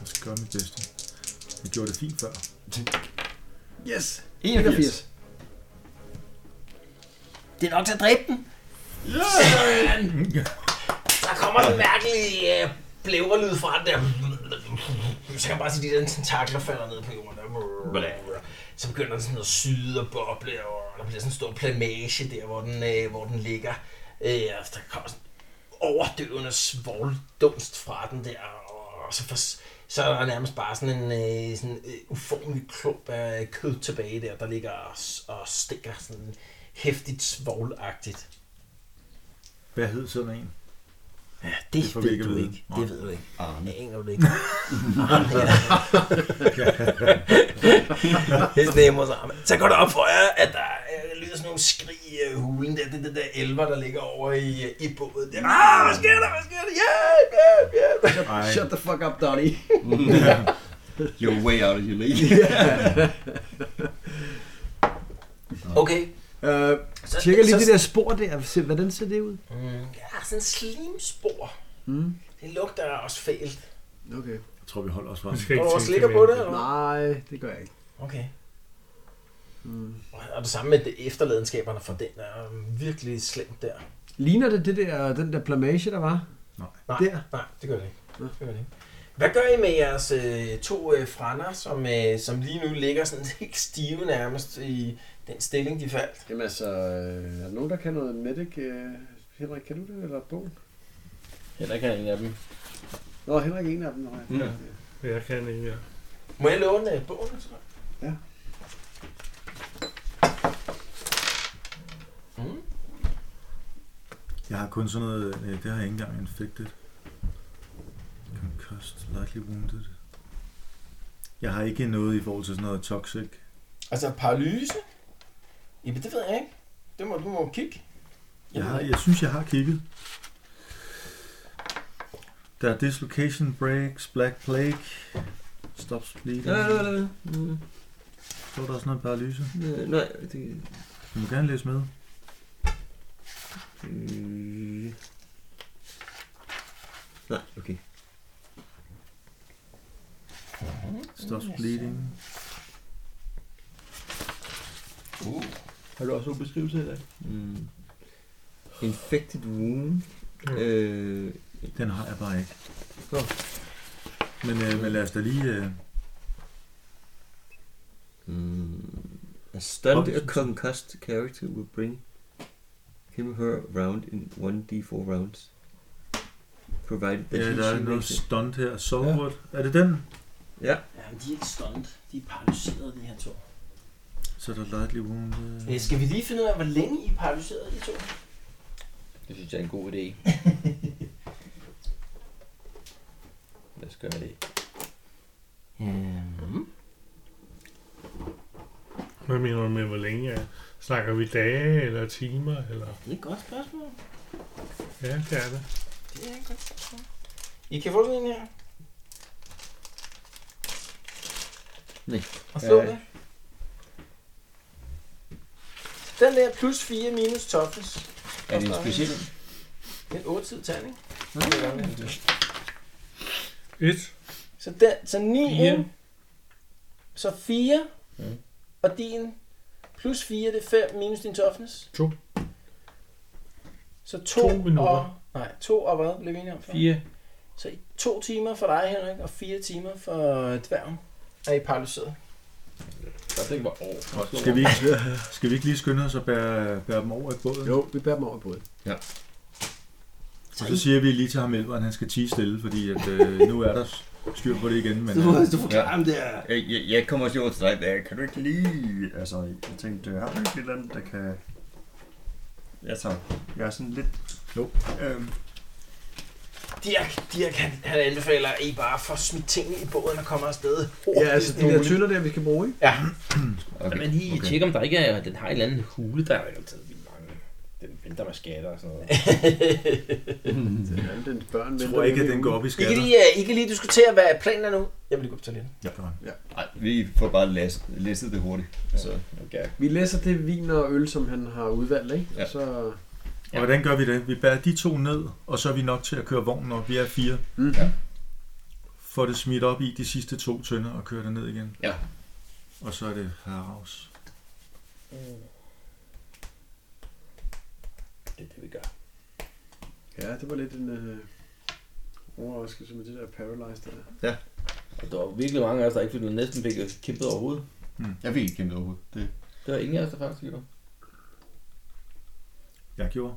G: Jeg skal gøre mit bedste. Jeg gjorde det fint før.
E: Yes!
F: 81.
E: 81.
B: Det er nok til at dræbe den.
G: Ja.
B: Der kommer kommer en mærkelig øh, blævrelyd fra den der. Så kan jeg bare se, de der tentakler falder ned på jorden. Så begynder den sådan at syde og boble, og der bliver sådan en stor plamage der, hvor den, øh, hvor den ligger. Øh, og der kommer sådan overdøvende svogldunst fra den der, og så, for, så er der nærmest bare sådan en øh, sådan, øh, uformelig klump af kød tilbage der, der ligger og, og stikker sådan hæftigt svoglagtigt.
G: Hvad hed sådan en?
B: Ja, det,
G: Det får
B: det
G: vi
B: ved
G: ikke at
B: du ikke.
G: vide. Nej.
B: Det ved du ikke.
V: Arne.
B: Det aner du ikke. Hesten hjemme hos Arne. Så går det op for jer, at der øh, lyder sådan nogle skrig i øh, hulen. Der, det er den der elver, der ligger over i, øh, i båden. Der. Ah, hvad sker der? Hvad sker der? Hjælp, hjælp, hjælp.
G: Ej,
E: Shut the fuck up, Donnie.
V: You're way out of your league.
B: Okay.
E: Øh,
B: Så,
E: tjekker lige
B: så,
E: det der spor der. Se, Hvordan ser det ud?
B: Mm, ja, sådan en slimspor.
E: Mm.
B: Det lugter også fælt.
E: Okay.
G: jeg tror, vi holder os fra.
D: Vi skal
B: Og
D: ikke
B: du
D: tænke
B: slikker
D: mere
B: på
D: end
B: det, eller hvad?
E: Nej, det gør jeg ikke.
B: Okay.
E: Mm.
B: Og det samme med det efterladenskaberne for den er um, virkelig slemt der.
E: Ligner det, det der, den der plamage, der var?
B: Nej,
E: Der.
B: nej det gør det ikke. Det gør det ikke. Hvad gør I med jeres øh, to øh, frænder, som, øh, som lige nu ligger sådan helt stive nærmest i den stilling, de faldt?
W: Jamen altså, øh, er der nogen, der kan noget medic? Øh, Henrik, kan du det? Eller bogen?
C: Heller kan en af dem. Mm.
W: Nå, Henrik er en af dem. Nå, ja.
D: det. Jeg kan ikke, ja.
B: Må jeg låne øh, bogen? Så?
W: Ja.
B: Mm.
G: Jeg har kun sådan noget... Øh, det har jeg ikke engang infected. Concussed, lightly wounded. Jeg har ikke noget i forhold til sådan noget toxic.
B: Altså paralyse? Jamen det ved jeg ikke. Det må du må kigge.
G: Jeg, har, jeg synes, jeg har kigget. Der er dislocation breaks, black plague, stops bleeding.
F: Nej, nej, nej. Mm,
G: Så er der også noget paralyse.
F: nej, nej, det...
G: Du må gerne læse med.
F: Øh. Nej, okay.
G: Stops bleeding.
X: Har du også en beskrivelse af det?
F: Mm. Infected wound. Øh,
G: Den har jeg bare ikke.
F: Nå.
G: Men, øh, men lad os da lige... Øh,
F: Mm. A stunned
G: Oplevelsen.
F: or concussed character will bring him or her round in 1d4 rounds. Provided that
G: ja,
F: he
G: der er
F: she
G: noget
F: makes it.
G: stunt her. Soulwood. Ja. Er det den?
F: Ja,
B: Ja, men de er ikke stunned. De er paralyserede, de her to.
G: Så er der lightly wounded.
B: Øh, skal vi lige finde ud af, hvor længe I er paralyseret, de to?
C: Det synes jeg er en god idé. Lad os gøre det.
X: Øhm.
B: Mm.
D: Hvad mener du med, hvor længe jeg Snakker vi dage eller timer? Eller?
B: Det er et godt spørgsmål.
D: Ja, det er det.
B: Det er et godt spørgsmål. I kan få sådan en her.
F: Nej.
B: Og slå
F: Ja.
B: det. Den der plus 4 minus toughness.
X: Er det en speciel?
B: Det er en 8 tid terning.
D: Et.
B: Så, den, så 9
D: Fire.
B: ind. Så 4.
X: Mm.
B: Og din plus 4, det er 5 minus din toughness.
D: To.
B: Så 2
D: To minutter.
B: og... Nej, 2 og hvad blev vi enige om? før?
D: Fire.
B: Så i to timer for dig, Henrik, og fire timer for dværgen er I paralyseret.
C: Jeg tænker bare, åh,
G: Skal vi, ikke, skal vi ikke lige skynde os og bære, bære dem over i båden?
E: Jo, vi bærer dem over på det.
G: Og så siger vi lige til ham elveren, at han skal tige stille, fordi at, øh, nu er der styr på det igen. Men,
X: Du,
G: øh,
X: du forklarer ham der. Jeg, jeg, jeg kommer også over til dig, men kan du ikke lige... Altså, jeg tænkte, har du ikke et eller andet, der kan... Altså, jeg er sådan lidt...
G: Jo.
X: Øhm,
B: Dirk, Dirk han, han anbefaler, at I bare får smidt tingene i båden og kommer afsted.
E: Ja, altså de der tønder der, vi skal bruge, ikke?
C: Okay. Men lige okay. tjek, om der ikke er, den har en eller anden hule, der er jo taget vildt mange. Den venter med skatter og sådan noget.
E: Ja, den børn
G: jeg tror ikke, at den går op i
B: I kan
G: skatter.
B: lige, øh, I kan lige diskutere, hvad planen er nu. Jeg vil lige gå på toilettet.
G: Ja, godt.
X: ej, vi får bare læst, læsset det hurtigt.
F: altså.
X: Så.
C: Okay.
E: Vi læser det vin og øl, som han har udvalgt, ikke?
X: Ja.
E: Og så...
G: Og hvordan gør vi det? Vi bærer de to ned, og så er vi nok til at køre vognen op. Vi er fire.
E: Mm.
X: Ja.
G: Får det smidt op i de sidste to tønder og kører det ned igen.
X: Ja.
G: Og så er det Heraus.
C: Det er det, vi gør.
E: Ja, det var lidt en... Øh...
Y: overraskelse med det der Paralyzed der.
C: Og der var virkelig mange af os, der ikke fik, næsten fik kæmpet overhovedet.
F: Jeg fik ikke kæmpet overhovedet. Det,
C: Det var ingen af os, der faktisk gjorde.
G: Jeg gjorde.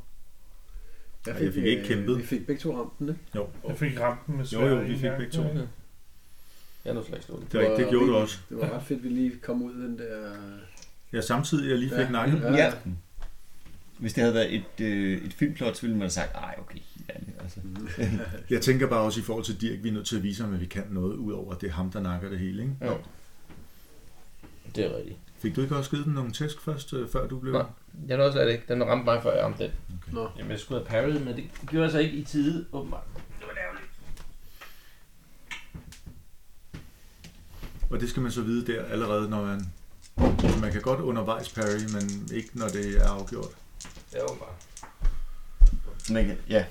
G: Ej, jeg fik
E: øh,
G: ikke kæmpet.
Y: Vi fik begge to rampen, ikke?
D: Jeg fik ramt den med
G: Jo, jo,
D: sværet
G: vi
D: en
G: fik
D: gang.
G: begge to.
D: Ja, ja.
C: Jeg er nu slet ikke
G: Det, var, det gjorde du
Y: virkelig-
G: også.
Y: Det var ret fedt, vi lige kom ud af den der...
E: øh,
G: Ja, samtidig jeg lige fik
Y: Ja.
G: nakket.
Y: Ja.
F: Ja. Hvis det havde været et, øh, et filmplot, så ville man have sagt, ej, okay, helt ærligt. Altså.
G: Jeg tænker bare også i forhold til Dirk, vi er nødt til at vise ham, at vi kan noget, udover at det er ham, der nakker det hele. Ikke?
F: Jo.
C: Det er rigtigt.
G: Fik du ikke også givet den nogle tæsk først, øh, før du blev...
C: Nej. Jeg nåede slet ikke. Den ramte mig, før jeg ramte den.
G: Okay.
E: Nå.
C: Jamen, jeg skulle have parried, men det gjorde jeg så ikke i tide, åbenbart.
G: Og det skal man så vide der allerede, når man... Altså, man kan godt undervejs parry, men ikke når det er afgjort.
C: Ja, åbenbart.
F: Man kan, ja.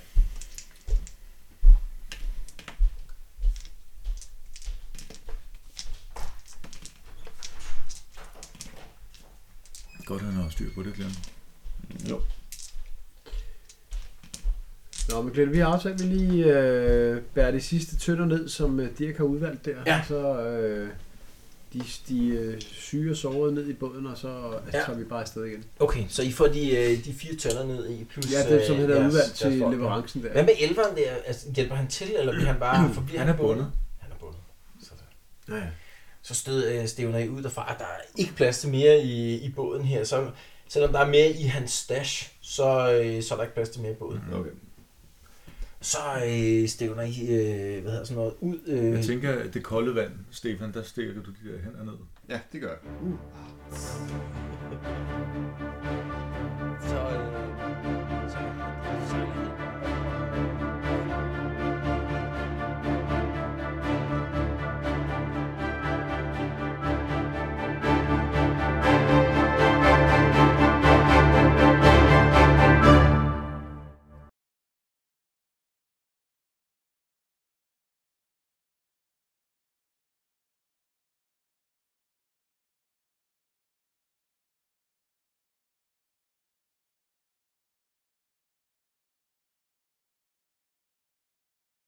G: Godt, han har styr på det, Glenn.
F: Jo.
E: Nå, men Glenn, vi har aftalt, at vi lige øh, bærer de sidste tønder ned, som øh, Dirk har udvalgt der.
B: Ja.
E: Så øh, de, de øh, syge og sårede ned i båden, og så altså,
B: Ja.
E: tager vi bare afsted igen.
B: Okay, så I får de, øh, de fire tønder ned i, plus...
E: Ja, det som
B: øh,
E: han havde
B: jeres-
E: udvalgt
B: jeres
E: til
B: folk.
E: leverancen der.
B: Hvad med elveren der? Altså, hjælper han til, eller bliver han bare forbliver
G: Han er
B: på båden?
G: bundet.
B: Han er bundet. Sådan.
E: Ja, ja.
B: Så stød øh, stævner I ud derfra, at der er ikke plads til mere i, i båden her. Så, selvom der er mere i hans stash, så, øh, så er der ikke plads til mere i båden.
G: Mm,
F: Okay.
B: Så øh, stævner I øh, hvad hedder sådan noget, ud. Øh,
G: Jeg tænker, at det kolde vand, Stefan, der stikker du de der hænder ned.
F: Ja, det gør jeg.
B: øh,